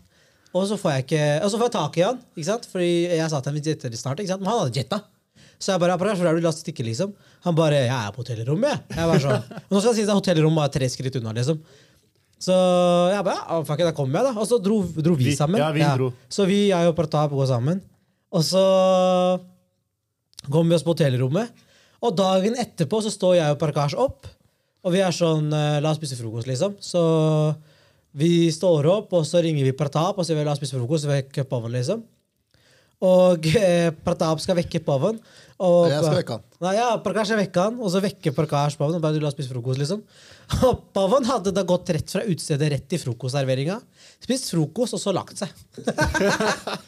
S2: Og så får jeg ikke, og så får jeg tak i han, ikke sant? Fordi jeg sa til ham vi jetter litt snart, ikke sant? Men han hadde jetta. Så jeg bare, ja, Prakash, hvor er du? La oss stikke, liksom. Han bare, jeg er på hotellrommet, jeg. jeg bare sånn. Og nå skal jeg si at hotellrommet var tre skritt unna, liksom. Så jeg bare, ja, fuck it, da kommer jeg da. Og så dro, dro vi,
S8: Vi-
S2: sammen.
S8: ja, vi dro.
S2: Så vi, jeg og Pratap går sammen. Og så kom vi oss på hotellrommet. Og dagen etterpå så står jeg og Parkash opp, og vi er sånn eh, La oss spise frokost, liksom. Så vi står opp, og så ringer vi Pratap og sier la oss spise frokost. så Vekk Pavan, liksom. Og eh, Pratap skal vekke Pavan. Og,
S3: Jeg skal vekke han.
S2: Nei, ja, Parkash skal vekke han, og så vekker Parkash Pavan. Og bare du la oss spise frokost, liksom. Og Pavan hadde da gått rett fra utestedet rett til frokostserveringa. Spist frokost, og så lagt seg.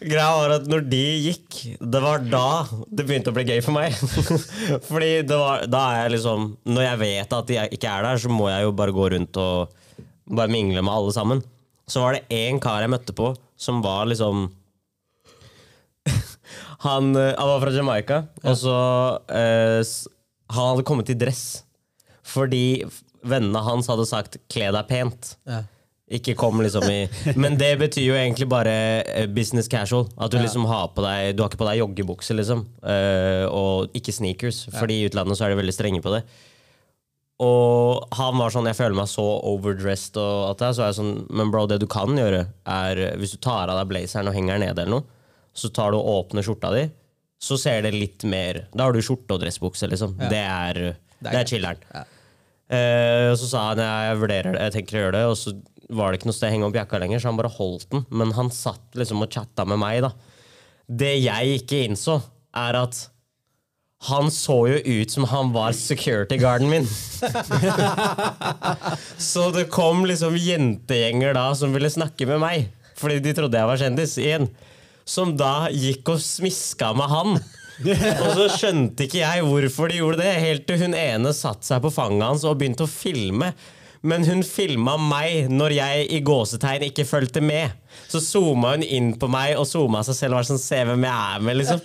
S1: Greia var at når de gikk, det var da det begynte å bli gøy for meg. Fordi det var, da er jeg liksom Når jeg vet at de er- ikke er der, så må jeg jo bare gå rundt og bare mingle med alle sammen. Så var det én kar jeg møtte på, som var liksom Han, eh, han var fra Jamaica, og så eh, s- Han hadde kommet i dress fordi f- vennene hans hadde sagt 'kle deg pent'. Ikke kom liksom i Men det betyr jo egentlig bare eh, business casual. At du liksom har på deg Du har ikke på deg joggebukse, liksom. eh, og ikke sneakers. Fordi i utlandet så er de veldig strenge på det. Og han var sånn Jeg føler meg så overdressed og alt det her. Så er jeg sånn Men bro, det du kan gjøre, er eh, Hvis du tar av deg blazeren og henger den nede eller noe, så tar du og åpner skjorta di, så ser det litt mer Da har du skjorte og dressbukse, liksom. Det er, det er chiller'n. Eh, og så sa han ja, jeg vurderer det, jeg tenker å gjøre det. Og så var det ikke noe sted å henge opp jakka lenger, så han bare holdt den. Men han satt liksom og chatta med meg, da. Det jeg ikke innså, er at han så jo ut som han var security guarden min. så det kom liksom jentegjenger da som ville snakke med meg, fordi de trodde jeg var kjendis, igjen. Som da gikk og smiska med han. Og så skjønte ikke jeg hvorfor de gjorde det, helt til hun ene satte seg på fanget hans og begynte å filme. Men hun filma meg når jeg i gåsetegn ikke fulgte med. Så zooma hun inn på meg og zooma seg selv og var sånn Se hvem jeg er med, liksom.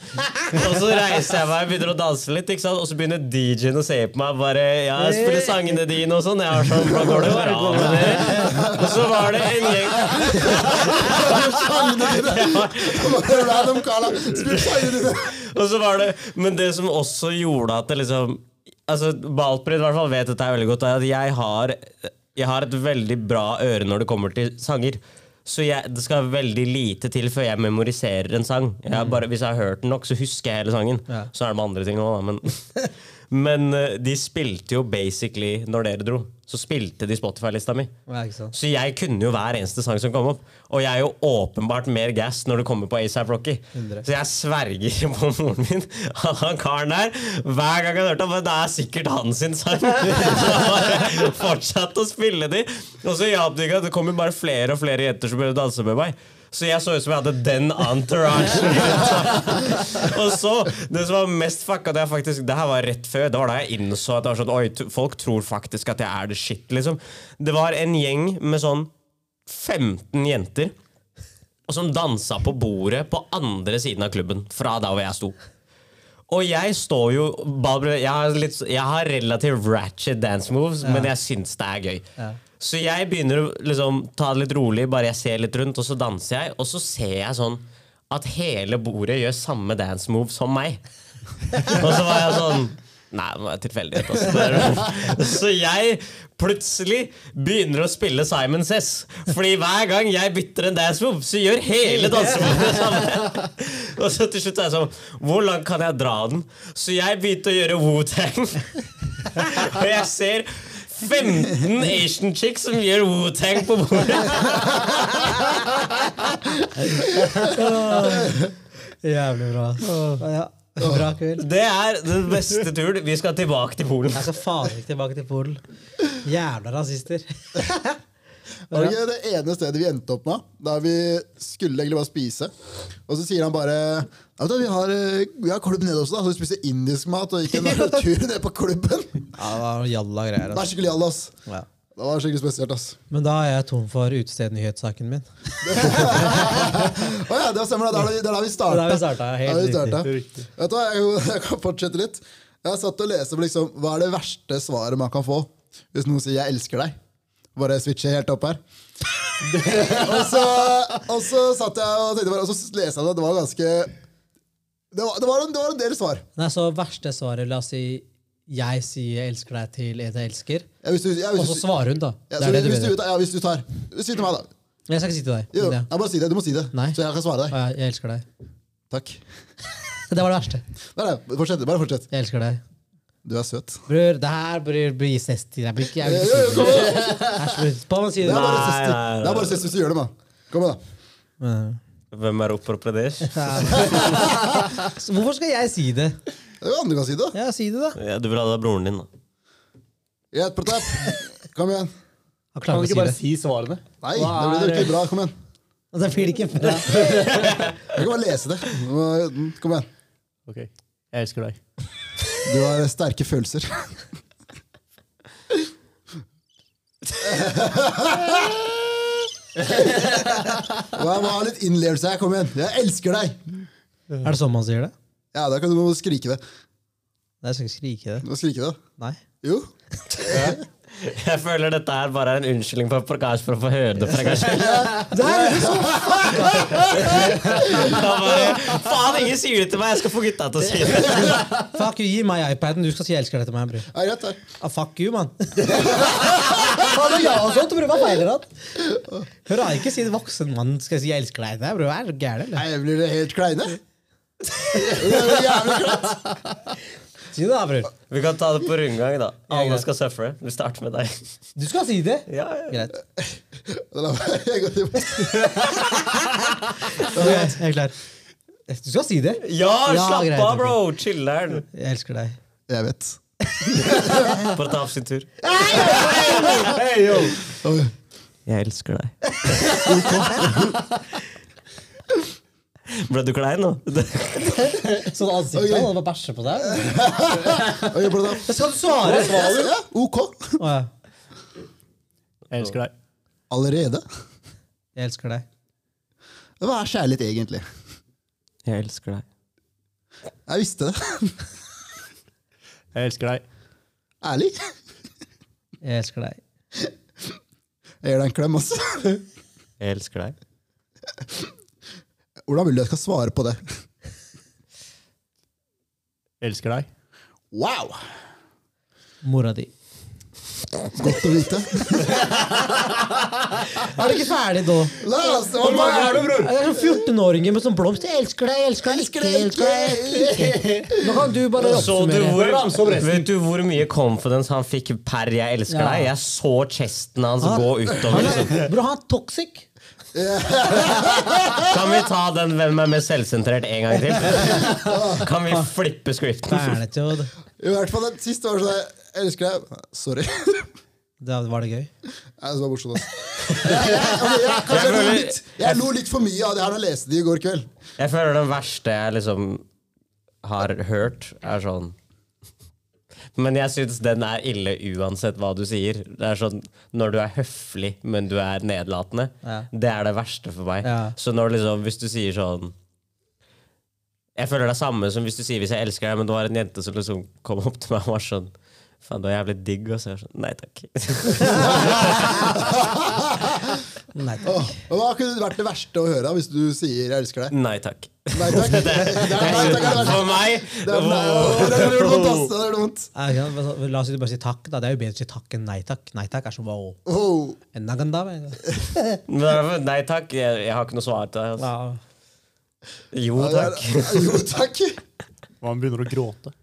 S1: Og så reiser jeg meg og begynner å danse litt, ikke sant? og så begynner DJ-en å se på meg og bare Ja, jeg spiller sangene dine og sånn. Jeg var sånn, hva går det bare av med dere? Og så var det en gjeng
S3: Random Carla, spill sangene dine!
S1: Og så var det Men det som også gjorde at det liksom Altså Balprid i hvert fall vet dette er veldig godt, er at jeg har, jeg har et veldig bra øre når det kommer til sanger. Så jeg, det skal veldig lite til før jeg memoriserer en sang. Jeg har bare, hvis jeg har hørt den nok, så husker jeg hele sangen. Så er det med andre ting nå, da. Men, men eh, de spilte jo basically når dere dro. Så spilte de Spotify-lista mi.
S5: Ja, ikke sant?
S1: Så jeg kunne jo hver eneste sang som kom opp. Og jeg er jo åpenbart mer gass når det kommer på ASAP Rocky. Så jeg sverger på moren min at han karen der Hver gang jeg har hørt ham, det er sikkert hans sin sang. Så han bare fortsatte å spille de. Og så hjalp det ikke at det kom jo bare flere og flere jenter som begynte å danse med meg. Så jeg så ut som jeg hadde den entouragen. Og så, det som var mest fucka, det, er faktisk, det her var rett før. Det var da jeg innså at det var sånn, oi, t- folk tror faktisk at jeg er the shit. Liksom. Det var en gjeng med sånn 15 jenter og som dansa på bordet på andre siden av klubben, fra der hvor jeg sto. Og jeg står jo Barbara, jeg, har litt, jeg har relativt ratchet dance moves, men jeg syns det er gøy. Så jeg begynner å liksom, ta det litt rolig, bare jeg ser litt rundt, og så danser jeg. Og så ser jeg sånn at hele bordet gjør samme dance move som meg. Og så var jeg sånn Nei, det var tilfeldighet. Altså. Så jeg plutselig begynner å spille Simon Says. Fordi hver gang jeg bytter en dance move, så gjør hele dansemoven det samme. Og så til slutt er jeg sånn Hvor langt kan jeg dra den? Så jeg begynte å gjøre Wu-Tang. Og jeg ser 15 Asian chicks som gjør Wu-Tang på bordet.
S5: Jævlig bra. ass. Ja, bra kveld.
S1: Det er den beste turen. Vi skal tilbake til Polen.
S5: Jeg skal faen ikke tilbake til Polen. Jævla rasister.
S3: Var det ikke det ene stedet vi endte opp med? Der vi skulle egentlig bare spise. Og så sier han bare «Ja, vet du, vi har, eh, vi har klubb nede også, da, så vi spiser indisk mat og ikke en tur ned på klubben.
S9: Ja, det var noen jalla greier.
S3: Det er
S9: Altså.
S3: skikkelig jalla, ass.
S9: Ja.
S3: Det var skikkelig spesielt, ass.
S2: Men da er jeg tom for utestednyhetssaken min.
S3: Å ja, det stemmer, det er der, det er der vi
S5: Det er
S3: starta.
S5: vi starta
S3: Ja,
S5: helt
S3: vi
S5: riktig.
S3: starta. Vet du hva, jeg, jeg kan fortsette litt. Jeg satt og leste på liksom, hva er det verste svaret man kan få hvis noen sier 'jeg elsker deg'. Bare switche helt opp her. og, så, og så satt jeg og tenkte bare, og så leste jeg det, det var ganske Det var, det var, en, det var en del svar.
S5: Nei, så verste svaret, la oss si jeg sier jeg elsker deg til en jeg elsker,
S3: Ja, hvis du, ja,
S5: og
S3: hvis
S5: så
S3: du,
S5: svarer hun, da.
S3: ja,
S5: Det
S3: så
S5: er det du
S3: hvis, du,
S5: mener.
S3: ja, hvis du tar Si til meg, da.
S5: Jeg skal ikke si til deg.
S3: Jo,
S5: men
S3: jeg
S5: ja.
S3: bare si det, Du må si det,
S5: Nei.
S3: så jeg kan svare deg.
S5: Å, Jeg jeg elsker deg.
S3: Takk.
S5: Det var det verste.
S3: Nei, nei, fortsett, bare fortsett.
S5: Jeg elsker deg.
S3: Du er søt. Eh,
S5: Bror, det her bør bli neste Jeg vil ikke jeg vil ikke si det. Æsj, bror. Bare si
S3: Det
S5: det.
S3: er bare
S1: Nei,
S3: søster.
S1: nei, nei.
S3: Det er bare søster hvis du gjør det, mann. Kom igjen, da.
S1: Hvem er oppe på Pradesh?
S5: Hvorfor skal jeg si det?
S3: Det er jo andre kan si det. da.
S5: Ja, si det, da.
S1: Ja, du vil ha det av broren din, da.
S3: Greit, Pratap. Kom igjen.
S5: Han
S4: Kan
S5: klarer
S4: du
S5: ikke
S4: ikke
S5: å
S4: bare
S5: si det.
S4: si svarene?
S3: Nei,
S4: Hva
S3: det blir jo
S4: er-
S3: ikke bra. Kom igjen.
S5: Det blir ikke bra.
S3: Jeg kan bare lese det. Kom igjen.
S4: Ok, jeg elsker deg.
S3: Du har sterke følelser. Jeg må ha litt innlevelse her. Kom igjen. Jeg elsker deg!
S2: Er det sånn man sier det?
S3: Ja, da kan du skrike det.
S2: Nei,
S5: sånn
S2: jeg skal ikke skrike det.
S3: Du må skrike det.
S2: Nei.
S3: Jo.
S1: Jeg føler dette her bare er en unnskyldning for Prakash for å få høre det. Prakash. Han bare, Faen, ingen sier det til meg! Jeg skal få gutta til å si det.
S2: Fuck you, gi meg iPaden. Du skal si 'jeg elsker deg' til meg, bror.
S3: Ja, greit, takk.
S2: Ah, fuck you, mann.
S5: Faen, det er jeg og sånt, bror. Hva feiler han? Hør, da, ikke si det voksen mann skal si 'jeg elsker deg' til deg, bror. Er du gæren, eller?
S3: Nei, blir det helt kleine? Det er jo jævlig kleint.
S5: Si det, da, bror.
S1: Vi kan ta det på rundgang, da. Alle skal suffere. Vi starter med deg.
S5: Du skal si det.
S1: Ja, ja.
S5: Greit.
S3: La meg gå til-
S5: Ok, Jeg er klar. Du skal si det.
S1: ja
S5: Ja,
S1: slapp
S5: greit,
S1: av,
S5: ok.
S1: bro! Chiller'n.
S5: Jeg elsker deg.
S3: Jeg vet.
S1: Pratap sin tur. Jeg elsker deg. Ble du klein nå?
S2: Sånn ansiktet
S3: Ok.
S2: okay. hadde bare bæsje på deg.
S3: Ok, bro, da.
S2: Skal du svare?
S3: Ja, ok.
S2: Å, ja.
S4: Jeg elsker deg.
S3: Allerede?
S2: Jeg elsker deg.
S3: Hva er kjærlighet egentlig?
S1: Jeg elsker deg.
S3: Jeg visste det.
S4: Jeg elsker deg.
S3: Ærlig.
S2: Jeg elsker deg.
S3: Jeg gir deg en klem også.
S1: Jeg elsker deg.
S3: Hvordan vil du jeg skal svare på det?
S4: Jeg elsker deg.
S3: Wow!
S2: Mora di.
S3: Godt å vite.
S2: Er du ikke ferdig nå?
S3: La oss Hvor mange er det, bror?
S2: Jeg er sånn 14-åringer med sånn blomst. Jeg elsker deg, jeg elsker deg, ikke, jeg elsker deg. Nå kan du bare oppsummere.
S1: vet du hvor mye confidence han fikk per 'jeg elsker
S2: Ja.
S1: deg'? Jeg så chesten hans gå utover.
S2: Han
S1: Liksom.
S2: er, bro, han er toxic.
S1: Kan vi ta den 'Hvem er mest selvsentrert' en gang til? Kan vi flippe scripten?
S2: Ferdig til å
S3: I hvert fall den siste var sånn der, Jeg elsker deg. Sorry. Jeg
S2: Da var det gøy.
S3: synes det var morsomt, ass. Jeg, jeg, jeg, jeg, lo litt, jeg lo litt for mye av det her da jeg leste det i går kveld.
S1: Jeg føler den verste jeg liksom har hørt, er sånn men jeg syns den er ille uansett hva du sier. Det er sånn, Når du er høflig, men du er nedlatende.
S2: Ja.
S1: Det er det verste for meg.
S2: Ja.
S1: Så når liksom, hvis du sier sånn Jeg føler det er samme som hvis du sier 'hvis jeg elsker deg', men det var en jente som liksom kom opp til meg og var sånn Faen, du er jævlig digg. Og så er jeg sånn Nei takk.
S2: Nei, takk.
S3: Åh, og hva kunne vært det verste å høre hvis du sier 'jeg elsker deg'?
S1: Nei takk.
S3: Nei takk. Det er- Nei takk er det verste.
S1: For meg
S3: Det er- nei, åh, det gjør vondt, ass. Det gjør vondt.
S2: Eh, Ja, ikke sant? Men så- La oss si- bare si takk, da. Det er jo bedre å si takk enn nei takk. Nei takk er som wow.
S3: Åh.
S2: Enda kan da, men-
S1: Men- Nei takk, jeg, jeg har ikke noe svar til deg. Altså.
S2: Ja.
S1: Jo takk.
S3: Jo, takk.
S4: Og han begynner å gråte.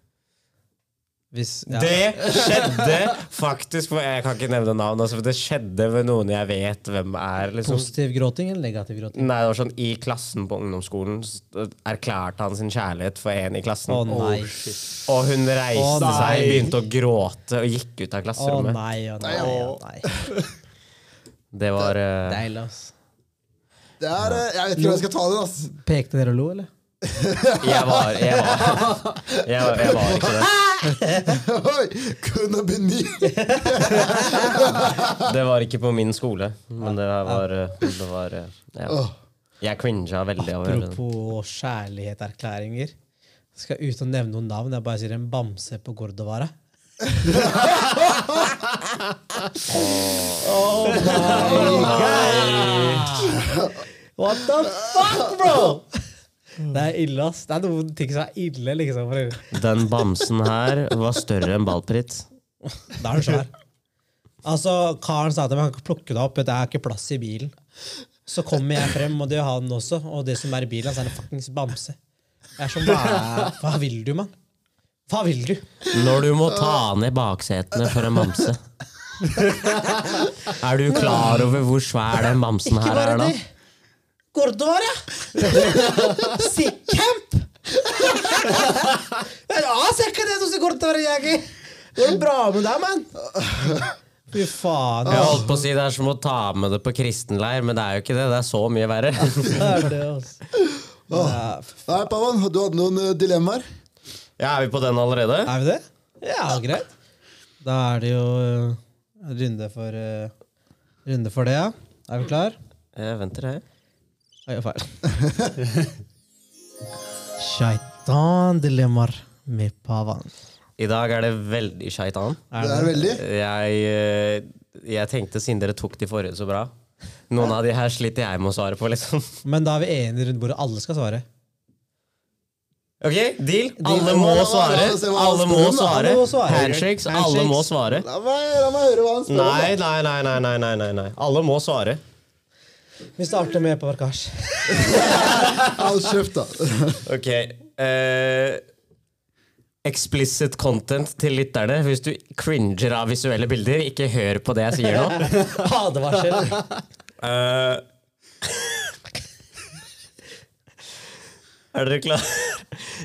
S2: Hvis, ja.
S1: Det skjedde faktisk for- Jeg kan ikke nevne navn, altså, for det skjedde ved noen jeg vet hvem er. Liksom.
S2: Positiv gråting eller negativ gråting?
S1: Nei, det var sånn, I klassen på ungdomsskolen s- erklærte han sin kjærlighet for en i klassen.
S2: Å nei.
S1: Og hun
S2: Å,
S1: reiste
S2: nei.
S1: seg, begynte å gråte og gikk ut av
S2: Å
S1: klasserommet.
S2: nei, å nei, å nei.
S1: det var eh,
S2: Deilig, ass.
S3: Det er, eh, jeg vet ikke om jeg skal ta den, ass.
S2: Pekte dere og lo, eller?
S1: jeg, var, jeg, var, jeg, var, jeg var ikke det.
S3: Oi, kunne beny.
S1: Det var ikke på min skole, men det var, eh, det var ja. Jeg cringa veldig av å høre det.
S2: Apropos kjærlighetserklæringer. Skal uten å nevne noen navn, jeg bare sier en bamse på Gordovara. oh my god! What the fuck, bro?! Det er ille, ass. Det er noen ting som er ille, liksom. for øvrig.
S1: Den bamsen her var større enn ballpritt.
S2: Da er du svær. Altså, Karen sa til meg han kan ikke plukke deg opp, det er ikke plass i bilen. Så kommer jeg frem, og det har han også. Og det som er i bilen hans, er en fuckings bamse. Jeg er sånn, hva, hva vil du, mann? Hva vil du?
S1: Når du må ta ned baksetene for en bamse. Er du klar over hvor svær den bamsen
S2: Ikke
S1: her
S2: bare
S1: er da?
S2: det. Gordovara! Sikkamp! Men ass, jeg kan det som Gordovara, jeg. Går det bra med deg, mann? Fy faen.
S1: Jeg holdt på å si Det er som å ta med det på kristenleir, men det er jo ikke det. Det er så mye verre.
S2: Det er det, altså. Ja,
S3: Nei, Pavan, du hadde noen eh, dilemmaer.
S1: Ja, Er vi på den allerede?
S2: Er vi det? Ja, greit. Da er det jo eh, runde for, eh, runde for det, ja. Er vi klar?
S1: Jeg venter Eh, her.
S2: Oi, feil. Shaitan-dilemmaer med pavan.
S1: I dag er det veldig shaitan.
S2: Er
S3: Det er veldig.
S1: Jeg, eh, jeg tenkte siden dere tok de forrige så bra Noen av de her sliter jeg med å svare på, liksom.
S2: Men da er vi enige rundt bordet. Alle skal svare.
S1: Ok, deal. Alle må svare. Alle må svare. Handshakes. Alle må svare.
S3: La meg, la meg høre hva han spør om.
S1: Nei, nei, nei, nei, nei, nei, nei, nei. Alle må svare.
S2: Vi starter med på Barkash.
S3: Hold kjeft, da.
S1: Ok. eh, explicit content til lytterne. Hvis du cringer av visuelle bilder, ikke hør på det jeg sier nå.
S2: Advarsel.
S1: Eh, er dere klare?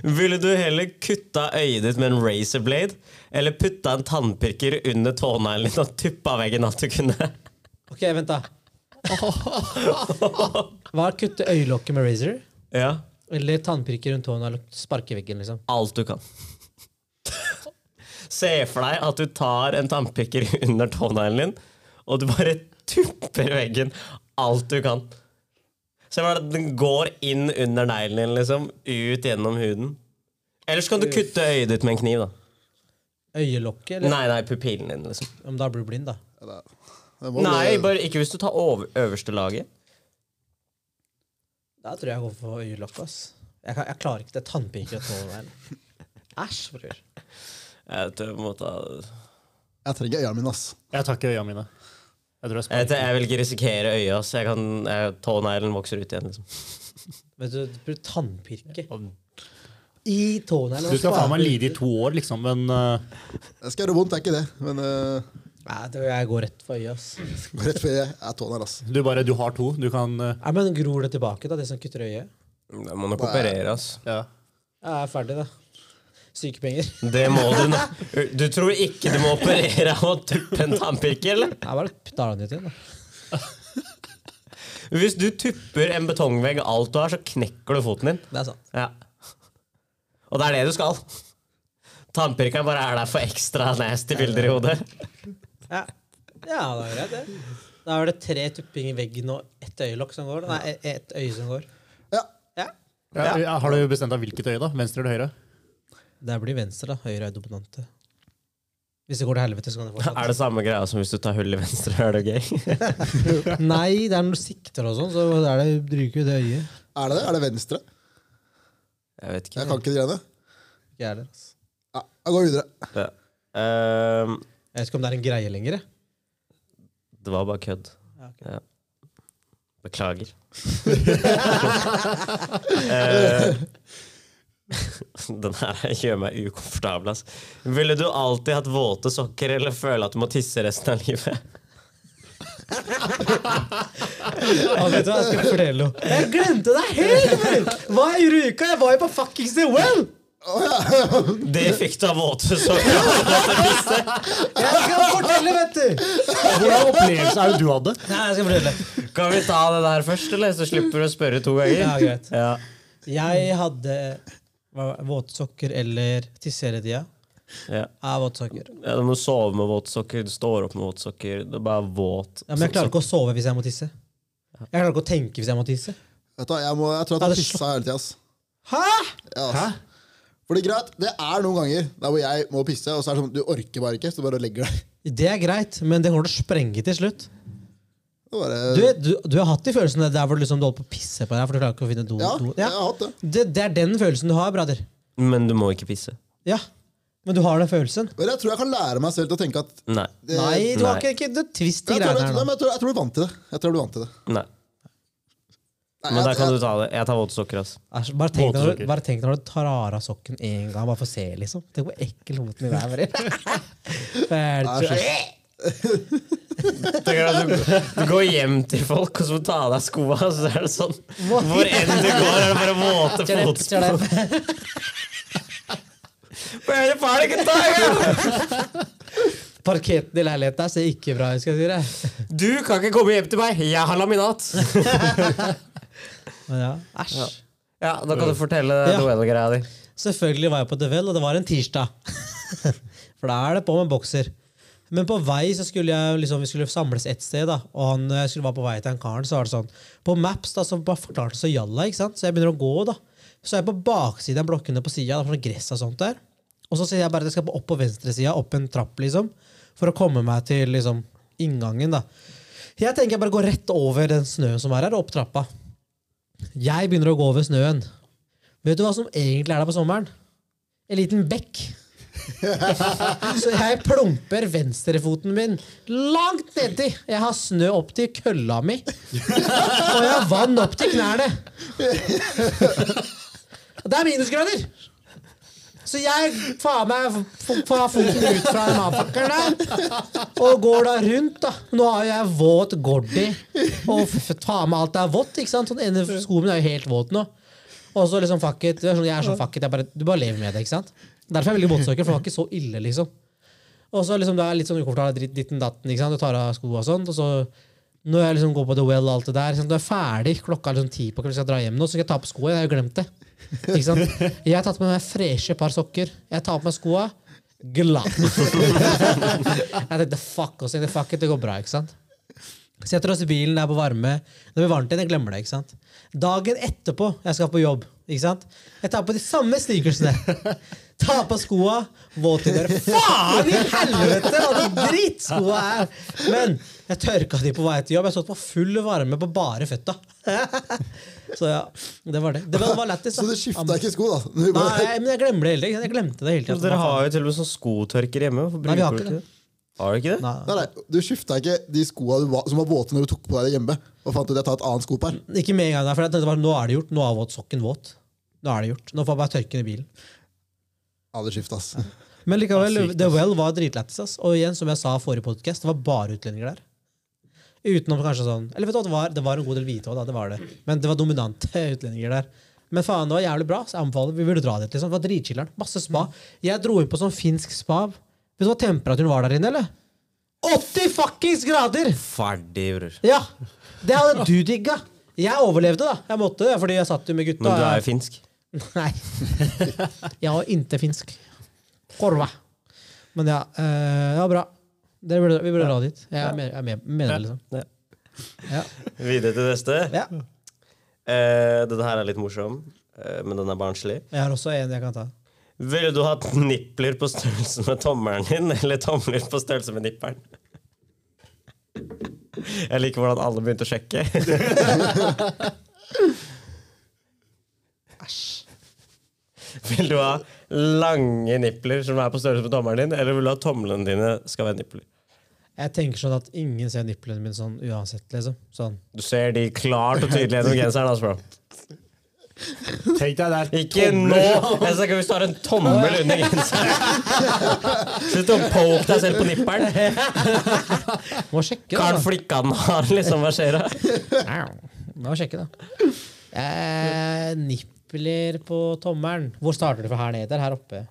S1: Ville du heller kutta øyet ditt med en razorblade, eller putta en tannpirker under tåneglen din og tuppa veggen at du kunne?
S2: Ok, vent, da. Hva er kutte øyelokket med razor?
S1: Ja.
S2: Eller tannpirker rundt hånden eller sparke i veggen, liksom.
S1: Alt du kan. Se for deg at du tar en tannpikker under tåneglen din, og du bare tupper veggen alt du kan. Se for deg at den går inn under neglen din, liksom. Ut gjennom huden. Eller så kan du kutte øyet ditt med en kniv, da.
S2: Øyelokket, eller
S1: Nei, nei, pupillen din, liksom.
S2: om da blir du blind, da.
S3: Det må
S1: Nei,
S3: bli-
S1: bare ikke hvis du tar over, øverste laget.
S2: Da tror jeg jeg går for øyelokket, ass. Jeg, kan, jeg klarer ikke det tannpirker og tånegl. Æsj, bror.
S1: Jeg tror jeg må ta
S3: Jeg trenger øynene mine, ass.
S4: Jeg tar ikke øya mine. Jeg tror jeg
S1: Jeg,
S4: sparer.
S1: jeg vil ikke risikere øyet, ass. Jeg kan- jeg- Tåneglen vokser ut igjen, liksom.
S2: Vet du, du bruker tannpirke i tåneglen.
S4: Du skal faen meg lide i to år, liksom, men eh,
S3: Jeg skal gjøre vondt, det er ikke det. Men eh,
S2: Nei, det- jeg går rett for øyet, ass.
S3: rett før jeg er tånegl, ass.
S4: du bare Du har to. Du kan eh,
S2: Nei, men gror det tilbake, da, det som kutter øyet?
S1: Da må nok operere, ass.
S4: Ja.
S2: Jeg er ferdig, da. Sykepenger.
S1: Det må du nå. Du tror ikke du må operere av å tuppe en tannpirker, eller?
S2: Nei, bare drar den ut igjen, da.
S1: Hvis du tupper en betongvegg alt du har, så knekker du foten din.
S2: Det er sant.
S1: Ja. Og det er det du skal. Tannpirkeren bare er der for ekstra nasty bilder i hodet.
S2: Ja, ja det er greit, det. Da er det tre tupping i veggen og ett øyelokk som går. da. Nei, ett øye som går.
S3: Ja.
S2: Ja.
S4: Ja, Har du bestemt deg hvilket øye, da? Venstre eller høyre?
S2: Det blir venstre, da. Høyre er dominante. Hvis det går til helvete, så kan det
S1: Er
S2: fortsatt.
S1: det samme greia som hvis du tar hull i venstre? Er det gøy?
S2: Nei, det er når du sikter og sånn, så er det, bruker jo det øyet.
S3: Er det det? Er det venstre?
S1: Jeg vet
S3: Jeg kan ikke de greiene.
S2: Ikke jeg heller. altså.
S3: Ja, jeg går videre.
S1: Ja. Ehm,
S2: Jeg vet ikke om det er en greie lenger. jeg.
S1: det var bare kødd.
S2: Ja, ok.
S1: Ja. Beklager. Ehm, Eh, den her gjør meg ukomfortabel. ass. Ville du alltid hatt våte sokker eller føle at du må tisse resten av livet?
S2: Ja, vet du hva, jeg skal fortelle noe. Jeg glemte det helt! vel! Hva jeg gjorde i uka? Jeg var jo på fuckings The Well!
S1: Det fikk du av våte sokker!
S2: Jeg skal fortelle, vet du!
S4: Hvordan opplevelse er det du hadde?
S2: Nei, jeg skal fortelle.
S1: Kan vi ta det der først, eller? Så slipper du å spørre to
S2: Ja,
S1: ganger.
S2: greit.
S1: Ja.
S2: Jeg hadde hva- våtsokker eller tisseredia.
S1: Ja.
S2: Ja, våtsokker.
S1: Ja, du må sove med våte sokker, du står opp med våte sokker. Det er bare våt.
S2: Ja, men jeg klarer ikke å sove hvis jeg må tisse. Jeg klarer ikke å tenke hvis jeg må tisse.
S3: Vet du, hva, jeg, må, jeg tror at
S2: Ja,
S3: jeg
S2: det
S3: pissa hele tida, ass.
S2: Hæ?
S3: Ja, ass. Fordi greit, Det er noen ganger der hvor jeg må pisse, og så er det sånn, du orker bare ikke. Så du bare legger deg.
S2: Det er greit, men det kommer til å sprenge til slutt.
S3: Det er bare,
S2: Du, du, du har hatt de følelsene der hvor du liksom du holder på å pisse på deg for du klarer ikke å finne do.
S3: ja,
S2: do.
S3: jeg har hatt det.
S2: Det, det er den følelsen du har, brader.
S1: Men du må ikke pisse.
S2: Ja. Men du har den følelsen.
S3: Men jeg tror jeg kan lære meg selv til å tenke at
S1: Nei.
S3: det,
S2: Nei, du har
S1: Nei.
S2: ikke, ikke du tvist i
S3: jeg, tror,
S2: greiene
S3: jeg, jeg,
S2: her
S3: tror-
S2: nå.
S3: men jeg, tror, jeg tror jeg blir vant til det. Jeg tror jeg blir vant til det.
S1: Nei.
S3: Nei,
S1: Men
S3: jeg,
S1: der kan du
S3: jeg,
S1: ta det. Jeg tar våte sokker, ass.
S2: Æsj, Bare tenk, deg når,
S4: Våtsokker.
S2: bare tenk deg når du tar av deg sokken én gang, bare for å se, liksom. Tenk hvor ekkel hoten din er. Bare. Ferdig.
S1: Tenker du, at du, du går hjem til folk og så må du ta av deg skoa, og så er det sånn Hvor enn du går, er det bare våte fotspor.
S2: Kjør det.
S1: Hva er det far ikke tar?
S2: Parketten i leiligheten der ser ikke bra ut, skal jeg si deg.
S1: Du kan ikke komme hjem til meg! Jeg har laminat!
S2: Men ja, æsj.
S1: Ja, Da kan du fortelle
S2: Ja.
S1: duellgreia di.
S2: Selvfølgelig var jeg på The Well, og det var en tirsdag. For da er det på med bokser. Men på vei så skulle jeg liksom, vi skulle samles et sted, da. og han eh, skulle være på vei til en karen. Så var det sånn På Maps da, så bare forklarte så jalla, ikke sant? så jeg begynner å gå. da. Så er jeg på baksiden av blokkene på sida, sånn gress og sånt der. Og så sier jeg bare at jeg skal på opp på venstresida, opp en trapp, liksom. For å komme meg til liksom inngangen, da. Jeg tenker jeg bare går rett over den snøen som er her, og opp trappa. Jeg begynner å gå over snøen. Vet du hva som egentlig er der på sommeren? En liten bekk. Så jeg plumper venstrefoten min langt nedi. Jeg har snø opp til kølla mi. Og jeg har vann opp til knærne. Og det er minusgrader! Så jeg faen meg f- får foten ut fra den avfakkeren der. Og går da rundt, da. Nå har jo jeg våt gordi. Og f- faen meg alt er vått. ikke sant? Sånn ene skoen min er jo helt våt nå. Og så liksom fuck it. du er sånn- Jeg er sånn fuck it. Jeg bare, du bare lever med det. ikke sant? Derfor er jeg veldig båtsøker, for det var ikke så ille, liksom. Og så liksom, det er litt sånn ukomfortabel dritt, ditten datten, ikke sant? Du tar av skoene og sånt, og så Når jeg liksom går på The Well og alt det der ikke sant, Du er ferdig, klokka er liksom ti på kvelden, skal jeg dra hjem nå, så skal jeg ta på skoene. Jeg har jo glemt det. Ikke sant? Jeg har tatt med meg freshe par sokker. Jeg tar på meg skoa. Glad. jeg tenkte fuck oss, jeg tenkte, fuck it, det går bra, ikke sant? Setter oss i bilen, det er på varme. Når vi er varmt igjen, jeg glemmer det. ikke sant? Dagen etterpå, jeg skal på jobb. ikke sant? Jeg tar på de samme sneakersene. Tar på skoa, våt i døra. Faen i helvete, hva de drittskoa er! Men jeg tørka de på vei til jobb. Jeg satt på full varme på bare føtta. Så ja, det var det. Det var, det var lættis. da.
S3: Så du skifta ikke sko, da? Du bare-
S2: Nei, men jeg glemmer det hele tiden. Jeg glemte det hele tiden.
S1: Dere har jo til og med sånn skotørker hjemme. Hvorfor
S2: Nei, vi har
S1: bruker
S2: ikke
S1: dere ikke det? Har dere ikke det?
S3: Nei, nei, du skifta ikke de skoa du var, som var våte når du tok på deg det hjemme. Og fant ut at jeg tar et annet skopar.
S2: Ikke med en gang, da, for jeg tenkte bare, nå er det gjort. Nå er våt sokken våt. Nå er det gjort. Nå får jeg bare tørke den i bilen.
S3: Aldri skift, ass.
S2: Men likevel, The Well var dritlættis. ass. Og igjen, som jeg sa i forrige podcast, det var bare utlendinger der. Utenom kanskje sånn Eller vet du hva, det var, det var en god del hvite òg, da. Det var det. Men det var dominante utlendinger der. Men faen, det var jævlig bra. Så jeg anbefaler, vi burde dra dit. liksom. Det var dritchiller'n. Masse spa. Jeg dro inn på sånn finsk spa. Vet du hva temperaturen var der inne, eller? 80 fuckings grader!
S1: Ferdig, bror.
S2: Ja! Det hadde du digga. Jeg overlevde, da. Jeg måtte det, fordi jeg satt jo med gutta.
S1: Men du er jo finsk.
S2: Nei. Jeg var inte finsk. Korva. Men ja, eh, det var bra. Dere burde, vi burde dra dit. Jeg er med, jeg er med, mener det, liksom.
S1: Videre til neste.
S2: Ja.
S1: Eh, denne her er litt morsom, eh, men den er barnslig.
S2: Jeg har også en jeg kan ta.
S1: Ville du hatt nipler på størrelse med tommelen din, eller tomler på størrelse med nipperen? Jeg liker hvordan alle begynte å sjekke. Vil du ha lange nipler som er på størrelse med tommelen din, eller vil du ha tomlene dine skal være nipler?
S2: Jeg tenker sånn at ingen ser nipplene mine sånn uansett, liksom. Sånn.
S1: Du ser de klart og tydelig gjennom genseren. Altså, bro.
S4: Tenk deg der.
S1: Ikke nå! Jeg snakker hvis du har en tommel under genseren. Slutt å poke deg selv på nipperen.
S2: Må sjekke,
S1: Karl
S2: da.
S1: flikka den har, liksom. Hva skjer da?
S2: Au. Må sjekke, da. Eh, nippler på tommelen. Hvor starter du fra her nede? eller Her oppe?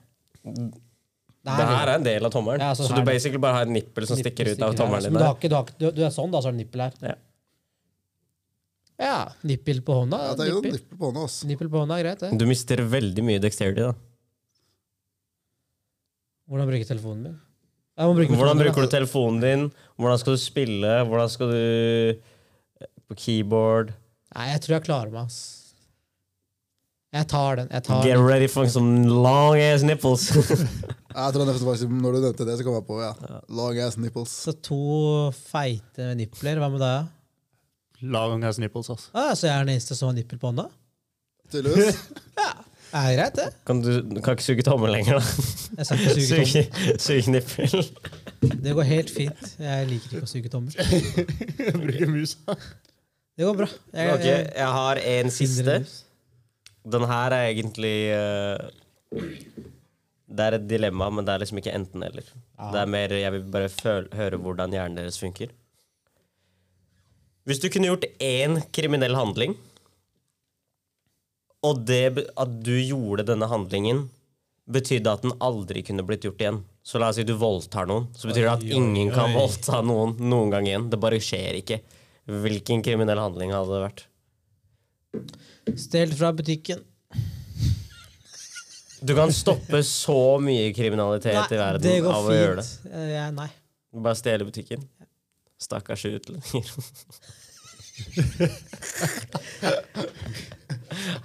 S2: Der,
S1: Det her er en del av tommelen.
S2: Ja, så
S1: så
S2: her
S1: du
S2: er det.
S1: basically bare har en nippel som stikker ut av tommelen din.
S2: Men du,
S1: der.
S2: har ikke, du, har ikke, du, du er sånn, da, så er det nippel her.
S1: Ja.
S2: Ja. Nippel på hånda.
S3: Ja, det er jo en
S2: nippel.
S3: nippel sånn, på hånda, ass.
S2: nippel på hånda, greit, det.
S1: Du mister veldig mye dexterity, da.
S2: Hvordan bruke telefonen min? Jeg må bruke
S1: Hvordan
S2: telefonen, da.
S1: bruker du telefonen din? Hvordan skal du spille? Hvordan skal du eh, På keyboard?
S2: Nei, jeg tror jeg klarer meg, ass. Jeg tar den. Jeg tar
S1: Get
S2: den.
S1: ready for some long ass nipples.
S3: Jeg tror det faktisk, Når du nevnte det, så kom jeg på ja. long ass nipples.
S2: Så to feite nipler, hva med deg? da?
S4: Lang ass nipples, ass.
S2: Ah, så jeg er den eneste som har nippel på hånda?
S3: Tydeligvis.
S2: Er greit, det.
S1: kan du kan ikke suge tommel lenger, da?
S2: Jeg skal ikke suge
S1: Suge, suge nippel.
S2: tommer. Det går helt fint. Jeg liker ikke å suge tommer.
S4: Jeg bruker musa.
S2: Det går bra. Jeg,
S1: Ok, jeg har en siste.
S2: jeg-
S1: Den her er egentlig eh, Det er et dilemma, men det er liksom ikke enten-eller. Det er mer Jeg vil bare føl høre hvordan hjernen deres funker. Hvis du kunne gjort én kriminell handling, og det be- at du gjorde denne handlingen, betydde at den aldri kunne blitt gjort igjen. Så la oss si du voldtar noen, så betyr det at ingen kan voldta noen noen gang igjen. Det bare skjer ikke. Hvilken kriminell handling hadde det vært?
S2: Stelt fra butikken.
S1: Du kan stoppe så mye kriminalitet i verden
S2: det går
S1: av å
S2: fint.
S1: gjøre det.
S2: Eh, jeg- nei.
S1: Bare stjele butikken. Stakkars utlendinger.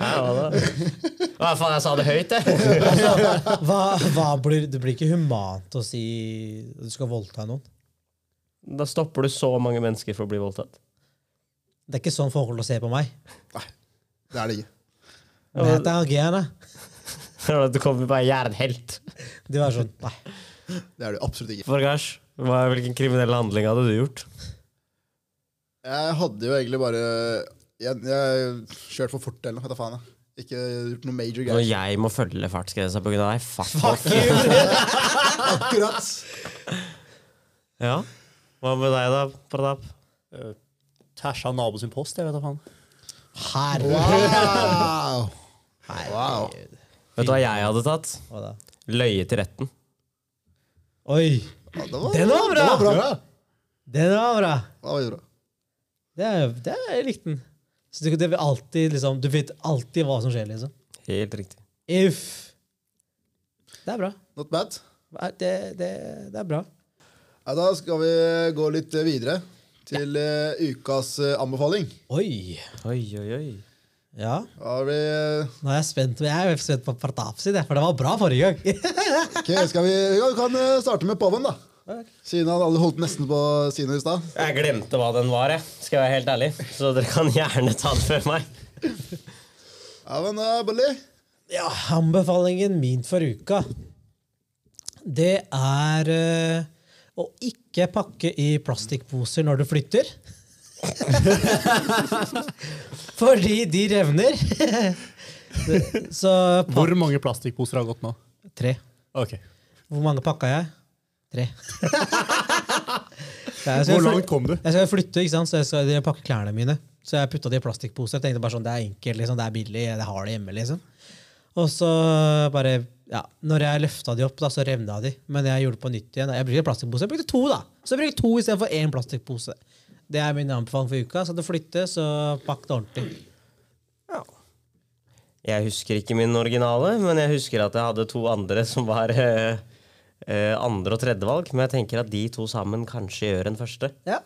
S1: Hæ, hva da? Hva faen, jeg sa det høyt, jeg!
S2: Hva, hva blir, det blir ikke humant å si at du skal voldta noen.
S1: Da stopper du så mange mennesker for å bli voldtatt.
S2: Det er ikke sånn folk holder å se på meg.
S3: Det er det ikke.
S2: Men jeg heter Agene.
S1: Eller at Du kommer bare jernhelt.
S2: De var sånn Nei.
S3: Det er det absolutt ikke.
S1: Forgars, hva- hvilken kriminell handling hadde du gjort?
S3: Jeg hadde jo egentlig bare Jeg, jeg kjørte for fort eller noe. vet da faen jeg. Ikke gjort noe major
S1: Når
S3: greier.
S1: jeg må følge fartsgrensa på grunn av deg, fuck, off.
S3: Akkurat.
S1: Ja. Hva med deg, da, Pradap?
S4: Tæsja naboen sin post, jeg vet da faen.
S2: Herre.
S3: Wow. wow.
S1: Vet du hva jeg hadde tatt?
S2: Hva da?
S1: Løye til retten.
S2: Oi.
S3: Ja, det var,
S2: Den var bra!
S3: Det var bra.
S2: Den var bra.
S3: Det var bra.
S2: Det, er- det er, jeg likte den. Så det, det vil alltid, liksom, du vet alltid hva som skjer, liksom.
S1: Helt riktig.
S2: If. Det er bra.
S3: Not bad.
S2: Det, det, det er bra.
S3: Ja, da skal vi gå litt eh, videre til eh, ukas eh, anbefaling.
S2: Oi.
S1: Oi, oi, oi.
S2: Ja,
S3: Da Har vi, eh,
S2: nå er jeg spent. Jeg er spent på Partaf sin, jeg, for det var bra forrige gang.
S3: ok, skal vi, ja, vi kan eh, starte med Poven, da. Siden han aldri holdt nesten på sine i stad.
S1: Jeg glemte hva den var, jeg. Skal jeg være helt ærlig. Så dere kan gjerne ta den før meg.
S3: Ja, men eh, da, Bolli.
S2: Ja, anbefalingen min for uka, det er eh, å ikke pakke i plastikkposer når du flytter. Fordi de revner. Så pa-
S4: Hvor mange plastikkposer har gått nå?
S2: Tre.
S4: Ok.
S2: Hvor mange pakka jeg? Tre. Jeg skal
S4: Hvor
S2: fly-
S4: langt kom du?
S2: Jeg skal flytte, ikke sant? så jeg skal pakke klærne mine. Så jeg putta det i plastikkposer. Jeg tenkte bare sånn, det er enkelt, liksom, det er billig, jeg har det hjemme. liksom. Og så bare ja, Når jeg løfta de opp, da, så revna de. Men jeg gjorde det på nytt igjen. Jeg brukte plastikkpose. Jeg brukte to, da. Så jeg brukte to istedenfor én plastikkpose. Det er min anbefaling for uka. Skal du flytte, så pakk det ordentlig.
S1: Jeg husker ikke min originale, men jeg husker at jeg hadde to andre som var eh, eh, andre- og tredjevalg. Men jeg tenker at de to sammen kanskje gjør en første.
S2: Ja.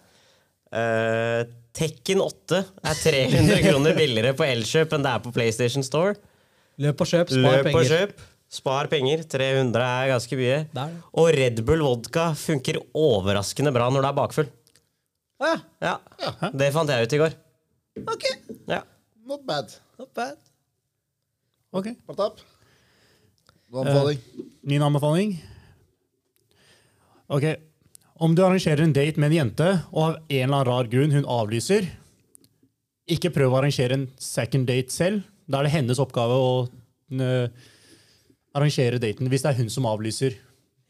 S1: Eh, Tekken 8 er 300 kroner billigere på Elkjøp enn det er på PlayStation Store.
S2: Løp og kjøp, spar
S1: Løp og
S2: penger.
S1: kjøp. Spar penger. 300 er ganske mye.
S2: Det er det.
S1: Og Red Bull vodka funker overraskende bra når du er bakfull.
S2: Å ja,
S1: Ja, Det fant jeg ut i går.
S2: ok.
S1: Ja.
S3: Not bad.
S2: Not bad.
S4: Ok.
S3: Partap. Noe anbefaling?
S4: Min anbefaling? Ok. Om du arrangerer en date med en jente, og av en eller annen rar grunn hun avlyser, ikke prøv å arrangere en second date selv. Da er det hennes oppgave å øh, arrangere daten hvis det er hun som avlyser.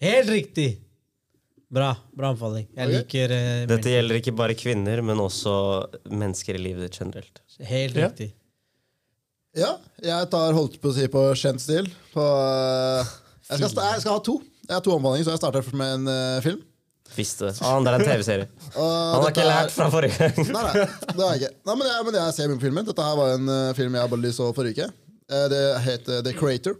S2: Helt riktig! Bra. Bra anbefaling. Jeg liker eh,
S1: Dette gjelder ikke bare kvinner, men også mennesker i livet ditt generelt.
S2: Helt
S4: Ja.
S2: riktig.
S3: Ja, jeg tar holdt på å si på kjent stil. På, eh, jeg, skal, sta- jeg skal ha to. Jeg har to anbefalinger, så jeg starter først med en eh, film.
S1: Visste det. Ah, det er en TV-serie.
S3: Og
S1: Han har
S3: dette
S1: ikke
S3: er-
S1: lært fra forrige gang.
S3: Nei, nei, det har jeg ikke. Nei, men, jeg, men jeg ser mye på filmen. Dette her var en eh, film jeg bare så forrige uke. Eh, det heter The Creator.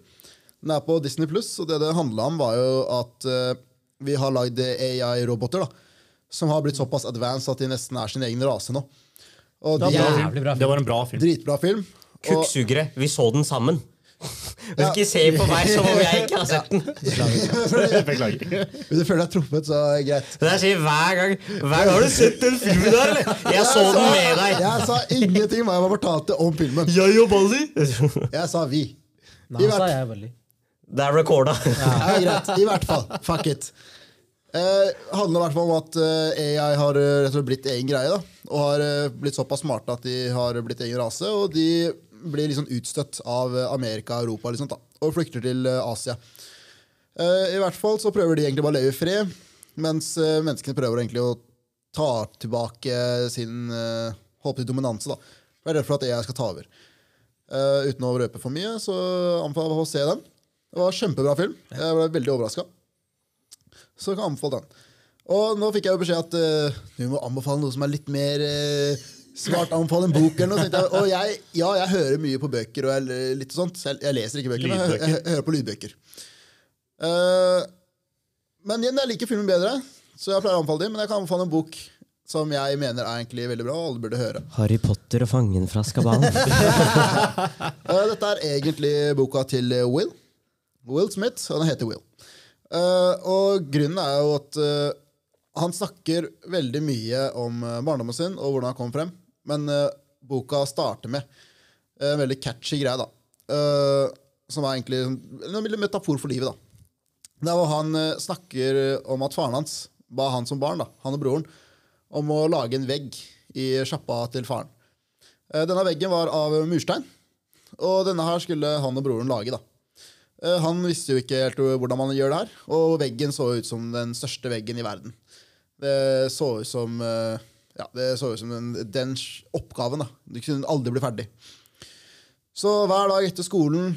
S3: Den er på Disney Pluss, og det det handla om, var jo at eh, vi har lagd AI-roboter da, som har blitt såpass advanced at de nesten er sin egen rase nå. Og de er
S2: Jævlig bra film.
S4: Det var en bra film.
S3: dritbra film. Og,
S1: Kukksugere. Vi så den sammen. Du skal ikke se på meg som om jeg ikke har sett den.
S4: Beklager.
S3: hvis du føler deg truffet, så er det greit.
S1: Det der sier hver gang Hver gang Har du sett den filmen der, eller? Jeg så den med deg.
S3: Jeg sa ingenting om hva jeg fortalte om filmen.
S1: Jeg og Baldi.
S3: Jeg sa vi.
S2: Nei,
S3: I hvert-
S2: sa jeg veldig.
S1: Det er recorda.
S3: Ja, greit. I hvert fall. Fuck it. Eh, handler i hvert fall om at eh, AI har eh, rett og slett blitt egen greie. da Og har eh, blitt såpass smarte at de har blitt egen rase. Og de blir liksom utstøtt av eh, Amerika og Europa liksom, da, og flykter til eh, Asia. Eh, I hvert fall så prøver de egentlig bare å leve i fred, mens eh, menneskene prøver egentlig å ta tilbake sin eh, håpet dominanse. da Jeg er redd for at AI skal ta over. Eh, uten å røpe for mye, så anbefaler jeg å se den. Det var en kjempebra film. Jeg ble veldig overraska. Så jeg kan anbefale den. Og nå fikk jeg jo beskjed at eh, du må anbefale noe som er litt mer eh, smart. Anbefale en bok eller noe. Så tenkte jeg- Og jeg, ja, jeg hører mye på bøker og jeg, litt sånt. Jeg, jeg leser ikke bøker, men jeg, hø- jeg, hø- hører på lydbøker. Eh, men igjen, jeg liker filmen bedre, så jeg pleier å anbefale dem. Men jeg kan anbefale en bok som jeg mener er egentlig veldig bra, og alle burde høre.
S1: Harry Potter og fangen fra Skaban.
S3: Eh, dette er egentlig boka til eh, Will. Will Smith, og den heter Will. Eh, og grunnen er jo at eh, han snakker veldig mye om eh, barndommen sin og hvordan han kom frem, men eh, boka starter med eh, en veldig catchy greie, da. Eh, som er egentlig en lille metafor for livet, da. Det er hvor han eh, snakker om at faren hans ba han som barn, da, han og broren, om å lage en vegg i sjappa til faren. Eh, denne veggen var av murstein. Og denne her skulle han og broren lage, da. Eh, Han visste jo ikke helt hvordan man gjør det her, og veggen så ut som den største veggen i verden. Det så ut som eh, ja, det så ut som den, den s- oppgaven. da. Du kunne aldri bli ferdig. Så hver dag etter skolen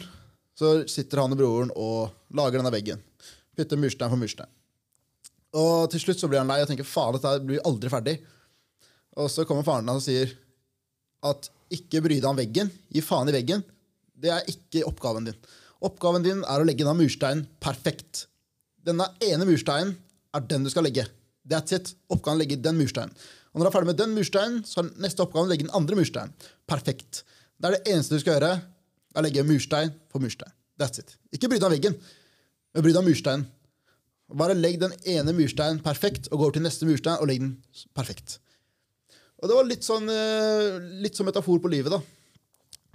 S3: så sitter han og broren og lager denne veggen. Putter murstein for murstein. Og til slutt så blir han lei og tenker faen, dette her blir aldri ferdig. Og så kommer faren hans og sier at ikke bry deg om veggen. Gi faen i veggen. Det er ikke oppgaven din. Oppgaven din er å legge denne mursteinen perfekt. Denne ene mursteinen er den du skal legge. That's it. Oppgaven er å legge den mursteinen. Og når du er ferdig med den mursteinen, så er neste oppgave å legge den andre mursteinen. Perfekt. Det er det eneste du skal gjøre. er å legge murstein på murstein. That's it. Ikke bry deg om veggen, men bry deg om mursteinen. Bare legg den ene mursteinen perfekt, og gå over til neste murstein og legg den perfekt. Og det var litt sånn eh, Litt som metafor på livet, da.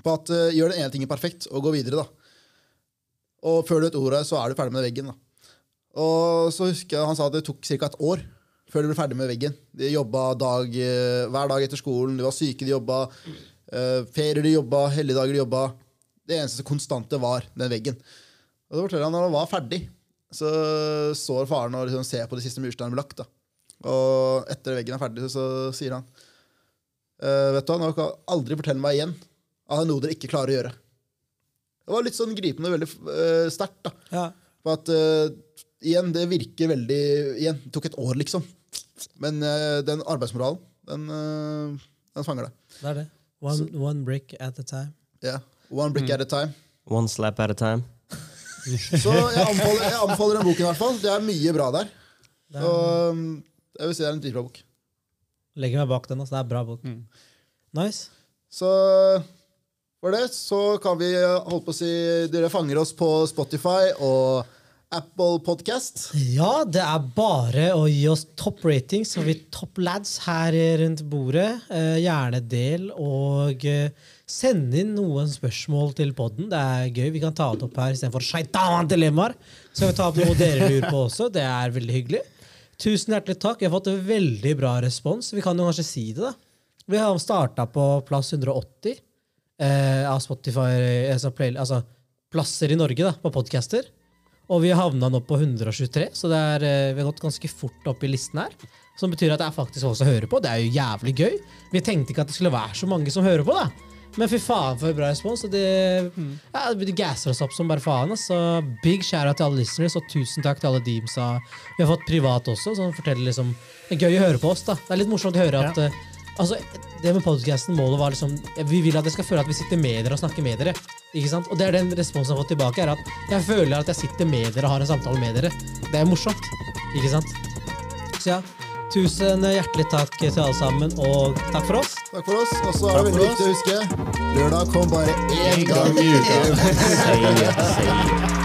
S3: På at eh, gjør den ene tingen perfekt, og gå videre, da. Og før du vet ordet, så er du ferdig med veggen, da. Og så husker jeg han sa at det tok ca. et år før de ble ferdig med veggen. De jobba dag, eh, hver dag etter skolen, de var syke, de jobba. eh, ferier de jobba, helligdager de jobba. Det eneste konstante var den veggen. Og så forteller han når han var ferdig, så står faren og liksom ser på de siste mursteinene ble lagt. da. Og etter veggen er ferdig, så sier han «Eh, Vet du hva, nå kan dere aldri fortelle meg igjen at det er noe dere ikke klarer å gjøre. Det var litt sånn gripende og veldig eh, sterkt. da.
S10: Ja.
S3: For at eh, igjen, det virker veldig Igjen, det tok et år, liksom. Men eh, den arbeidsmoralen, den, eh, den fanger deg.
S10: Det er det. One, one brick at a time.
S3: Ja. One brick at a time.
S1: One slap at a time.
S3: Så jeg anbefaler, jeg anbefaler den boken i hvert fall. Det er mye bra der. Og um, jeg vil si det er en dritbra bok.
S10: Legger meg bak den. Altså. Det er bra bok. Nice.
S3: Så for det så kan vi holde på å si Dere fanger oss på Spotify og Apple Podcast.
S2: Ja, det er bare å gi oss topp ratings, så har vi topp lads her rundt bordet. Eh, gjerne del, og eh, send inn noen spørsmål til podden. Det er gøy. Vi kan ta det opp her istedenfor shaitan dilemmaer. Så kan vi ta opp noe dere lurer på også. Det er veldig hyggelig. Tusen hjertelig takk. Vi har fått veldig bra respons. Vi kan jo kanskje si det, da. Vi har starta på plass 180 eh, av Spotify, altså, play, altså plasser i Norge da, på podcaster. Og vi havna nå på 123, så det er, eh, vi har gått ganske fort opp i listen her. Som betyr at det er faktisk folk som hører på. Det er jo jævlig gøy. Vi tenkte ikke at det skulle være så mange som hører på, da. Men fy faen for bra respons. Og det, ja, det gasser oss opp som bare faen. ass. Så big share til alle listeners, og tusen takk til alle deemsa vi har fått privat også, som forteller liksom Det er gøy å høre på oss, da. Det er litt morsomt å høre at eh, Altså, det med podcasten, målet var liksom Vi vil at dere skal føle at vi sitter med dere og snakker med dere. Ikke sant? Og det er den responsen jeg har fått tilbake, er at jeg føler at jeg sitter med dere og har en samtale med dere. Det er morsomt. Ikke sant? Så ja, tusen hjertelig takk til alle sammen, og takk for oss.
S3: Takk for oss. Og så er det veldig viktig å huske lørdag kom bare én gang i uka.
S1: Say it, say it.